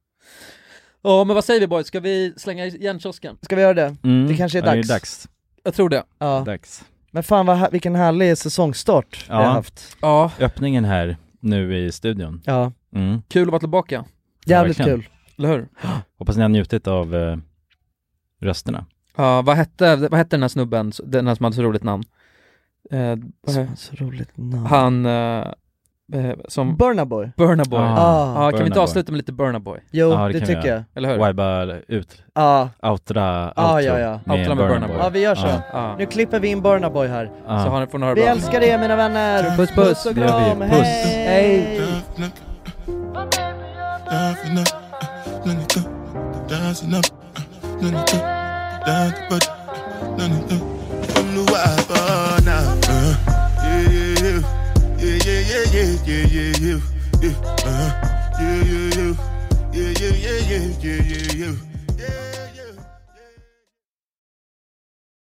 C: Ja men vad säger vi boys, ska vi slänga järnkiosken?
B: Ska vi göra det?
A: Mm.
B: Det kanske är
A: Ja,
B: dags.
A: det är dags.
C: Jag tror det.
B: Ja.
A: Dags.
B: Men fan vad, ha- vilken härlig säsongstart vi har haft.
C: Ja.
A: Öppningen här nu i studion.
B: Ja.
A: Mm.
C: Kul att vara tillbaka.
B: Jävligt
A: Verkligen.
B: kul.
C: Eller hur?
A: Hoppas ni har njutit av eh, rösterna.
C: Ja, vad hette, vad hette den här snubben, den här som hade så roligt namn? Eh, vad
B: Som
C: he-
B: hade så roligt namn.
C: Han, eh, eh, som...
B: Burna Boy.
C: Burna Boy.
A: Ah.
C: Ja, kan vi
A: Burna
C: inte
A: Boy.
C: avsluta med lite Burna Boy?
B: Jo, det
A: kan vi
B: tycker
A: göra.
B: jag.
C: Eller hur?
A: Viba ut,
B: Ja.
A: outra, outro
B: Ah. Ja, ja, ja.
A: med
C: Outra med
A: Burna
C: Burna
A: Boy. Ah.
C: Boy.
B: Ja vi gör så.
A: Ja.
B: Nu klipper vi in Burna Boy här.
A: Ja.
C: Så har ni, får ni höra
B: Vi
C: bra.
B: älskar er mina vänner!
C: Puss, puss.
B: och
C: Det gör vi.
B: kram,
C: Puss.
B: hej! hej.
K: Dancing up, none of them. Dancing up, none of them. Dancing but none of them. I'm the wife oh, now. Uh, yeah, yeah, yeah, yeah, yeah, yeah, yeah, yeah, yeah, yeah.